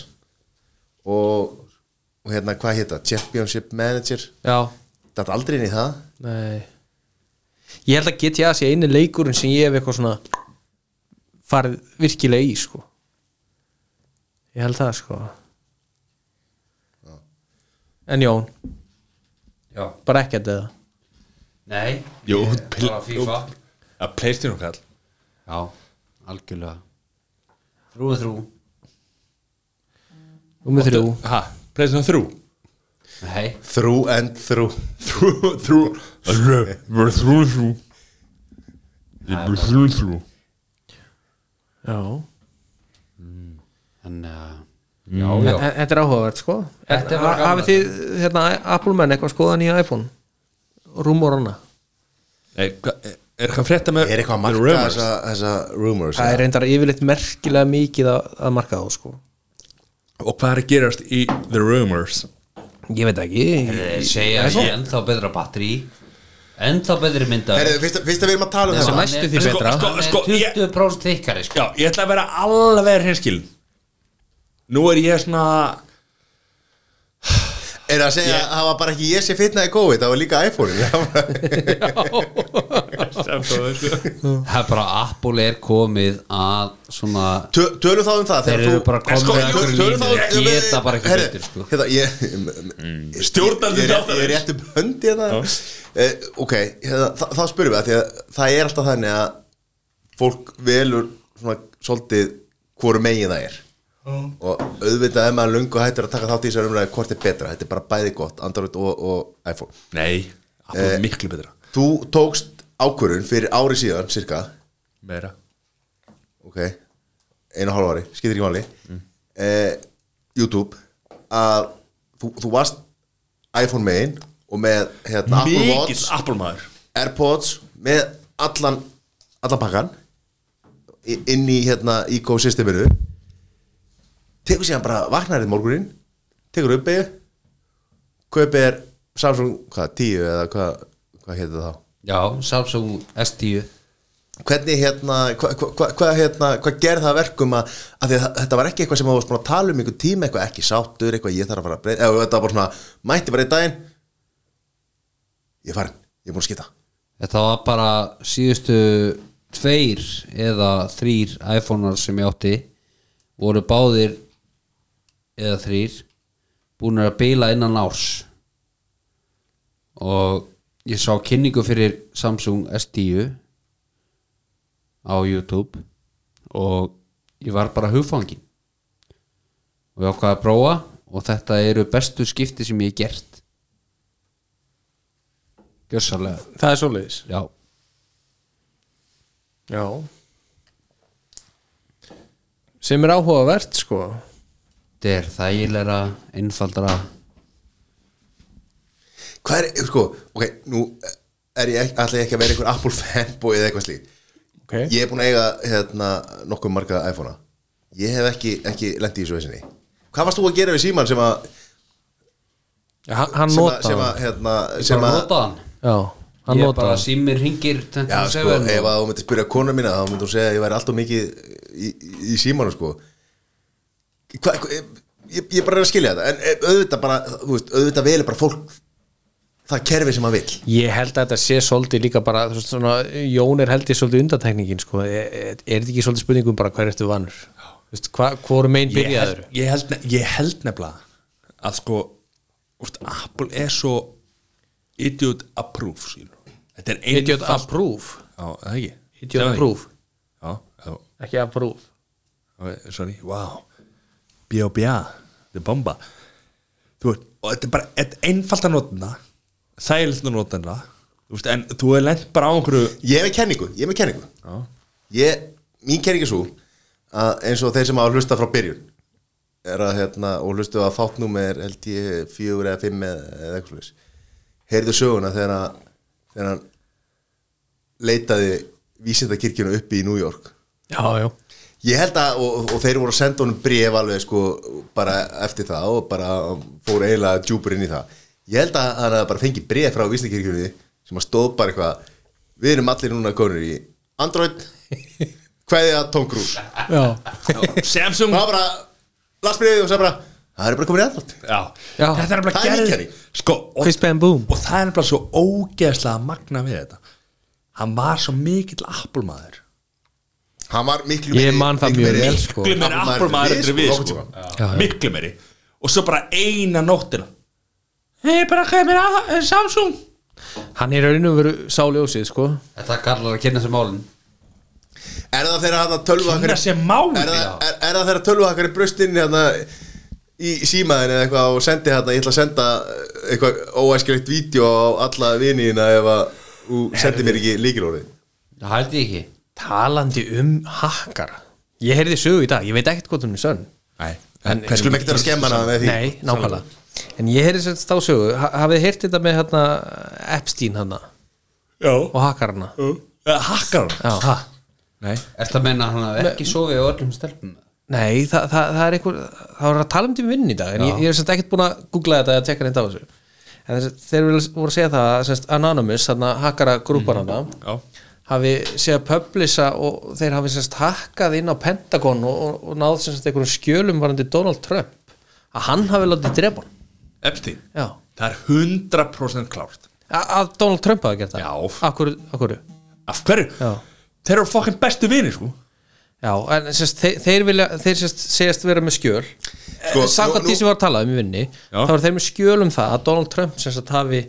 [SPEAKER 4] og, og hérna hvað hétta Championship Manager
[SPEAKER 2] Já,
[SPEAKER 4] þetta er aldrei inn í það
[SPEAKER 2] nei Ég held að GTA sé einu leikurinn sem ég hef eitthvað svona farið virkilega í sko Ég held það sko En Jón,
[SPEAKER 3] já,
[SPEAKER 2] bara ekkert eða
[SPEAKER 3] nei
[SPEAKER 1] Jú,
[SPEAKER 3] Ég-
[SPEAKER 1] pl-
[SPEAKER 3] bara FIFA
[SPEAKER 1] Að pleysur um kall
[SPEAKER 3] já, algjörlega þrú og þrú
[SPEAKER 2] Nú með þrjú
[SPEAKER 1] Ha, pleysur um þrjú
[SPEAKER 3] nei,
[SPEAKER 4] through and through
[SPEAKER 1] Þrjú, þrjú Þrjú, þrjú, þrjú Ég er bara þrjú, þrjú
[SPEAKER 2] Já
[SPEAKER 3] en uh, já, já,
[SPEAKER 2] Þe- Þetta er áhugavert sko En
[SPEAKER 3] Þetta er bara
[SPEAKER 2] ha-
[SPEAKER 3] gaman.
[SPEAKER 2] Hafið þið hérna Apple menn eitthvað skoða nýja iPhone Rúmorana
[SPEAKER 1] Nei, hva- Er er eitthvað frétta með
[SPEAKER 4] er eitthvað að marka
[SPEAKER 1] rumors?
[SPEAKER 4] þessa, þessa rumors
[SPEAKER 2] Það er reyndar yfirleitt merkilega mikið að, að marka þá sko
[SPEAKER 1] Og hvað er að gerast í The Rumors?
[SPEAKER 2] Ég veit ekki
[SPEAKER 3] Þeir segja að ég ennþá betra batteri ennþá betri mynda
[SPEAKER 4] Herðu, fyrst, að- fyrst að við erum að tala um
[SPEAKER 2] Þessi
[SPEAKER 4] þetta
[SPEAKER 2] næst- næstu því betra.
[SPEAKER 1] Sko, sko, sko, ég,
[SPEAKER 3] 20% þykkari sko.
[SPEAKER 1] Já, ég ætla að vera alveg hinskil Nú er ég svona
[SPEAKER 4] er að segja að það var bara ekki ég sé fitna í COVID það var líka iPhone Það var-
[SPEAKER 1] sko.
[SPEAKER 3] það er bara Apple er komið að svona
[SPEAKER 4] Tö- tölum þá um það
[SPEAKER 3] þeir
[SPEAKER 4] þegar
[SPEAKER 3] eru
[SPEAKER 4] þú-
[SPEAKER 3] bara
[SPEAKER 1] En
[SPEAKER 3] komið
[SPEAKER 1] sko,
[SPEAKER 3] að
[SPEAKER 1] töl-
[SPEAKER 3] einhverju
[SPEAKER 4] Tölum þá
[SPEAKER 3] línu
[SPEAKER 4] um-
[SPEAKER 3] geta bara ekki
[SPEAKER 4] Herðu,
[SPEAKER 3] betur sko. Mm.
[SPEAKER 4] hérna, ég-
[SPEAKER 1] Stjórnandi
[SPEAKER 4] Ég er rétt-
[SPEAKER 1] þáttarins.
[SPEAKER 4] ég er rétt um hönd hérna uh, ok, hérna, þa- þá spyrum við að því að það er alltaf þannig að fólk velur svona svolítið hvoru megin það er og auðvitað ef maður lungu hættur að taka þátt í þessar umræði hvort er betra, þetta er bara bæði gott Android og, og iPhone
[SPEAKER 1] Nei, Apple
[SPEAKER 4] Eh,
[SPEAKER 1] er miklu betra
[SPEAKER 4] þú tókst ákvörun fyrir ári síðan cirka,
[SPEAKER 1] Meira
[SPEAKER 4] ok einu og hálf ári, skiptir ekki máli mm. YouTube að þú, þú varst iPhone megin og með hérna, Apple Watch
[SPEAKER 1] Mikill Apple maður
[SPEAKER 4] Airpods með allan allan pakkan í- inn í hérna ecosysteminu tekur síðan bara vaknarið morgunin, tekur upp beigð kaupið er Samsung, hvað, 10 eða hvað hvað hétu þá?
[SPEAKER 3] já, Samsung S10
[SPEAKER 4] Hvernig hérna, hvað hva, hva, hva, hérna hvað gerð það verkum að, að, að þetta var ekki eitthvað sem þú varst búin að tala um einhver tíma, eitthvað ekki sáttur, eitthvað ég þarf að fara að breyta, eða þetta var bara svona, mætti bara í daginn ég er farin, ég er búin að skita
[SPEAKER 3] þetta var bara síðustu tveir eða þrýr iPhone-ar sem ég átti voru báðir eða þrýr búin að bila innan árs og ég sá kynningu fyrir Samsung S10 á YouTube og ég var bara hugfangin og ég ákvaði að prófa og þetta eru bestu skipti sem ég hef gert gjörsalega
[SPEAKER 2] Það er svoleiðis
[SPEAKER 3] já
[SPEAKER 2] Já Sem er áhugavert sko
[SPEAKER 3] Þetta er þægilega, einfaldara
[SPEAKER 4] hvað er, sko, ok, nú er ég ekki, ætla ég ekki að vera einhver Apple fanboy eða eitthvað slík
[SPEAKER 2] ok
[SPEAKER 4] Ég hef búin að eiga hérna, nokkuð marga iPhone-a Ég hef ekki, ekki lendi í svo vesinni Hvað varst þú að gera við síman sem að
[SPEAKER 2] Ja, hann, hann
[SPEAKER 4] sem að,
[SPEAKER 2] notaði
[SPEAKER 4] sem
[SPEAKER 2] hann.
[SPEAKER 4] að, hérna,
[SPEAKER 3] Ég
[SPEAKER 4] sem
[SPEAKER 3] bara
[SPEAKER 4] að
[SPEAKER 3] nota hann
[SPEAKER 2] já, hann
[SPEAKER 3] Ég bara
[SPEAKER 2] notaði hann.
[SPEAKER 3] símir hringir
[SPEAKER 4] Já, sko, ef að þú myndir spyrja konu mína þá myndir hún segja að ég væri alltaf mikið í, í, í símanu, sko Hva, hva, ég, ég bara er að skilja þetta en eh, auðvitað bara, þú veist, auðvitað veli bara fólk það kerfi sem hann vill
[SPEAKER 2] ég held að þetta sé svolítið líka bara þú veist, svona, Jón er held ég svolítið undantekningin sko. er, er þetta ekki svolítið spurningum bara hver ertu vannur Vist, hva, hvor megin
[SPEAKER 1] ég
[SPEAKER 2] byrjaður
[SPEAKER 1] held, ég, held, nef- ég held nefnilega að sko úst, Apple er svo idiot approve skilur. þetta er ein
[SPEAKER 2] idiot approve
[SPEAKER 1] já, það ekki
[SPEAKER 2] idiot
[SPEAKER 1] Sem það
[SPEAKER 2] approve,
[SPEAKER 1] ekki? já, já,
[SPEAKER 2] ekki approve
[SPEAKER 1] ok, sorry, wow B.O.B.A. þetta er bomba þú veist, og þetta er bara þetta er einfalt að nota það þægilegt að nota það þú veist, en þú er lent bara á einhverju
[SPEAKER 4] ég hef með kenningu, ég hef með kenningu
[SPEAKER 1] já,
[SPEAKER 4] ég, mín kenning er svo að eins og þeir sem hafa hlusta frá byrjun er að hérna, og hlustu að fátnum er held ég fjögur eða fimm eða eða eitthvað slags heyrðu söguna þegar að- þegar hann leitaði vísindakirkjuna uppi í New York
[SPEAKER 2] já, já,
[SPEAKER 4] ég held að, og, og þeir voru að senda honum bref alveg sko, bara eftir það og bara fór eiginlega djúpur inn í það ég held að hann hafi bara fengið bref frá vísindakirkjunni sem að stóð bara eitthvað við erum allir núna konur í Android hvaðið að Tom Cruise
[SPEAKER 2] já.
[SPEAKER 1] Samsung
[SPEAKER 4] og það bara, las brefið og sagði bara það er bara komin í Android
[SPEAKER 1] já.
[SPEAKER 2] Já.
[SPEAKER 1] þetta er
[SPEAKER 4] Það er
[SPEAKER 1] bara
[SPEAKER 4] mín
[SPEAKER 1] gerð
[SPEAKER 4] kenning.
[SPEAKER 1] sko, og,
[SPEAKER 2] Chris Bam Boom
[SPEAKER 1] og það er bara svo ógeðslega að magna við þetta hann var svo mikill Apple maður
[SPEAKER 4] hann var miklu
[SPEAKER 2] Ég
[SPEAKER 4] meiri-
[SPEAKER 2] man það
[SPEAKER 4] miklu
[SPEAKER 2] mjög
[SPEAKER 4] meiri-
[SPEAKER 2] vel, sko.
[SPEAKER 1] miklu meiri Apple maður heldur en við
[SPEAKER 4] nokkurn
[SPEAKER 1] sko.
[SPEAKER 4] tímann.
[SPEAKER 2] já.
[SPEAKER 1] miklu meiri og svo bara eina nóttina hei bara hvað er mér að eh, Samsung
[SPEAKER 2] hann er raunum veru sáljósið sko
[SPEAKER 3] Þetta kallar að kynna sér málin
[SPEAKER 4] er það þegar hann að tölva
[SPEAKER 1] hann er sem máli
[SPEAKER 4] er, það- er, er það þegar tölvuhakkar er brust inn hérna, í símaðin eða eitthvað og sendi hérna, ég ætla að senda eh, eitthvað óæskilegt vídeo á alla viniðina ef að þú sendir mér ekki líkilorðið
[SPEAKER 3] Það held ég ekki
[SPEAKER 2] talandi um hakkar ég heyrði sögu í dag, ég veit ekkert hvort hún er sönn En-
[SPEAKER 4] við skulum ekkert vera að skemma hana með því
[SPEAKER 2] nei, nákvæmlega en ég heyrði sérst þá sögu, ha- hafið þið heyrt þetta með hérna Epstein hana
[SPEAKER 1] já
[SPEAKER 2] og hakkarana
[SPEAKER 1] Eh, hakkar hann
[SPEAKER 2] já, ha?
[SPEAKER 1] nei
[SPEAKER 3] Er þetta að menna hann að ekki sofið á öllum stelpum?
[SPEAKER 2] nei, það, það, það er einhver það var að tala um til vinn í dag en ég, ég er sérst ekkert búin að googla þetta eða tekka þetta á þessu en þess, þeir vilja- voru að segja það að sérst, Anonymous, þarna hakkara grúpan hana
[SPEAKER 1] já
[SPEAKER 2] hafi séð að publisa og þeir hafi sérst hakkað inn á Pentagon og, og, og náð sérst einhverjum skjölum varandi Donald Trump að hann hafi látið drepa hann
[SPEAKER 1] Epstein
[SPEAKER 2] já.
[SPEAKER 1] það er 100% klárt
[SPEAKER 2] A- að Donald Trump hafi gert það
[SPEAKER 1] Já.
[SPEAKER 2] akkur, akkur.
[SPEAKER 1] af hverju
[SPEAKER 2] Já.
[SPEAKER 1] þeir eru fokkin bestu vinir sko
[SPEAKER 2] Já, en sérst, þeir, þeir, vilja, þeir sérst, segjast vera með skjöl sko,
[SPEAKER 4] Sko,
[SPEAKER 2] samkvæmt
[SPEAKER 4] nú-
[SPEAKER 2] því sem var að tala um í vinni
[SPEAKER 1] Já.
[SPEAKER 2] þá er þeir með skjöl um það að Donald Trump sérst hafi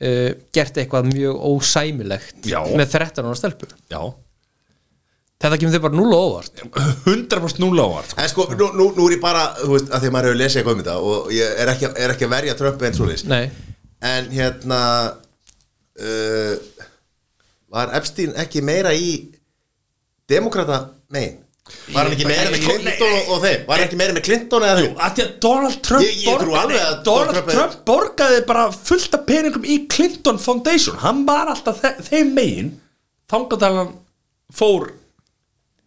[SPEAKER 2] uh, gert eitthvað mjög ósæmilegt
[SPEAKER 1] Já.
[SPEAKER 2] með 13 ára stelpu
[SPEAKER 1] já
[SPEAKER 2] þetta kemur þeir bara núla óvart
[SPEAKER 1] 100% núla á allt
[SPEAKER 4] En sko, nú, nú, nú er ég bara, þú veist, að því að maður hefur lesið eitthvað um þetta og ég er ekki, er ekki að verja trömpi eins og leys
[SPEAKER 2] Nei.
[SPEAKER 4] En hérna uh, Var Epstein ekki meira í demokrata megin? Var hann ekki meira með Clinton og, og þeim? Var hann ekki meira með Clinton eða þeim?
[SPEAKER 1] að því að Donald Trump
[SPEAKER 4] Ég- ég trú
[SPEAKER 1] borgaði-
[SPEAKER 4] alveg að
[SPEAKER 1] Donald
[SPEAKER 4] Donald
[SPEAKER 1] Trump,
[SPEAKER 4] Trump er-
[SPEAKER 1] borgaði bara fullt af peningum í Clinton Foundation hann var alltaf þe þeim megin þangandalann fór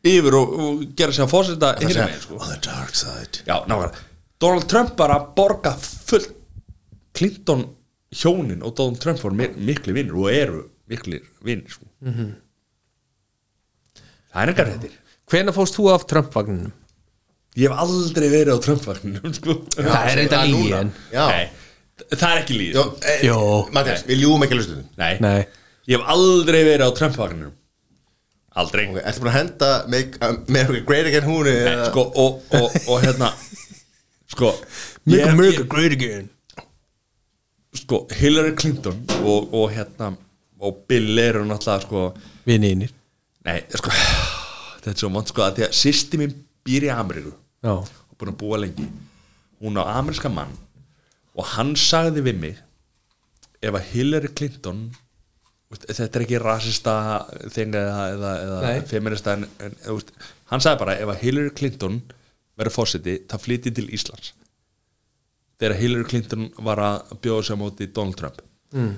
[SPEAKER 1] yfir og, og gera sér að fórseta hinum megin sko
[SPEAKER 4] On the dark side
[SPEAKER 1] já, nákvæmlega Donald Trump bara borga fullt Clinton hjónin og Donald Trump voru mik mikli vinnir og eru mikli vinnir sko. það er engar hættir
[SPEAKER 2] hvenær fórst þú af Trump-vagninum?
[SPEAKER 1] ég hef aldrei verið á Trump-vagninum sko.
[SPEAKER 2] það er eitthvað
[SPEAKER 4] núna.
[SPEAKER 2] lígi en
[SPEAKER 4] Já.
[SPEAKER 1] Nei, það er ekki líð
[SPEAKER 4] Jó, e,
[SPEAKER 2] Jó.
[SPEAKER 4] Mattias, við ljúum ekki að hlustum
[SPEAKER 1] Nei.
[SPEAKER 2] Nei.
[SPEAKER 1] Ég hef aldrei verið á Trump-vagninum Aldrei
[SPEAKER 4] okay, Ertu búin að henda Make America Great Again húnu
[SPEAKER 1] Nei,
[SPEAKER 4] eða-
[SPEAKER 1] sko, og, og, og hérna Sko ég- ég-
[SPEAKER 2] great again
[SPEAKER 1] Sko, Hillary Clinton og, og hérna Og Bill eru náttúrulega sko
[SPEAKER 2] vinninir
[SPEAKER 1] Nei, sko Þetta er svo mann sko að því að sýsti mín býr í Ameríku
[SPEAKER 2] já,
[SPEAKER 1] og búin að búa lengi hún á ameríska mann og hann sagði við mig ef að Hillary Clinton veist, þetta er ekki rasista þing eða, eða, eða
[SPEAKER 2] Nei.
[SPEAKER 1] feminista en, en þú veist, hann sagði bara ef að Hillary Clinton verður fósiti það flytti til Íslands þegar Hillary Clinton var að bjóða sig á móti Donald Trump mm.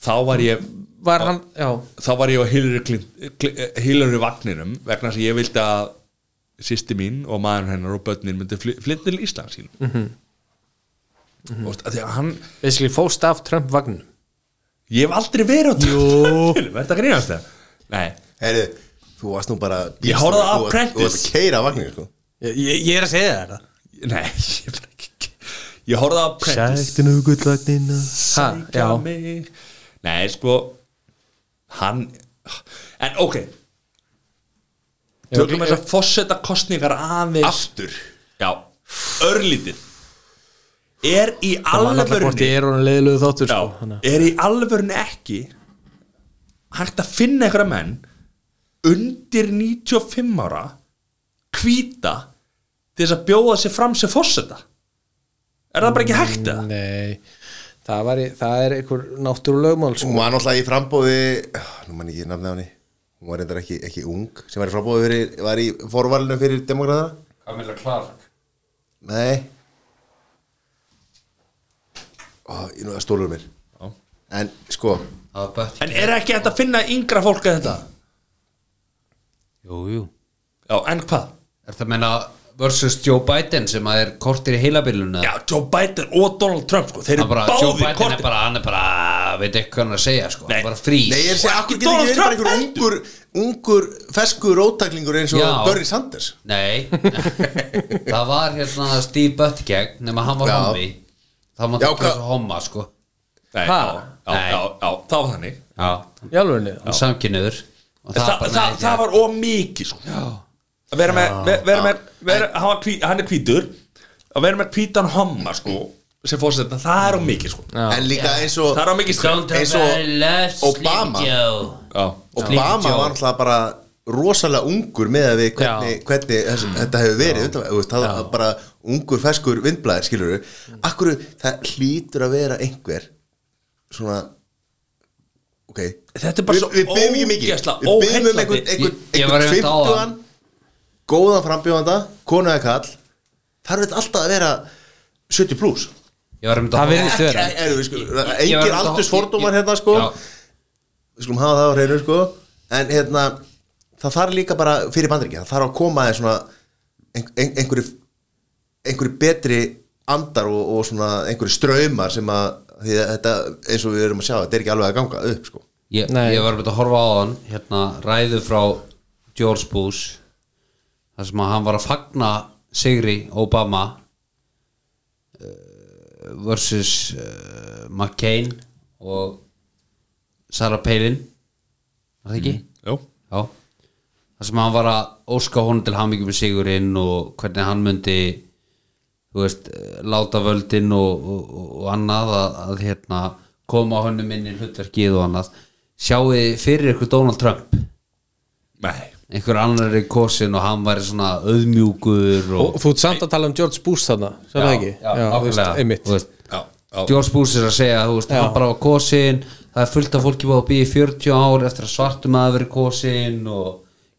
[SPEAKER 1] þá var ég
[SPEAKER 2] var hann, já
[SPEAKER 1] þá var ég á Hillary, Clint- Cl- eh, Hillary vagninum vegna þess að ég vildi að sýsti mín og maður hennar og börnin myndi fly- flytta til Íslands sín mm -hmm. mm því að hann
[SPEAKER 2] basically fóst af Trump vagn
[SPEAKER 1] ég hef aldrei verið á Trump verður að grínast það? Nei,
[SPEAKER 4] Herru, þú varst nú bara
[SPEAKER 1] Ég horfði á
[SPEAKER 4] Þú varst-
[SPEAKER 1] Apprentice.
[SPEAKER 4] Þú varst að keira vagnir sko
[SPEAKER 2] ég, ég, ég er að segja þér
[SPEAKER 1] nei ég, bara ekki- ég horfði á Prentice
[SPEAKER 5] Sæktinu gullvagnina
[SPEAKER 2] það
[SPEAKER 1] Já.
[SPEAKER 2] já,
[SPEAKER 1] mig Nei, sko Hann En ok Tökum þess að fórseta kostningar aðeins
[SPEAKER 4] Aftur
[SPEAKER 1] Já, örlítið Er í
[SPEAKER 2] alveg
[SPEAKER 1] alvörni
[SPEAKER 2] er honum leiðilegu þáttur
[SPEAKER 1] Já,
[SPEAKER 2] sko, þannig að-
[SPEAKER 1] er í alvörni ekki Hægt að finna einhverja menn Undir 95 ára Hvíta Til þess að bjóða sér fram sem fórseta Er það bara ekki hægt það?
[SPEAKER 2] nei, það, var, í- það er einhver náttúrulegumál sko.
[SPEAKER 4] Hún var náttúrulega í frambóði Nú man ég ekki nafnið á henni Hún var reyndar ekki, ekki ung sem var í frambóði fyrir, var í forvalinu fyrir demokrata
[SPEAKER 3] Camilla Clark
[SPEAKER 4] Nei Ó, Ég nú það stólur mér
[SPEAKER 1] Já.
[SPEAKER 4] En sko,
[SPEAKER 1] En er ekki hægt að finna yngra fólk að þetta?
[SPEAKER 3] Jú, jú
[SPEAKER 1] Já, en hvað?
[SPEAKER 3] Er það meina versus Joe Biden sem að er kortir í heilabilinu
[SPEAKER 1] Já, Joe Biden og Donald Trump sko, þeir eru
[SPEAKER 3] bara, Joe
[SPEAKER 1] báðir
[SPEAKER 3] Biden
[SPEAKER 1] kortir
[SPEAKER 3] er bara, hann er bara veit ekki hvað hann er að segja sko,
[SPEAKER 1] Nei.
[SPEAKER 3] hann er bara frís
[SPEAKER 4] nei ég er að segja,
[SPEAKER 1] Og
[SPEAKER 4] akkur
[SPEAKER 1] ekki
[SPEAKER 4] getur ekki verið bara
[SPEAKER 1] Donald
[SPEAKER 4] einhver
[SPEAKER 1] Trump
[SPEAKER 4] ungur, ungur feskur róttaklingur eins og
[SPEAKER 3] Já.
[SPEAKER 4] Bernie Sanders
[SPEAKER 3] Nei, það var hérna Steve Buttigieg nema hann var
[SPEAKER 4] Já.
[SPEAKER 3] hommi það var
[SPEAKER 4] Já,
[SPEAKER 3] það
[SPEAKER 4] hvað-
[SPEAKER 3] þessu homma sko
[SPEAKER 1] Nei,
[SPEAKER 2] Ha?
[SPEAKER 1] já, já,
[SPEAKER 3] Nei.
[SPEAKER 1] já, já, það var þannig
[SPEAKER 3] Já,
[SPEAKER 2] í alvegni
[SPEAKER 3] hann samkynniður og
[SPEAKER 1] Þa,
[SPEAKER 3] bara-
[SPEAKER 1] það,
[SPEAKER 3] nei,
[SPEAKER 1] það var ómikið sko. að vera með, ver- vera með vera, hann, var hví, hann er hvítur að vera með hvítan homma sko, sem fórsetna, það er ómikið sko.
[SPEAKER 4] En líka eins og
[SPEAKER 1] það er ómikið sko.
[SPEAKER 3] Don't
[SPEAKER 4] Eins og
[SPEAKER 3] have a love, sleep
[SPEAKER 4] Obama.
[SPEAKER 3] Joe.
[SPEAKER 1] Já.
[SPEAKER 4] Obama
[SPEAKER 3] Joe.
[SPEAKER 4] var náttúrulega bara rosalega ungur með að við hvernig, hvernig þess, þetta hefur verið undan, þú veist, það var bara ungur feskur vindblæðir skilur við, akkur það hlýtur að vera einhver svona ok
[SPEAKER 1] Þetta er bara
[SPEAKER 4] Við-
[SPEAKER 1] svo
[SPEAKER 4] við byggjum ekki mikið,
[SPEAKER 1] ógeðslega
[SPEAKER 4] við byggjum
[SPEAKER 1] óheillandi.
[SPEAKER 4] einhvern einhvern-
[SPEAKER 3] Ég- ég var
[SPEAKER 4] einhvern
[SPEAKER 3] einmitt á það.
[SPEAKER 4] fimmtugan góðan frambjóðanda, konu eða kall þarf þetta alltaf að vera 70 pluss
[SPEAKER 3] Ég var um þetta
[SPEAKER 2] Það
[SPEAKER 3] að
[SPEAKER 2] virðist
[SPEAKER 3] horfa-
[SPEAKER 2] vera.
[SPEAKER 4] eh,
[SPEAKER 3] Ég var
[SPEAKER 4] engin
[SPEAKER 3] um þetta að-
[SPEAKER 4] aldursfordómar
[SPEAKER 3] ég-
[SPEAKER 4] hérna sko
[SPEAKER 3] Já.
[SPEAKER 4] við skulum hafa það á hreinu sko en hérna, það þarf líka bara fyrir bandaríkja, það þarf að koma aðeins svona ein, ein, einhverju einhverju betri andar og, og svona einhverju straumar sem að, því að þetta, eins og við erum að sjá þetta er ekki alveg að ganga upp sko
[SPEAKER 3] Ég,
[SPEAKER 2] Nei.
[SPEAKER 3] ég var með að horfa á hann hérna, ræðu frá George Bush þar sem að hann var að fagna Sigri Obama uh, versus uh, McCain og Sarah Palin var það ekki?
[SPEAKER 1] Jú.
[SPEAKER 3] Já þar sem hann var að óska honum til hamingjum með Sigurinn og hvernig hann myndi þú veist, eh, láta völdin og, og, og- og annað að, að hérna, koma honum inn í hlutverkið og annað sjáu þið fyrir ykkur Donald Trump
[SPEAKER 1] Nei.
[SPEAKER 3] einhver annar er kosin og hann væri svona auðmjúkur og,
[SPEAKER 2] og þú ert samt að tala um George Bush þarna sem það ekki,
[SPEAKER 3] já,
[SPEAKER 2] þú veist,
[SPEAKER 3] nákvæmlega.
[SPEAKER 2] einmitt
[SPEAKER 3] Þú veist,
[SPEAKER 1] Já, já.
[SPEAKER 3] George Bush er að segja þú veist, hann bara var kosin það er fullt af fólki búið að býja í 40 ár eftir að svartum að vera kosin og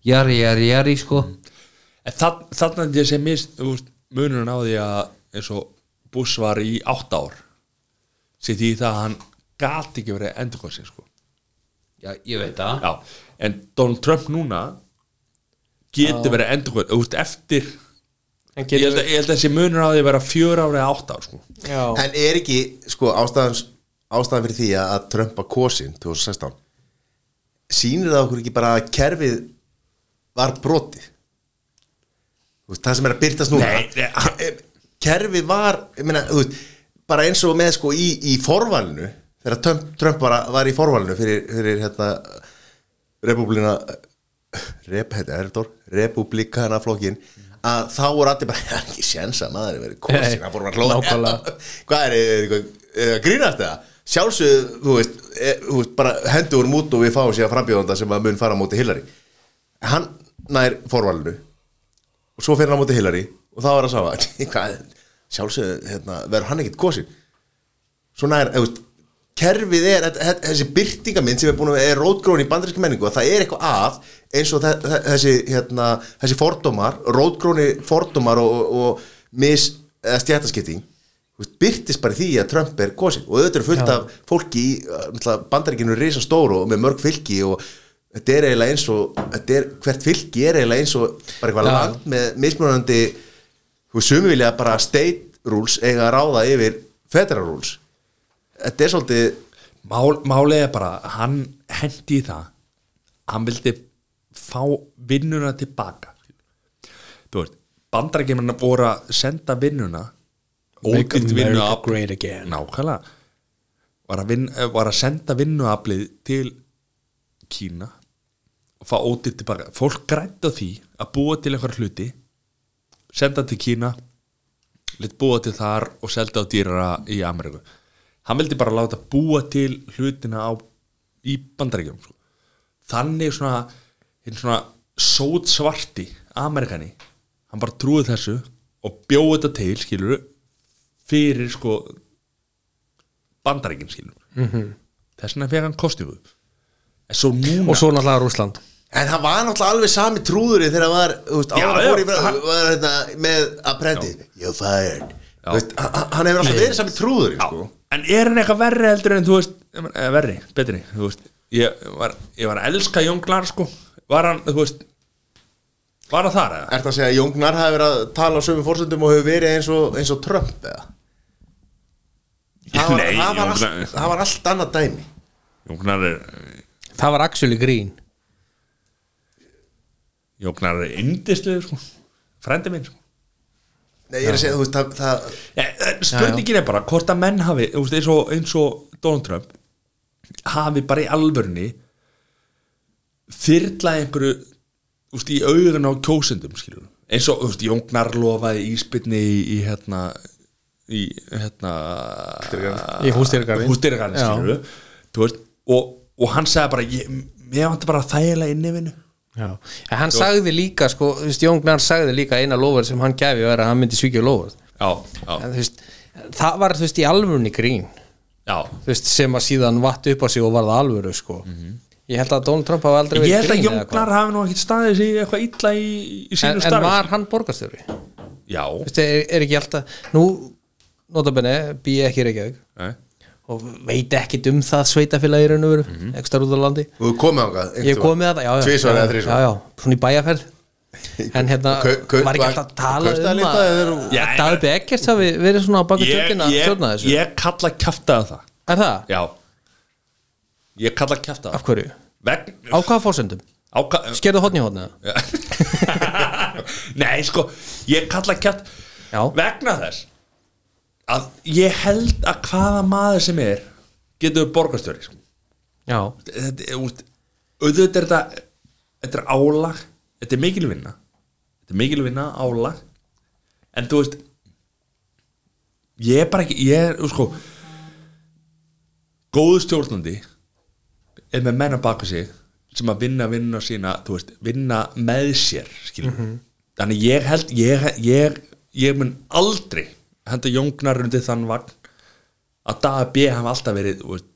[SPEAKER 3] jari, jari, jari sko
[SPEAKER 1] Mm. En það, þarna er ég sem mist þú veist, munurinn á því að eins og Bush var í átt ár sér því það að hann gati ekki verið endurkosið sko.
[SPEAKER 3] já, ég veit það
[SPEAKER 1] Já, en Donald Trump núna getur verið endurkosið út eftir
[SPEAKER 2] En
[SPEAKER 1] ég held,
[SPEAKER 2] getur-
[SPEAKER 1] að, ég held að þessi munur á því að vera fjör ára eða átt ár sko.
[SPEAKER 2] já,
[SPEAKER 4] en er ekki sko ástæðan, ástæðan fyrir því að að Trump var kosin 2016 sýnir það okkur ekki bara að kerfið var brotið Þú veist, það sem er að byrtast núna
[SPEAKER 1] Nei, nei, a-
[SPEAKER 4] Ke- kerfið var ég meina, þú veist, bara eins og með sko í, í forvalinu þegar Trump, Trump var, var í forvalinu fyrir, fyrir hérna republikana rep, þetta er þetta orð, republikana flokkin að þá voru allir bara "Það er ekki séns að maður er verið kosin
[SPEAKER 2] Nei,
[SPEAKER 4] það fórum að hlóða
[SPEAKER 2] nákvæmlega.
[SPEAKER 4] hvað er, er, eitthvað- er að grínast það sjálfsögðu, þú veist, er, þú veist bara hendur úr mút og við fáum síðan frambjóðanda sem að mun fara á móti Hillary hann nær forvalinu og svo fyrir hann á móti Hillary og þá er að sama hvað, sjálfsögðu, hérna, verður hann ekkert kosin svona er, veist, kerfið er þetta- þetta- þessi byrtingamind sem er búin að er rótgrón í bandaríski menningu að það er eitthvað að eins og þe- þe- þessi, hérna, þessi fordómar rótgróni fordómar og, og, og mis eða stjættaskipting þú veist, byrtist bara í því að Trump er kosin og auðvitað er fullt af fólki í náttúrulega, bandaríkinu er risa stór og með mörg fylki og þetta er eiginlega eins og þetta er, hvert fylki er eiginlega eins og bara eitthvað
[SPEAKER 2] Já.
[SPEAKER 4] land með mismunandi þú veist, sumi vilja bara state rules eiga að ráða yfir federal rules þetta er svolítið
[SPEAKER 1] Mál, málið er bara, hann hendi í það hann vildi fá vinnuna tilbaka þú veist bandarækjumarna voru að senda vinnuna
[SPEAKER 2] Make
[SPEAKER 1] ódýrt
[SPEAKER 2] America
[SPEAKER 1] vinnuafl
[SPEAKER 2] great again
[SPEAKER 1] nákvæmlega var að, vin, var að senda vinnuaflið til Kína og fá ódýrt tilbaka fólk grænt á því að búa til einhver hluti senda til Kína lit búa til þar og selda á dýrara í Ameríku hann vildi bara láta búa til hlutina á, í bandaríkjum þannig svona, hinn svona sót svarti Amerikani hann bara trúið þessu og bjóði þetta til skilur fyrir sko bandaríkjum skilur mm -hmm. þess vegna fyrir hann kostið en svo núna
[SPEAKER 2] og svo náttúrulega Rússland
[SPEAKER 4] En hann var náttúrulega alveg sami trúðurinn þegar hann var, þú veist,
[SPEAKER 1] Já,
[SPEAKER 4] ára
[SPEAKER 1] já,
[SPEAKER 4] fór í verð,
[SPEAKER 1] hann-
[SPEAKER 4] var hérna með apprendi, you're fired, þú veist, hann hann hefur alltaf verið sami trúðurinn, sko.
[SPEAKER 1] en er hann eitthvað verri heldur en þú veist ég meina, eða verri, betri, þú veist ég var, ég var að elska Jónglar sko var hann, þú veist var hann þar eða?
[SPEAKER 4] Ertu að segja að Jóngnar hafi verið að tala á sömu fórsöndum og hefur verið eins og, eins og Trump, eða? Það var,
[SPEAKER 1] Nei,
[SPEAKER 4] það, var
[SPEAKER 1] Jónglar-
[SPEAKER 4] allt, það var allt annað dæmi.
[SPEAKER 1] Jónglar er
[SPEAKER 2] það var actually grín
[SPEAKER 1] Jónglar er yndislega sko frendi minn sko
[SPEAKER 4] Nei, ég er að segja, þú veist, það, það
[SPEAKER 1] Eh, eh, spurningin er bara hvort að menn hafi þú veist, eins, og, eins og Donald Trump hafi bara í alvörni þyrla einhverju þú veist, í augun á kjósendum skilur. eins og þú veist, Jóngnar lofaði íspilni í, í hérna í hérna
[SPEAKER 4] Húsdýragarðinn.
[SPEAKER 2] Í húsdýragarðinn.
[SPEAKER 1] húsdýragarðinn,
[SPEAKER 2] Já.
[SPEAKER 1] skilurðu. Þú veist, og, og hann sagði bara ég, mér vantar bara þægilega innivinu
[SPEAKER 2] Já. En hann sagði líka sko, þú veist, Jón Gnar sagði líka eina lofur sem hann gefi var að hann myndi svíkja lofur
[SPEAKER 1] já, já,
[SPEAKER 2] en, þú veist, það var þú veist í alvörunni grín
[SPEAKER 1] já
[SPEAKER 2] þú veist, sem að síðan vatt upp á sig og varða alvöru sko. ég held að Donald Trump hafa aldrei
[SPEAKER 1] ég
[SPEAKER 2] verið
[SPEAKER 1] held að
[SPEAKER 2] grín eða
[SPEAKER 1] Jóngnar
[SPEAKER 2] hvað.
[SPEAKER 1] hafi nú ekkert staðið sig eitthvað illa í, í
[SPEAKER 2] en,
[SPEAKER 1] sínu
[SPEAKER 2] en
[SPEAKER 1] starfi
[SPEAKER 2] var hann borgarstjóri Þú
[SPEAKER 1] já,
[SPEAKER 2] veist, er, er ekki alltaf nú, notabene, býja ekki í Reykjavík
[SPEAKER 1] nei
[SPEAKER 2] og veit ekkit um það sveitafélagi í raun og veru, mm -hmm. ekstra út á landi
[SPEAKER 4] og þú komið ángað.
[SPEAKER 2] ég hef komið að það, já, já,
[SPEAKER 4] Mhm. Tvisvar
[SPEAKER 2] já,
[SPEAKER 4] eða þrisvar.
[SPEAKER 2] já, já, svona í bæjarferð en hérna,
[SPEAKER 4] Kau- kau-
[SPEAKER 2] var ekki
[SPEAKER 4] var-
[SPEAKER 2] alltaf að tala
[SPEAKER 4] kaupstaðar
[SPEAKER 2] um
[SPEAKER 4] líka, eða
[SPEAKER 2] að
[SPEAKER 4] eru-
[SPEAKER 1] Já,
[SPEAKER 2] að Daði B. Eggers hafi verið svona á baka tjöldin að
[SPEAKER 1] ég,
[SPEAKER 2] stjórna þessu
[SPEAKER 1] ég kalla kjaftaði það
[SPEAKER 2] er það?
[SPEAKER 1] já ég kalla kjaftaði
[SPEAKER 2] af hverju?
[SPEAKER 1] Veg,
[SPEAKER 2] á hvaða fórsendum?
[SPEAKER 1] á, ka-
[SPEAKER 2] skerðu hotni hotni?
[SPEAKER 1] nei sko ég kalla kjaft
[SPEAKER 2] Já.
[SPEAKER 1] vegna þess að ég held að hvaða maður sem er getur verið borgarstjóri sko.
[SPEAKER 2] já,
[SPEAKER 1] þetta, er, úst, auðvitað er þetta þetta er álag, þetta er mikil vinna þetta er mikil vinna, álag en þú veist ég er bara ekki ég er, sko góðu stjórnandi er með menna baka sig sem að vinna vinna sína, þú veist vinna með sér, skiljum
[SPEAKER 2] Mhm.
[SPEAKER 1] þannig ég held, ég, ég ég mun aldrei henda jóngnar undir þann vagn að dag að B hafa alltaf verið þú veist,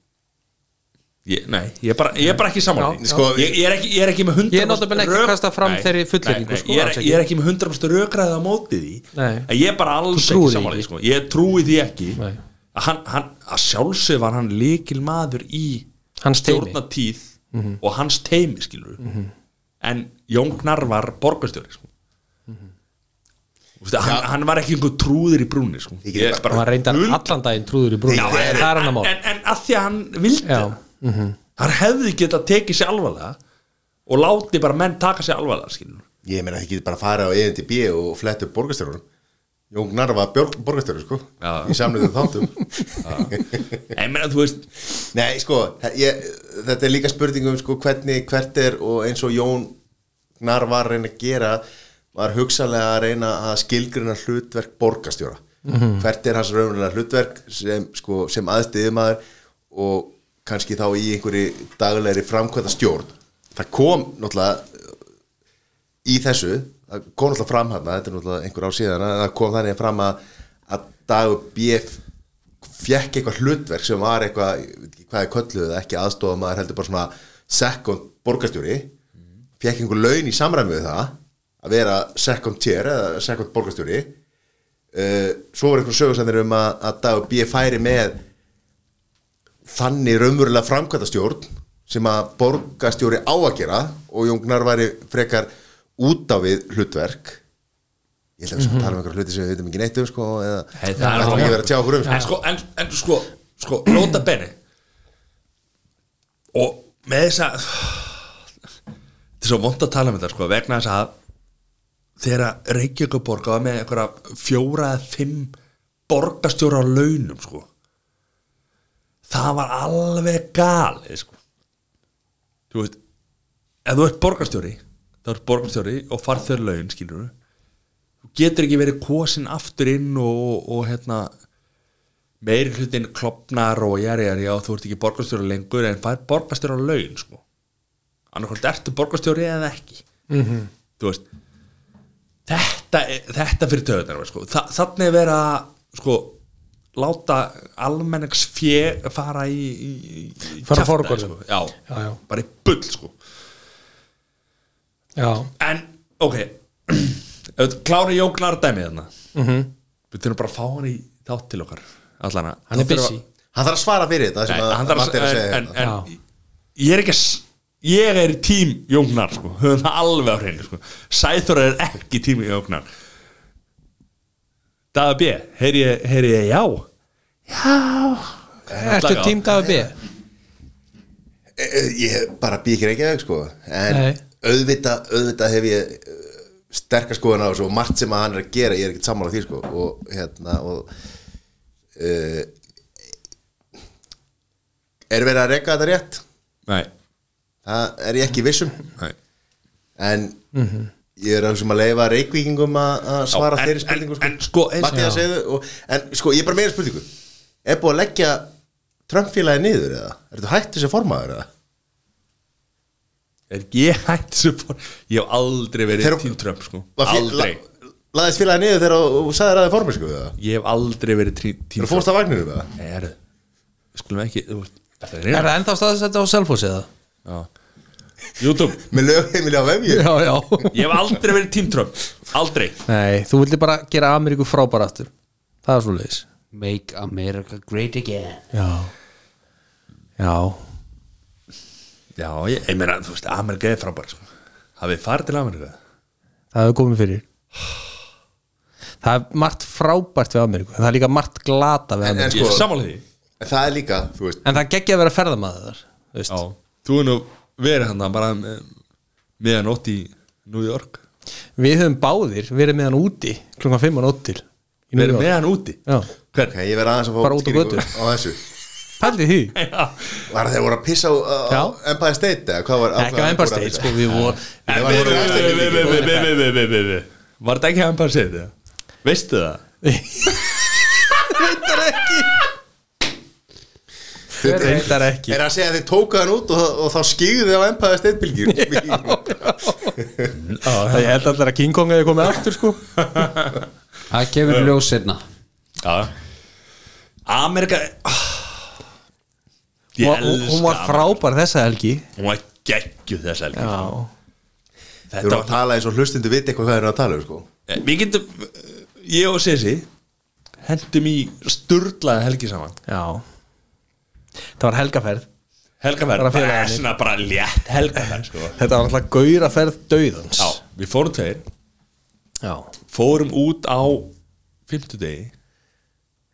[SPEAKER 1] ég, nei, ég er bara, ég er bara ekki saman
[SPEAKER 2] Já, já.
[SPEAKER 4] Sko,
[SPEAKER 1] ég, ég, er ekki, ég er ekki með 100%
[SPEAKER 2] Ég er náttúrulega ekki að
[SPEAKER 1] rök-
[SPEAKER 2] kasta fram
[SPEAKER 1] Nei,
[SPEAKER 2] þeirri fullyrðingu,
[SPEAKER 1] nei, nei,
[SPEAKER 2] sko,
[SPEAKER 1] ég,
[SPEAKER 2] alls
[SPEAKER 1] er,
[SPEAKER 2] ekki.
[SPEAKER 1] ég er ekki með 100% rökraðið á móti því
[SPEAKER 2] Nei.
[SPEAKER 1] en ég er bara alls
[SPEAKER 2] trúir
[SPEAKER 1] ekki
[SPEAKER 2] því
[SPEAKER 1] saman
[SPEAKER 2] ekki.
[SPEAKER 1] sko. ég trúi því ekki
[SPEAKER 2] Nei.
[SPEAKER 1] að, hann, hann, að sjálfsög var hann líkil maður í
[SPEAKER 2] Hans Mhm. teymi.
[SPEAKER 1] stjórnatíð og hans teimi skilur en Jón Gnar var borgarstjóri sko.
[SPEAKER 2] Mhm.
[SPEAKER 1] mm hann, hann var ekki einhver trúður í brúni sko.
[SPEAKER 4] Ég get
[SPEAKER 2] hann var reyndar
[SPEAKER 1] hund-
[SPEAKER 2] allan daginn trúður í brúni
[SPEAKER 1] Já, en,
[SPEAKER 2] það er hann að
[SPEAKER 1] en,
[SPEAKER 2] mál
[SPEAKER 1] en, en að því að hann vildi
[SPEAKER 2] Já, Mhm.
[SPEAKER 1] það hann hefði getað tekið sér alvarlega og láti bara menn taka sér alvarlega skilur.
[SPEAKER 4] Ég meina, þið getur bara að fara á ENDB og fletta upp borgarstjórunum. Jóngnar var björg- borgarstjórun, sko,
[SPEAKER 1] Já.
[SPEAKER 4] í samlega þáttum.
[SPEAKER 1] en meina þú veist
[SPEAKER 4] Nei, sko, þe- ég, þetta er líka spurning um sko, hvernig, hvert er og eins og Jón Gnar var að reyna að gera var hugsalega að reyna að skilgrina hlutverk borgarstjóra hvert er hans raunlega hlutverk sem, sko, sem aðstiðumæður og kannski þá í einhverju daglegri framkvæmta stjórn það kom náttúrulega í þessu, það kom náttúrulega fram hann þetta er náttúrulega einhver ár síðan en það kom þannig fram að, að dagur BF fekk eitthvað hlutverk sem var eitthvað, ég veit ekki hvað er kölluð eða ekki aðstofa maður heldur bara svona second borgarstjóri fekk einhver laun í samræmi við það að vera second tier eða second borgarstjóri uh, svo var einhver sögursendir um að, að Dagur B. færi með þannig raunverulega framkvæmtastjórn sem að borgarstjóri á að gera og Jóngnar væri frekar út á við hlutverk ég held að við mm tala um einhverja hluti sem við veitum ekki neitt um sko, eða
[SPEAKER 1] Hey, það er
[SPEAKER 4] það er
[SPEAKER 1] rangt.
[SPEAKER 4] ekki verið að tjá okkur um sko.
[SPEAKER 1] en sko, en, en sko, sko nota benni og með þess að þetta er svo vond að tala um þetta sko, vegna þess að þegar að Reykjavíkuborg var með einhverja fjóra eða fimm borgarstjóra á launum sko það var alveg galið sko þú veist ef þú ert borgarstjóri þá ert borgarstjóri og farð þau laun skilur þú getur ekki verið kosin aftur inn og, og, og hérna meiri hlutin klopnar og jæri, jæri, já, þú ert ekki borgarstjóri lengur en fær borgarstjóri á laun, sko annarkvæmt ertu borgarstjóri eða ekki
[SPEAKER 2] Mhm.
[SPEAKER 1] -hmm. þú veist þetta, er- þetta fyrir töðunar sko. Þa, þannig er vera sko, láta almennings fjö fara í, í, í
[SPEAKER 2] Fara
[SPEAKER 1] kjaftaði,
[SPEAKER 2] forgörðum.
[SPEAKER 1] sko. já,
[SPEAKER 2] Já, já.
[SPEAKER 1] bara í bull sko.
[SPEAKER 2] já,
[SPEAKER 1] en, ok klári jóknar dæmið þarna við þurfum bara að fá hann í þátt til okkar allana,
[SPEAKER 2] hann er busy
[SPEAKER 4] hann þarf að svara fyrir þetta sem
[SPEAKER 1] Nei, hann
[SPEAKER 4] að
[SPEAKER 1] þarf
[SPEAKER 4] Matti
[SPEAKER 1] að
[SPEAKER 4] er að
[SPEAKER 1] en,
[SPEAKER 4] segja
[SPEAKER 1] en,
[SPEAKER 4] hérna.
[SPEAKER 1] en, ég er ekki að s- ég er í tím Jóngnar sko, höfum það alveg á hreinu sko. Sæþór er ekki tím Jóngnar Daða B heyri ég, heyri ég já já
[SPEAKER 2] Ertu tím Davi B?
[SPEAKER 4] Eh, eh, ég bara býð ekki reykjaði sko. en
[SPEAKER 2] Nei.
[SPEAKER 4] auðvitað auðvita hef ég eh, sterka skoðan á þessu og margt sem að hann er að gera ég er ekkert sammála því sko. og hérna og uh, er verið að reyka þetta rétt
[SPEAKER 1] nei,
[SPEAKER 4] það er ég ekki um. vissum
[SPEAKER 1] nei.
[SPEAKER 4] en ég er að sem að leifa reykvíkingum að að
[SPEAKER 1] Já,
[SPEAKER 4] svara
[SPEAKER 1] en-
[SPEAKER 4] þeirri spurningu
[SPEAKER 1] en, en sko, eins,
[SPEAKER 4] Matti, það segðu og, en sko ég er bara meira spurningu er búið að leggja Trump-félagi niður eða? Er þetta hættu sem formaður eða?
[SPEAKER 1] er ekki ég hætt sem fór- ég hef aldrei verið
[SPEAKER 4] Þeir-
[SPEAKER 1] tím Trump sko.
[SPEAKER 4] Var fél-
[SPEAKER 1] aldrei,
[SPEAKER 4] la- Laðist félagi niður þegar þú- þú sagðir að það er formið sko eða?
[SPEAKER 1] ég hef aldrei verið tí- tím
[SPEAKER 4] Þú fórst að vagninu með það?
[SPEAKER 1] Nei, herru, skulum ekki þú veist, þetta er
[SPEAKER 2] Er
[SPEAKER 1] reyna
[SPEAKER 2] það ennþá staðsett á Selfossi eða?
[SPEAKER 1] YouTube,
[SPEAKER 4] Með lögheimili á vefju?
[SPEAKER 2] Já, já
[SPEAKER 1] ég hef aldrei verið tím Trump aldrei
[SPEAKER 2] Nei, þú vildi bara gera Ameríku frábæra aftur Það er svo leiðis
[SPEAKER 3] Make America Great Again
[SPEAKER 2] Já Já
[SPEAKER 1] Já, ég, ég meina, þú veist, Amerika er frábær sko. Hafið þið farið til Amerika?
[SPEAKER 2] Það hefur komið fyrir Það er margt frábært við Ameríku en það er líka margt glata við
[SPEAKER 4] En-
[SPEAKER 1] Sko,
[SPEAKER 2] Ameríku en,
[SPEAKER 4] en-
[SPEAKER 1] ég
[SPEAKER 4] Sko-
[SPEAKER 1] er samanlega því
[SPEAKER 4] Það er líka, þú veist
[SPEAKER 2] það geggja að vera ferðamaður þar þú veist.
[SPEAKER 1] Já, þú er nú verið hann bara með- meðan ótt í New York
[SPEAKER 2] Við höfum báðir verið með hann úti klukkan 5 og nótt til í New
[SPEAKER 1] Verið
[SPEAKER 2] York.
[SPEAKER 1] meðan úti
[SPEAKER 2] Já,
[SPEAKER 1] Hvern?
[SPEAKER 4] Ok, ég verði aðeins að fá
[SPEAKER 2] Bara út á
[SPEAKER 4] skýringu
[SPEAKER 2] götu.
[SPEAKER 4] á þessu
[SPEAKER 2] pældi því
[SPEAKER 4] Var þeir voru að pissa á, á
[SPEAKER 2] Já.
[SPEAKER 4] á Empire State eða hvað var á
[SPEAKER 2] Ekki að
[SPEAKER 4] hvað voru
[SPEAKER 2] Empire
[SPEAKER 4] að
[SPEAKER 2] State,
[SPEAKER 4] pissa?
[SPEAKER 2] sko, við vorum
[SPEAKER 1] En
[SPEAKER 4] Nei,
[SPEAKER 1] við- við-
[SPEAKER 4] var-
[SPEAKER 1] við- við- við- við- við- við- við- við- við- Var þetta ekki hann bara að segja þetta? Veistu það?
[SPEAKER 2] Reyndar ekki
[SPEAKER 4] Þeir- þeir-
[SPEAKER 2] Reyndar ekki
[SPEAKER 4] Er að segja að þeir tóka hann út og, og þá skýðu þið á Empire State bylgjur
[SPEAKER 2] Það ég held allir að King Kong hefði komið aftur, sko
[SPEAKER 3] Það kemur í ljós seinna
[SPEAKER 1] Já Amerika Ah. Ég
[SPEAKER 2] Og- og-
[SPEAKER 1] elska
[SPEAKER 2] Hún var
[SPEAKER 1] Ameríku.
[SPEAKER 2] frábær þessa helgi
[SPEAKER 1] Hún var geggjuð þess helgi
[SPEAKER 2] Já
[SPEAKER 4] Þeir
[SPEAKER 1] Þetta
[SPEAKER 4] voru
[SPEAKER 1] var
[SPEAKER 4] að tala eins og hlustundu viti eitthvað hvað þeir eru að tala um sko
[SPEAKER 1] Eh, Við getum, eh, ég og Sessi hendum í sturlaða helgi saman
[SPEAKER 2] Já Það var helgaferð
[SPEAKER 1] Helgaferð,
[SPEAKER 2] Bara
[SPEAKER 1] bara,
[SPEAKER 2] félagarnir.
[SPEAKER 1] svona bara létt helgaferð sko.
[SPEAKER 2] Þetta var alltaf gauraferð dauðans
[SPEAKER 1] Já, við fórum tveir
[SPEAKER 2] Já
[SPEAKER 1] Fórum út á fimmtudegi,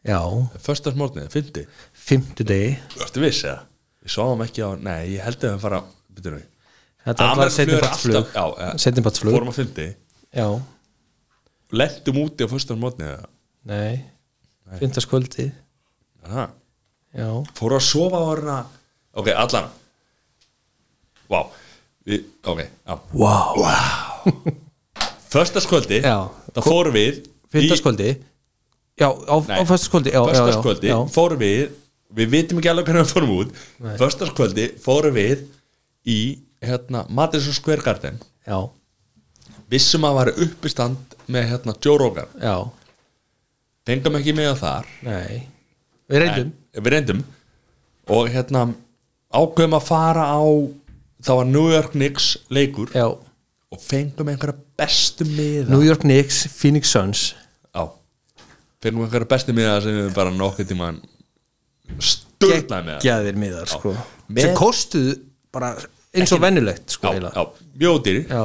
[SPEAKER 2] Já
[SPEAKER 1] föstarsmórnið, fimmti
[SPEAKER 2] Fimmtudegi
[SPEAKER 1] Ertu viss eða? Við sáum ekki á, nei, ég held að við fara Býtum við
[SPEAKER 2] Þetta
[SPEAKER 1] Amerísk
[SPEAKER 2] var alltaf
[SPEAKER 1] flug er
[SPEAKER 2] setnibatsflug
[SPEAKER 1] alltaf- já, eh,
[SPEAKER 2] Setnibatsflug
[SPEAKER 1] Fórum á fimmti,
[SPEAKER 2] Já
[SPEAKER 1] lentum úti á föstarsmórnið
[SPEAKER 2] Nei Fymtaskvöldi
[SPEAKER 1] Aha
[SPEAKER 2] Já
[SPEAKER 1] fóru að sofa á hérna ok, allan vá, við, ok já.
[SPEAKER 2] Vá wow.
[SPEAKER 1] förstaskvöldi,
[SPEAKER 2] Já.
[SPEAKER 1] það fóru við
[SPEAKER 2] Fymtaskvöldi Já, á, á
[SPEAKER 1] Nei.
[SPEAKER 2] föstaskvöldi Já, já, já
[SPEAKER 1] förstaskvöldi
[SPEAKER 2] Já,
[SPEAKER 1] fóru við við vitum ekki alveg hvernig við fórum út förstaskvöldi fóru við í hérna, Madison Square Garden
[SPEAKER 2] já,
[SPEAKER 1] vissum að var uppistand með hérna, Joe Rogan,
[SPEAKER 2] já
[SPEAKER 1] fengum ekki með á þar
[SPEAKER 2] Nei Við reyndum
[SPEAKER 1] en, við reyndum og hérna ákveðum að fara á það var New York Knicks leikur
[SPEAKER 2] Já
[SPEAKER 1] og fengum einhverja bestu miða
[SPEAKER 2] New York Knicks, Phoenix Suns
[SPEAKER 1] Já fyrir nú einhverja besti miða sem við bara nokkuð tíma sturlaði með það
[SPEAKER 2] geggjaðir miðar sko.
[SPEAKER 1] Með-
[SPEAKER 2] sem kostuðu bara eins og vennulegt sko,
[SPEAKER 1] já,
[SPEAKER 2] eiginlega.
[SPEAKER 1] já, mjög dýri
[SPEAKER 2] já.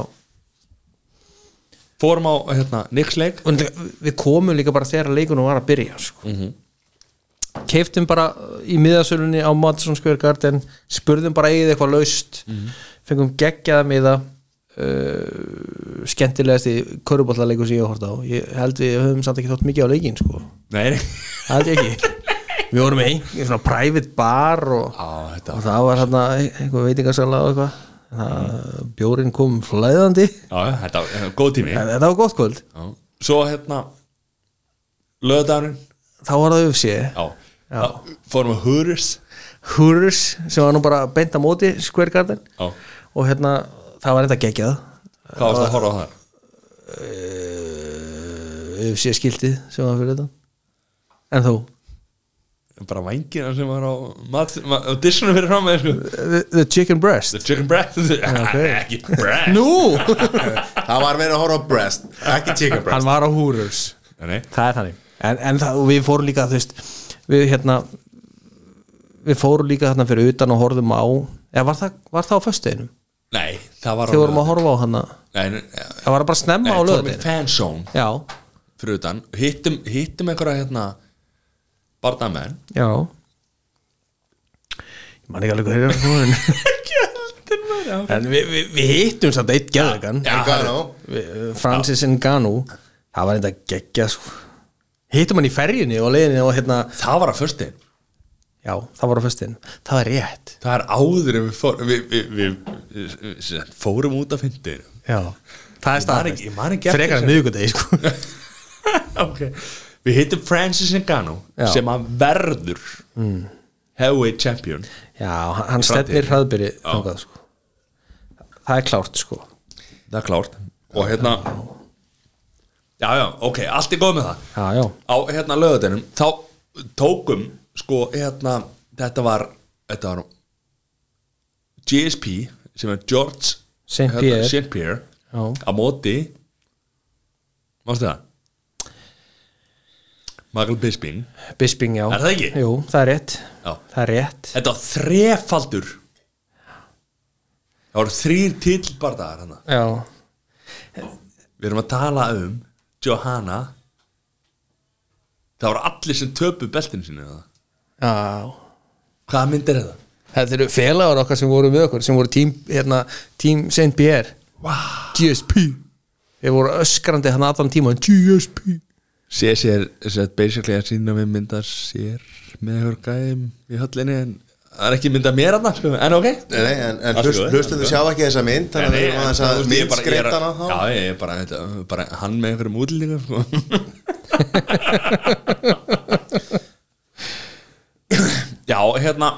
[SPEAKER 1] fórum á hérna, Nixleik
[SPEAKER 2] og náttúrulega, við komum líka bara þegar leikunum var að byrja sko. keiftum bara í miðasölunni á Madison Square Garden spurðum bara eigið eitthvað laust fengum geggjaða miða Uh, skemmtilegasti körubollaleiku sem ég hef hort á ég held við höfum samt ekki þótt mikið á leikin sko.
[SPEAKER 1] nei, nei.
[SPEAKER 2] það held ég ekki við vorum í í svona private bar og,
[SPEAKER 1] Á, þetta
[SPEAKER 2] og það var hérna einhver veitingasala og eitthvað mm. bjórin kom flæðandi
[SPEAKER 1] Já, já, þetta var góð tími
[SPEAKER 2] en þetta var gott kvöld
[SPEAKER 1] já. Svo hérna Löðdæðurinn
[SPEAKER 2] þá var það UFC
[SPEAKER 1] Já, já. Fórum að Húris
[SPEAKER 2] Hurus sem var nú bara beint á móti Square Garden
[SPEAKER 1] Já,
[SPEAKER 2] og hérna það var þetta geggjað
[SPEAKER 1] hvað varst að horfa á það?
[SPEAKER 2] uh, UFC skiltið sem var fyrir þetta en þú
[SPEAKER 1] Bara vængina sem var á mat, ma, á dissunum fyrir fram með sko.
[SPEAKER 2] The, the Chicken Breast
[SPEAKER 1] The chicken breast Ekki breast
[SPEAKER 2] Nú,
[SPEAKER 4] Það var verið að horfa á breast Ekki chicken breast
[SPEAKER 2] hann var á Hurus
[SPEAKER 1] Nei, nei.
[SPEAKER 2] það er þannig en, en það, og við fórum líka þú veist, við hérna við fórum líka þarna fyrir utan og horfðum á eða var það, var það á föstuðinu
[SPEAKER 1] nei, það var á
[SPEAKER 2] þegar vorum að
[SPEAKER 1] laugardaginn.
[SPEAKER 2] horfa á hana
[SPEAKER 1] Nei, nei, nei,
[SPEAKER 2] það var bara snemma á
[SPEAKER 1] fórum í
[SPEAKER 2] löðinu
[SPEAKER 1] fanzone
[SPEAKER 2] já,
[SPEAKER 1] fyrir utan Hittum, hittum einhverja hérna Bardamenn
[SPEAKER 2] já ég man ekki alveg hvað þeirra það voru, en- en við, við, við hittum samt eitt geðagan
[SPEAKER 1] Já,
[SPEAKER 4] Hvað er nú?
[SPEAKER 2] Francis Ngannou það var þetta geggja sko. hittum hann í ferjunni og leiðinni og hérna
[SPEAKER 1] það var að fyrsti
[SPEAKER 2] já, það var á föstuðinu, það var rétt
[SPEAKER 1] Það er áður en við fórum Við, við, við, við, við, við fórum út af fyndir
[SPEAKER 2] Já, það er
[SPEAKER 1] man
[SPEAKER 2] staðan
[SPEAKER 1] ekki- ég man ekki eftir
[SPEAKER 2] Frekar en
[SPEAKER 1] þessu.
[SPEAKER 2] miðvikudegi sko
[SPEAKER 1] okay. Við hittum Francis Ngannou
[SPEAKER 2] Já.
[SPEAKER 1] sem að verður mm. heavyweight champion
[SPEAKER 2] Já, hann- hann stefnir hraðbyrði þangað sko Það er klárt sko
[SPEAKER 1] Það er klárt og hérna Já, já, ok, allt er góð með það
[SPEAKER 2] Já, já,
[SPEAKER 1] á hérna lögadeinum þá tókum sko hérna þetta var, þetta var GSP sem er George
[SPEAKER 2] St.
[SPEAKER 1] hérna,
[SPEAKER 2] Pierre.
[SPEAKER 1] St. Pierre
[SPEAKER 2] Já.
[SPEAKER 1] á móti mástu það Michael Bisping
[SPEAKER 2] Bisping já
[SPEAKER 1] Er það ekki?
[SPEAKER 2] Jú, það er rétt
[SPEAKER 1] Já.
[SPEAKER 2] Það er rétt
[SPEAKER 1] Þetta var þrefaldur Það voru þrýr tillbardagar hana
[SPEAKER 2] Já,
[SPEAKER 1] Við erum að tala um Johanna Það voru allir sem töpu beltinu sinni eða
[SPEAKER 2] já
[SPEAKER 1] Hvaða mynd er þetta?
[SPEAKER 2] Þetta eru félagar okkar sem voru með okkur sem voru tím, hérna, tím Saint Pierre
[SPEAKER 1] Vá.
[SPEAKER 2] GSP Þeir voru öskrandi hann allan tíma GSP
[SPEAKER 1] Sé sér, sér basically að sína við mynda sér með einhver gæðum í höllinni en það er ekki mynda mér hann sko. en ok
[SPEAKER 4] Nei, nei, en, en
[SPEAKER 1] Allt í
[SPEAKER 4] hlust,
[SPEAKER 1] góðu, allt í
[SPEAKER 4] hlustundu
[SPEAKER 1] góðu.
[SPEAKER 4] sjá ekki þessa mynd Þannig að við erum aðeins að myndskreita hana þá
[SPEAKER 1] Já, ég er bara, þetta, bara hann með einhverjum útlýningum sko. Já, hérna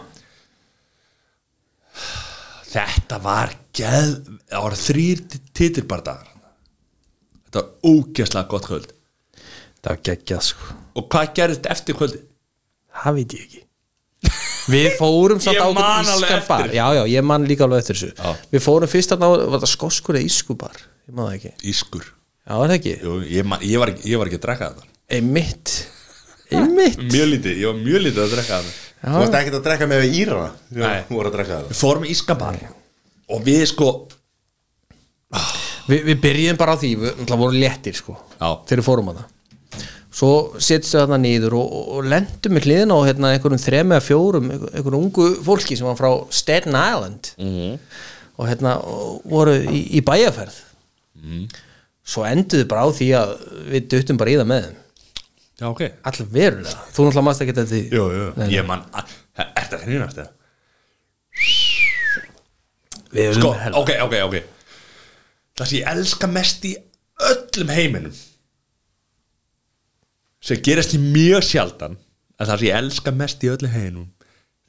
[SPEAKER 1] Þetta var geð Það voru þrýr titirbardagar Þetta var ógeðslega gott kvöld
[SPEAKER 2] Það var geggjað sko
[SPEAKER 1] Og hvað gerðist eftir kvöldi?
[SPEAKER 2] Það veit ég ekki Við fórum samt
[SPEAKER 1] Ég
[SPEAKER 2] á
[SPEAKER 1] man alveg
[SPEAKER 2] ískan
[SPEAKER 1] eftir
[SPEAKER 2] bar
[SPEAKER 1] þessu.
[SPEAKER 2] Já, já, ég man líka alveg eftir þessu
[SPEAKER 1] Já.
[SPEAKER 2] Við fórum fyrst að ná, var það skoskur eða ískubar Ég man það ekki
[SPEAKER 1] Ískur
[SPEAKER 2] Já, er það ekki?
[SPEAKER 1] Jú, ég, man- ég, var, ekki- ég var ekki að drekka þetta
[SPEAKER 2] Einmitt Einmitt
[SPEAKER 1] Mjög lítið, ég var mjög lítið að drekka þetta
[SPEAKER 4] Þú varst ekkert að drekka með Íra
[SPEAKER 1] Nei.
[SPEAKER 4] Þú voru að drekka það
[SPEAKER 1] Við fórum í Ískabar Og við sko
[SPEAKER 2] Vi, Við byrjum bara á því, við náttúrulega vorum léttir sko
[SPEAKER 1] Já.
[SPEAKER 2] Þegar við fórum að það Svo setjum við þarna niður og, og, og lendum við hliðina á hérna, einhverjum þrem eða fjórum einhver- einhverjum ungu fólki sem var frá Staten Island -hmm. og hérna og voru í, í bæjarferð Svo enduðu bara á því að við duttum bara í það með þeim
[SPEAKER 1] Já, ok
[SPEAKER 2] Allir verulega, þú náttúrulega mást ekki þetta því
[SPEAKER 1] Jú, jú, ég man Þetta er hrýnast eða?
[SPEAKER 2] Við
[SPEAKER 1] Sko,
[SPEAKER 2] erum hel-
[SPEAKER 1] ok, ok, ok Það sem ég elska mest í öllum heiminum sem gerist í mjög sjaldan en það sem ég elska mest í öllum heiminum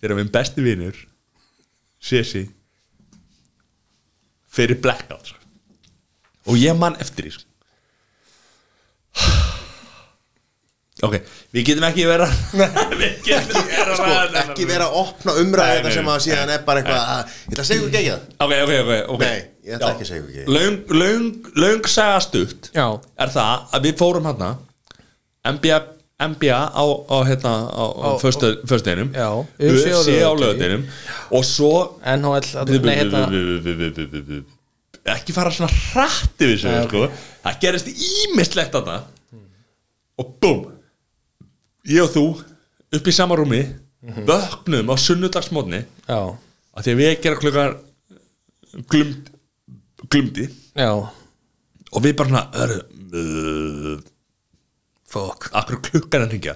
[SPEAKER 1] þegar minn besti vinur Sessi fyrir blackout sko. og ég man eftir því sko. ok, við getum ekki vera við getum ekki vera
[SPEAKER 4] Sko, ekki vera að opna
[SPEAKER 1] Nei,
[SPEAKER 4] umræða þetta
[SPEAKER 1] nei,
[SPEAKER 4] sem að síðan er bara eitthvað að, Ég ætla að segja ykkur ekki það
[SPEAKER 1] Ok, ok, ok, ok
[SPEAKER 4] Nei, ég ætla
[SPEAKER 1] Já.
[SPEAKER 4] ekki að segja ykkur ekki.
[SPEAKER 1] Löng, löng, löng sagði stutt
[SPEAKER 2] Já.
[SPEAKER 1] hérna, Er það að við fórum hana NBA NBA á, á, hérna, á, á föstudeginum
[SPEAKER 2] Já, UFC á
[SPEAKER 1] UFC á
[SPEAKER 2] laugardeginum.
[SPEAKER 1] lögadeginum og svo
[SPEAKER 2] NHL, nei, hérna
[SPEAKER 1] ekki fara svona hratt yfir þessu sko. það gerist ímislegt þarna og búm ég og þú upp í sama rúmi
[SPEAKER 2] Mhm.
[SPEAKER 1] vöknum á sunnudagsmótni
[SPEAKER 2] Já,
[SPEAKER 1] að því að við gera klukkar glumd, glumdi
[SPEAKER 2] já,
[SPEAKER 1] og við bara svona "Hörru, uh, fuck, akkur klukkan að hringja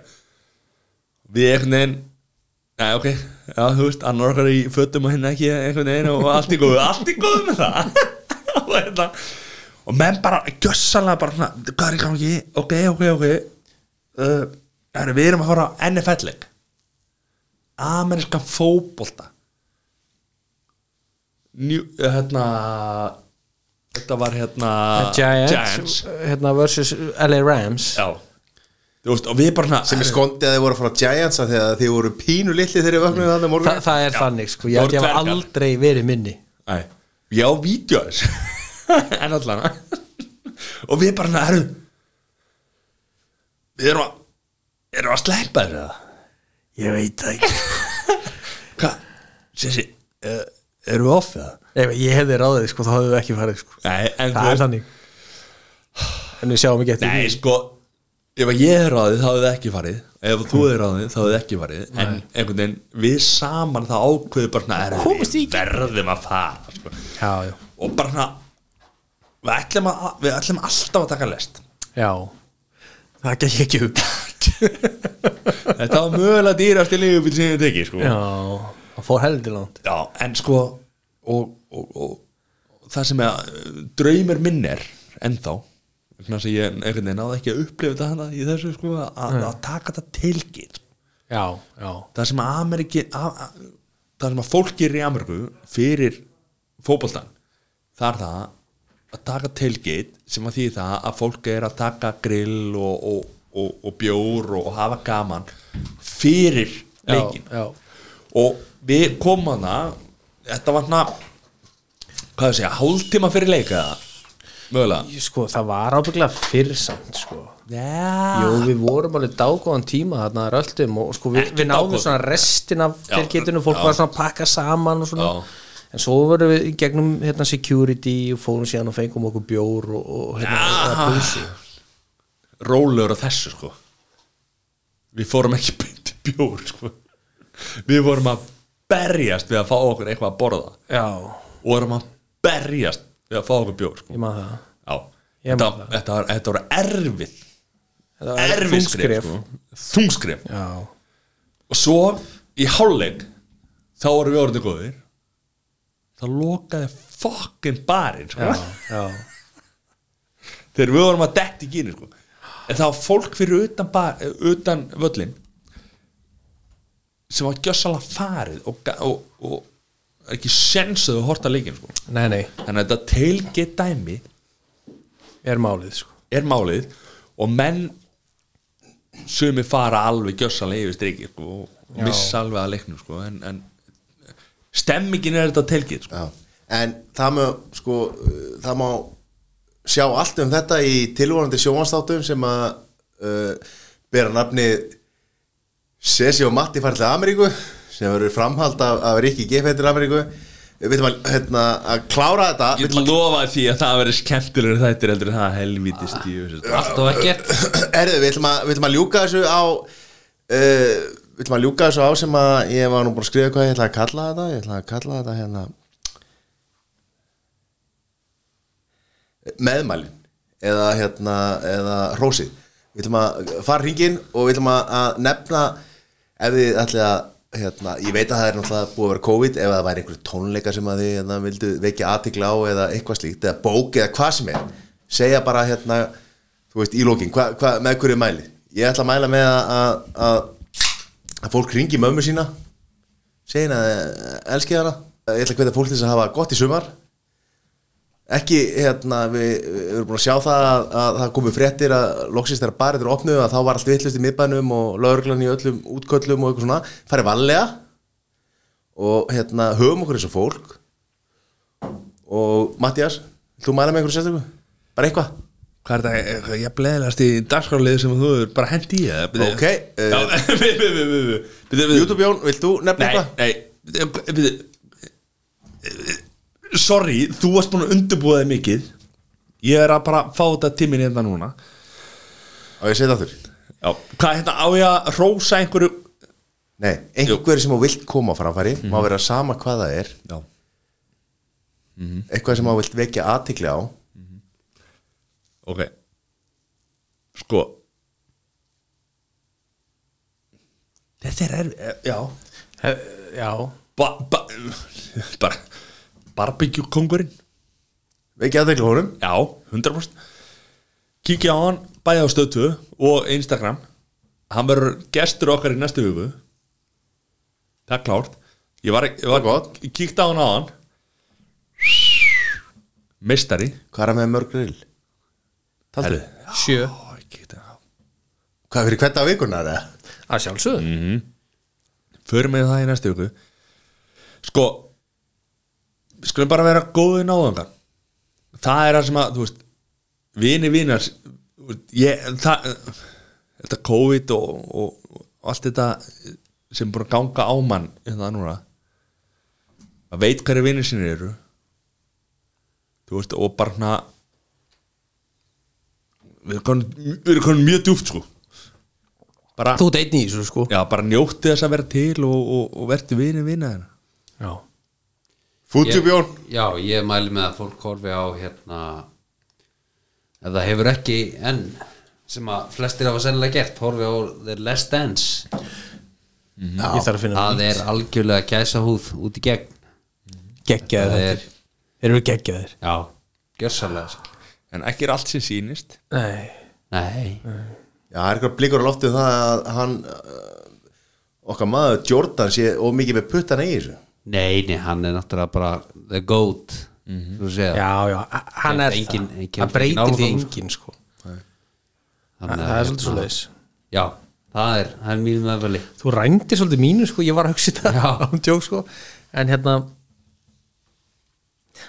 [SPEAKER 1] við einhvern veginn Nei, ok, já, þú veist, annar okkar í fötum og hinn ekki einhvern veginn og allt í góðu, allt í góðu með það og hérna og menn bara, gjössalega bara svona hvað er í gangi, ok, ok, ok uh, herru, við erum að fara á NFL-leik amerískan fótbolta Njú, hérna þetta var hérna
[SPEAKER 2] Giants, Hérna versus LA Rams
[SPEAKER 1] já Þú veist, og við bara svona
[SPEAKER 4] sem er skondið að þið voru að fara á Giants af því að þið voru pínu litli þegar þið vöknuðu þannig
[SPEAKER 2] Þa,
[SPEAKER 4] morgun
[SPEAKER 2] Það er þannig, sko, ég
[SPEAKER 1] Það
[SPEAKER 2] held
[SPEAKER 1] voru
[SPEAKER 2] ég hafa
[SPEAKER 1] dvergar.
[SPEAKER 2] aldrei verið minni
[SPEAKER 1] Æ, ég á vídeo af þessu En allan Og við bara hérna, herru Við erum að Erum að sleppa þessu eða? Ég veit það ekki Hvað? Sessi, uh, erum við off eða?
[SPEAKER 2] Ef ég hefði ráðið, sko, þá hefðu við ekki farið, sko
[SPEAKER 1] Nei, en
[SPEAKER 2] Það er þannig En við sjáum ekki eftir
[SPEAKER 1] Nei,
[SPEAKER 2] því.
[SPEAKER 1] sko Ef að ég er ráðið þá hefði ekki farið Ef að þú er ráðið þá hefði ekki farið En einhvern veginn, við saman þá ákveðu bara svona, herru,
[SPEAKER 5] Komumst í-
[SPEAKER 1] Við verðum að fara sko.
[SPEAKER 2] Já, já,
[SPEAKER 1] Og bara svona Við ætlum, að, við ætlum alltaf að taka lest
[SPEAKER 2] já Það gekk ekki upp
[SPEAKER 1] Þetta var mögulega dýrast í lífubíl sem ég hef tekið sko.
[SPEAKER 2] Já, það fór heldur langt
[SPEAKER 1] Já, en sko og, og, og, það sem að eh, draumur minn er ennþá vegna þess að ég einhvern veginn náði ekki að upplifa þetta hana í þessu sko að, að taka þetta tilgir
[SPEAKER 2] Já, já,
[SPEAKER 1] það sem að Ameriki a, a, það sem að fólk gerir í Ameriku fyrir fótboltan það er það að taka tailgate sem að því það að fólk er að taka grill og, og, og, og bjór og, hafa gaman fyrir
[SPEAKER 2] já,
[SPEAKER 1] leikin
[SPEAKER 2] já.
[SPEAKER 1] og við komum hana þetta var hana hvað þú segja, hálftíma fyrir leika mögulega
[SPEAKER 2] Ég, Sko, það var ábygglega fyrr samt, sko
[SPEAKER 1] yeah.
[SPEAKER 2] Jú, við vorum alveg dágóðan tíma þarna að röldum og sko við,
[SPEAKER 1] Ekki
[SPEAKER 2] við náðum
[SPEAKER 1] dágóðan.
[SPEAKER 2] svona restin af
[SPEAKER 1] Já,
[SPEAKER 2] tilgetinu, fólk
[SPEAKER 1] já.
[SPEAKER 2] var svona að pakka saman og svona
[SPEAKER 1] Já.
[SPEAKER 2] en svo vorum við í gegnum hérna security og fórum síðan og fengum okkur bjór og, og hérna eða pulsu.
[SPEAKER 1] rólegur á þessu sko við fórum ekki beint í bjór sko við vorum að berjast við að fá okkur eitthvað að borða
[SPEAKER 2] Já,
[SPEAKER 1] og vorum að berjast við að fá okkur bjór sko.
[SPEAKER 2] ég maður það
[SPEAKER 1] já,
[SPEAKER 2] Ég
[SPEAKER 1] þetta,
[SPEAKER 2] man það.
[SPEAKER 1] þetta, var, þetta var erfið
[SPEAKER 2] Þetta var
[SPEAKER 1] erfið
[SPEAKER 2] þungskref.
[SPEAKER 1] skref sko. þungskref
[SPEAKER 2] Já,
[SPEAKER 1] og svo í hálfleik þá vorum við orðið góðir þá lokaði fokkin barinn sko.
[SPEAKER 2] já, já
[SPEAKER 1] þegar við vorum að detti í gínu sko. en það var fólk fyrir utan, bar, eh, utan völlin sem var gjössalega farið og, ga- og, og ekki sensuðu að horta leikin sko.
[SPEAKER 2] Nei, nei,
[SPEAKER 1] þannig að þetta teilgeitt dæmi
[SPEAKER 2] er málið sko
[SPEAKER 1] er málið og menn sumi fara alveg gjössalega yfir striki sko, og missa alveg að leiknum sko, en, en stemmingin er þetta teilgeitt sko.
[SPEAKER 4] Já. en það má sko, uh, það má sjá allt um þetta í tilvonandi sjónvastátum sem að uh, bera nafni Sessi og Matti farið til Ameríku sem eru framhald af, af Ríkki G.F. til Ameríku við viljum að, hérna, að klára þetta
[SPEAKER 1] ég ætla að lofa því að það verður skemmtilegur þættir heldur en það helvítist í þessu sko.
[SPEAKER 3] Allt og ekkert
[SPEAKER 4] Erðu, við ætlum að, við ætlum að ljúka þessu á uh, Við ætlum að ljúka þessu á sem að Ég var nú búin að skrifa hvað ég ætla að kalla þetta Ég ætla að kalla þetta hérna Meðmælin Eða hérna, eða hrósið Við ætlum að fara hringin Og við ætlum að, að nefna Ef þið ætli að Hérna, ég veit að það er náttúrulega búið að vera COVID ef það væri einhverju tónleika sem að þið hérna, vildu vekja aðtikla á eða eitthvað slíkt eða bók eða hvað sem er segja bara hérna, þú veist, í lókin hva, hva, með hverju mæli ég ætla að mæla með að, að, að, að fólk ringi mömmu sína segja henni að elski hana ég ætla að hvetja fólk til þess að hafa gott í sumar ekki, hérna, við, við erum búin að sjá það að, að það komu fréttir að loksist þegar barið eru opnuð að þá var allt vittlust í miðbænum og lauruglan í öllum útköllum og eitthvað svona, farið vallega og hérna, höfum okkur þessu fólk og Mattias, þú mæla með einhverju sérstöku? bara eitthvað
[SPEAKER 1] Hvað er þetta, hvað ég bleðilegast í dagskrálið sem þú er bara hendi í það byrju.
[SPEAKER 4] Ok, eh,
[SPEAKER 1] Já, byrju, byrju, byrju, byrju, byrju, byrju.
[SPEAKER 4] YouTube Jón, vilt þú nefna
[SPEAKER 1] Nei,
[SPEAKER 4] eitthvað?
[SPEAKER 1] nei byrju, byrju. Sorry, þú varst búin að undirbúa þig mikið Ég er að bara fá þetta tíminn hérna núna
[SPEAKER 4] Á ég að segja það aftur
[SPEAKER 1] Já, hvað hérna á ég að rósa einhverju
[SPEAKER 4] Nei, einhver sem á vilt koma á framfæri má vera sama hvað það er
[SPEAKER 1] Mhm. Já,
[SPEAKER 4] eitthvað sem á vilt vekja aðtikli á
[SPEAKER 1] ok Sko Þetta er erfið, já
[SPEAKER 2] já,
[SPEAKER 1] ba ba bara barbecue-kongurinn
[SPEAKER 4] vekja aðtikli á honum
[SPEAKER 1] já, 100% kíkja á hann bæði á stötu og Instagram hann verður gestur okkar í næstu hugu það er klárt ég var, ég var
[SPEAKER 4] gott.
[SPEAKER 1] kíkt á hann á hann mistari
[SPEAKER 4] Hvað er hann með mörg grill? Taldu
[SPEAKER 2] sjö
[SPEAKER 1] Ó, ég kíkti á hann.
[SPEAKER 4] Hvað fyrir hvert af vikunar?
[SPEAKER 2] að sjálfsögðu
[SPEAKER 3] Mm.
[SPEAKER 1] förum við það í næstu hugu sko við skulum bara vera góði náðungar það er það sem að þú veist, vini vinar ég, það þetta COVID og, og, og allt þetta sem búin að ganga á mann hérna núna að veit hverju vinir sinni eru þú veist og bara hana við erum komin, við erum komin mjög djúft sko bara
[SPEAKER 2] þú deit nýs sko
[SPEAKER 1] Já, bara njótti þess að vera til og, og, og verði vinið vinað hennar
[SPEAKER 2] já.
[SPEAKER 4] Fútjúb Jón
[SPEAKER 3] Já, ég mæli með að fólk horfi á hérna ef það hefur ekki enn sem að flestir hafa sennilega gert horfi á The Last Dance
[SPEAKER 2] ég þarf að finna
[SPEAKER 3] Mm. það er algjörlega gæsa húð út í gegn
[SPEAKER 2] geggjaðir
[SPEAKER 3] Það er-
[SPEAKER 2] þættir. erum við geggjaðir
[SPEAKER 3] Já, gjörsalega sko.
[SPEAKER 1] En ekki er allt sem sýnist
[SPEAKER 2] nei,
[SPEAKER 3] Nei,
[SPEAKER 4] Já, það er eitthvað blikur á loftu það að hann uh, okkar maður Jordan sé of mikið með puttana í þessu
[SPEAKER 3] nei, nei, hann er náttúrulega bara the goat þú segir
[SPEAKER 2] Mhm. já, já, a- hann
[SPEAKER 3] Kemst
[SPEAKER 2] er
[SPEAKER 3] engin-
[SPEAKER 2] það
[SPEAKER 3] kemst
[SPEAKER 2] hann breytir
[SPEAKER 3] engin
[SPEAKER 2] því
[SPEAKER 3] áfram, sko.
[SPEAKER 2] engin sko það
[SPEAKER 3] Þannig að,
[SPEAKER 2] er
[SPEAKER 3] hérna,
[SPEAKER 2] svolítið svo leiðis
[SPEAKER 3] Já, það er, það er mjög meðveli
[SPEAKER 2] þú rændir svolítið mínu sko, ég var að hugsa þetta án tjók sko, en hérna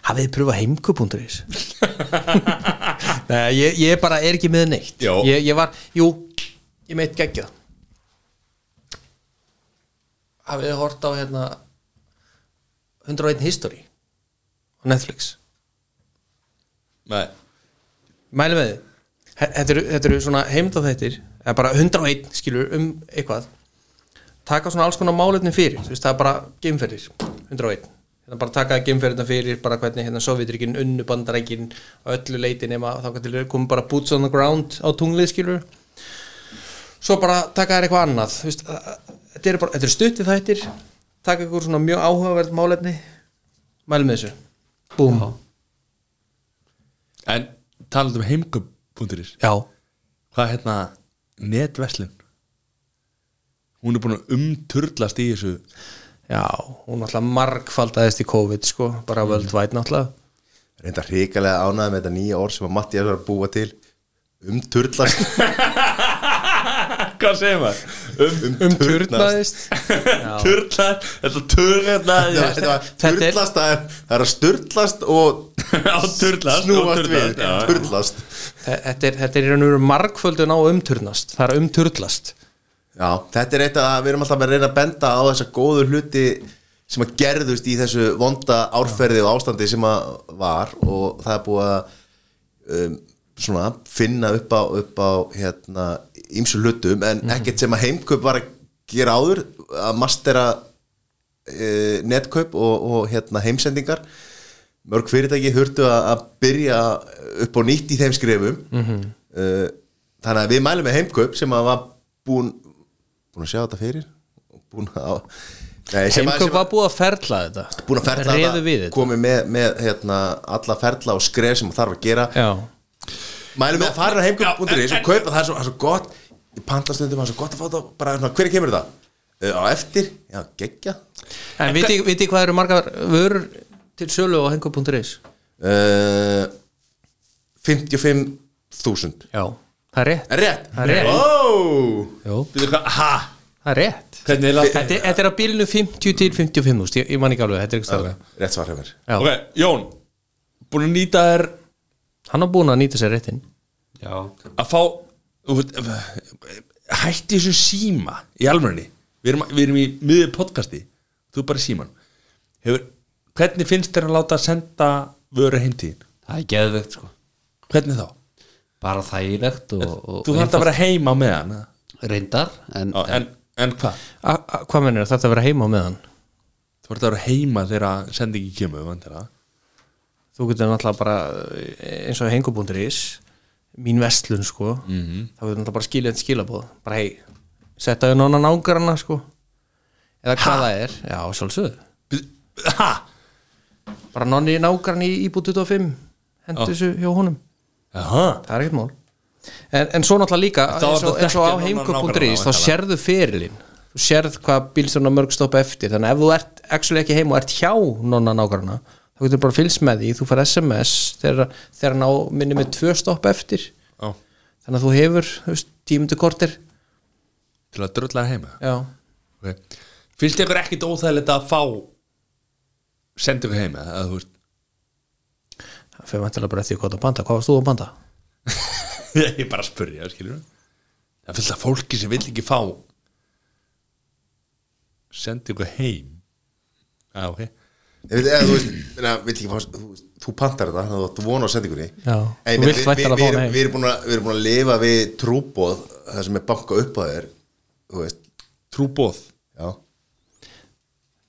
[SPEAKER 2] hafið þið pröfað heimku.is Nei, ég, ég bara er ekki með neitt
[SPEAKER 1] Já.
[SPEAKER 2] ég, ég var, jú, ég meitt geggjað hafið þið hort á hérna 101 History á Netflix
[SPEAKER 1] Nei
[SPEAKER 2] mælum við þið He- þetta eru, þetta eru svona heimdaþættir eða bara 101 skilur um eitthvað taka svona alls konar málefni fyrir þú veist það er bara geimferðir 101 hérna bara taka geimferðina fyrir bara hvernig hérna Sovjetrykin, unnubandarækin og öllu leiti nema þá til þeir komu bara boots on the ground á tunglið skilur svo bara taka þær eitthvað annað þú veist, að- að- þetta eru bara, þetta eru stuttið þættir taka eitthvað svona mjög áhugaverð málefni mælum við þessu búm,
[SPEAKER 1] En talandi um heimkaup.is
[SPEAKER 2] já,
[SPEAKER 1] Hvað er hérna netverslun? Hún er búin að umturlast í þessu
[SPEAKER 2] Já, hún náttúrulega margfaldaðist í COVID sko, bara völdvæt náttúrulega
[SPEAKER 4] Reynda hrikalega ánæði með þetta nýja orð sem að Matti er að búa til Um umturlast
[SPEAKER 1] Hvað segir maður? Um,
[SPEAKER 2] Umturnaðist
[SPEAKER 1] turlast Þetta turlast
[SPEAKER 4] Já, þetta var
[SPEAKER 2] Þetta er-
[SPEAKER 4] Turlast, það er, það er að sturlast og
[SPEAKER 1] Á turlast
[SPEAKER 4] snúast við
[SPEAKER 1] Já,
[SPEAKER 4] Turlast
[SPEAKER 2] Þetta er, þetta er í raun og veru margföldun á umturnast Það er umturlast
[SPEAKER 4] Já, þetta er eitt að við erum alltaf að reyna að benda á þessa góðu hluti sem að gerðust í þessu vonda árferði og ástandi sem að var og það er búið að um, svona finna upp á, upp á hérna ímsu hlutum en
[SPEAKER 2] Mhm.
[SPEAKER 4] ekkert sem að heimkaup var að gera áður að mastera e, netkaup og, og hérna heimsendingar mörg fyrirtæki hurtu að, að byrja upp á nýtt í þeim skrefum
[SPEAKER 2] Mhm.
[SPEAKER 4] Eh, þannig að við mælum með heimkaup sem að var búin búin að sjá þetta fyrir og búin að Nei, sem að- sem
[SPEAKER 2] Heimkaup
[SPEAKER 4] að-
[SPEAKER 2] var búið að ferla þetta
[SPEAKER 4] búin að ferla Sko-
[SPEAKER 2] Réðu við þetta
[SPEAKER 4] komið með, með hérna, alla ferla og skref sem þarf að gera
[SPEAKER 2] Já,
[SPEAKER 4] mælum með að fara á
[SPEAKER 1] Já,
[SPEAKER 4] heimkaup.is
[SPEAKER 1] en-
[SPEAKER 4] og kaupa það er svo, það er svo gott í pantastundum, það er svo gott að fá það bara svona, hver kemur það? Uh, á eftir, já, geggja
[SPEAKER 2] en viti viti hvað eru margar vörur til sölu á hengu.is
[SPEAKER 4] uh, 55.000
[SPEAKER 2] Já, það er rétt
[SPEAKER 4] Er rétt?
[SPEAKER 2] Það er rétt.
[SPEAKER 4] Ó!
[SPEAKER 2] Jó,
[SPEAKER 1] Bíddu, hvað- Ha?
[SPEAKER 2] það er rétt
[SPEAKER 1] Hvernig er lagt
[SPEAKER 2] Þetta, er- þetta er á bílinu 50 til 55 þúsund, ég, ég man ekki alveg, þetta er ekki staflega
[SPEAKER 4] Rétt svar hjá mér
[SPEAKER 2] Já,
[SPEAKER 1] Ok, Jón Búin að nýta þér
[SPEAKER 2] hann á búin að nýta sér réttin
[SPEAKER 3] já,
[SPEAKER 1] að fá þú veit, hætti þessu síma í alvörunni við erum, við erum í miður podcasti þú er bara í síman Hefur, hvernig finnst þér að láta senda vöru heimtíðin?
[SPEAKER 3] það er geðvegt sko
[SPEAKER 1] Hvernig þá?
[SPEAKER 3] bara þægilegt og, og
[SPEAKER 1] Þú þarf að vera heima með hann eða?
[SPEAKER 3] reyndar en,
[SPEAKER 1] Á, en, en hvað?
[SPEAKER 2] A, a, hvað mennir þetta að vera heima á meðan
[SPEAKER 1] Þú þarf að vera heima þegar sendingi kemur vandilega.
[SPEAKER 2] þú getur náttúrulega bara eh, eins og hengubúndir.is mín vestlun sko þá getur náttúrulega bara skilja þetta skilabóð bara hei, setja þau nána nángarana sko eða hvað það er já, sjálfsögðu
[SPEAKER 1] Bíddu, Ha?
[SPEAKER 2] bara nonni nágrann í íbúð 25 hendur þessu hjá honum
[SPEAKER 1] Aha.
[SPEAKER 2] það er ekkert mál en, en svo náttúrulega líka
[SPEAKER 1] Þá
[SPEAKER 2] eins og,
[SPEAKER 1] ertu
[SPEAKER 2] eins
[SPEAKER 1] þekkja
[SPEAKER 2] og á
[SPEAKER 1] nágranna,
[SPEAKER 2] heimkaup.is þá
[SPEAKER 1] væntanlega.
[SPEAKER 2] sérðu ferilinn þú sérð hvað bílstjórna mörg stoppa eftir þannig að ef þú ert actually ekki heim og ert hjá nonna nágranna þá getur bara fylgst með því þú fær SMS þegar, þegar hann á minni með tvö stoppa eftir
[SPEAKER 1] Á,
[SPEAKER 2] þannig að þú hefur þú veist, tímundu kortir
[SPEAKER 1] Til að drölla heima
[SPEAKER 2] já,
[SPEAKER 1] okay. Finnst ykkur ekkit óþægilegt að fá senda ykkur heima eða, þú veist,
[SPEAKER 2] það fyrir vantilega bara eftir því hvað það banda hvað varst þú að banda?
[SPEAKER 1] ég er bara að spurja skilur það er fullt af fólki sem vil ekki fá sendi ykkur heim ah, ok
[SPEAKER 4] Ég veit, eða, þú veist, meina, vill ekki fá, þú, veist, þú pantar þetta þannig að þú átt von á sendingunni
[SPEAKER 2] Já,
[SPEAKER 4] En ég
[SPEAKER 2] þú
[SPEAKER 4] meina,
[SPEAKER 2] vilt
[SPEAKER 4] við-
[SPEAKER 2] væntanlega fá
[SPEAKER 4] við- við
[SPEAKER 2] hana
[SPEAKER 4] erum-
[SPEAKER 2] heim.
[SPEAKER 4] Við erum búin að- við erum búin að lifa við trúbóð það sem er banka upp að þér þú veist,
[SPEAKER 1] trúbóð
[SPEAKER 4] já,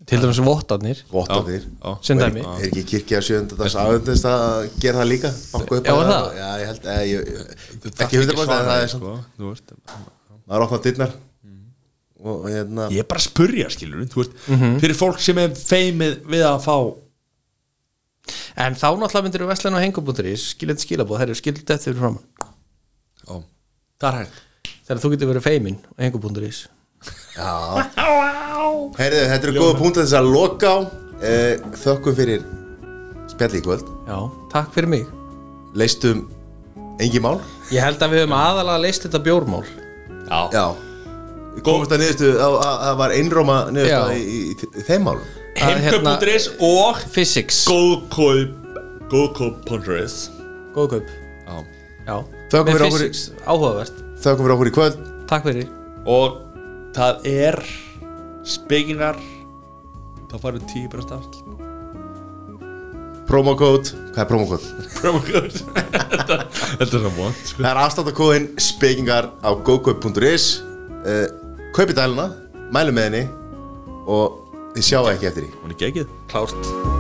[SPEAKER 2] til dæmis vottarnir
[SPEAKER 4] gott á þér
[SPEAKER 1] já.
[SPEAKER 2] sem
[SPEAKER 4] Er-
[SPEAKER 2] dæmi
[SPEAKER 4] Er ekki kirkja sjönda dags aðundist að gera það líka? Banka upp
[SPEAKER 2] Já,
[SPEAKER 4] að
[SPEAKER 2] er
[SPEAKER 4] þér?
[SPEAKER 2] það?
[SPEAKER 4] Já, ég held, eða, ég,
[SPEAKER 1] Þú þarft
[SPEAKER 4] ekki hundra bóð
[SPEAKER 1] svara
[SPEAKER 4] það
[SPEAKER 1] því,
[SPEAKER 4] er svona,
[SPEAKER 1] sko, þú veist.
[SPEAKER 4] maður opnað dyrnar og, og hérna
[SPEAKER 1] ég er bara að spurja skilur veist,
[SPEAKER 2] Mhm.
[SPEAKER 1] fyrir fólk sem er feimið við að fá
[SPEAKER 2] En þá náttúrulega myndir við veslan á hengabúndurís skiljaði skilabóð, það eru skildið þetta fyrir framann
[SPEAKER 1] Ó, það er hægt
[SPEAKER 2] þegar þú getur verið feimin á hengabúndurís
[SPEAKER 4] Já Heyrðu, þetta eru góða punkt að þess að loka á Eh, Þökkum fyrir spjalli í kvöld
[SPEAKER 2] Já, takk fyrir mig
[SPEAKER 4] Leistum engi mál
[SPEAKER 2] Ég held að við höfum aðalega leist þetta bjórmál
[SPEAKER 1] já.
[SPEAKER 4] Já Við Komumst að niðurstu að að- að var einróma niðurstu
[SPEAKER 2] Já.
[SPEAKER 4] í, í, í þeim málum
[SPEAKER 2] Að hérna-
[SPEAKER 1] heimköp.is og
[SPEAKER 2] Physics,
[SPEAKER 1] góðkaup góðkaup.is
[SPEAKER 2] góð kaup
[SPEAKER 1] Já.
[SPEAKER 2] Já,
[SPEAKER 4] Þökkum
[SPEAKER 2] með
[SPEAKER 4] fyrir okkur í-
[SPEAKER 2] physics, áhugavert
[SPEAKER 4] Þökkum fyrir okkur í kvöld
[SPEAKER 2] Takk fyrir
[SPEAKER 1] og það er spekingar þá farið 10 bara stafl
[SPEAKER 4] Promokód Hvað er promokód?
[SPEAKER 1] promokóð þetta þetta er svo sko. vond
[SPEAKER 4] Það er afstáttakóðin spekingar á gokaup.is uh, Kaupið dæluna Mælum með henni Og þið sjáu ekki eftir því
[SPEAKER 1] hún er gegið
[SPEAKER 2] Klárt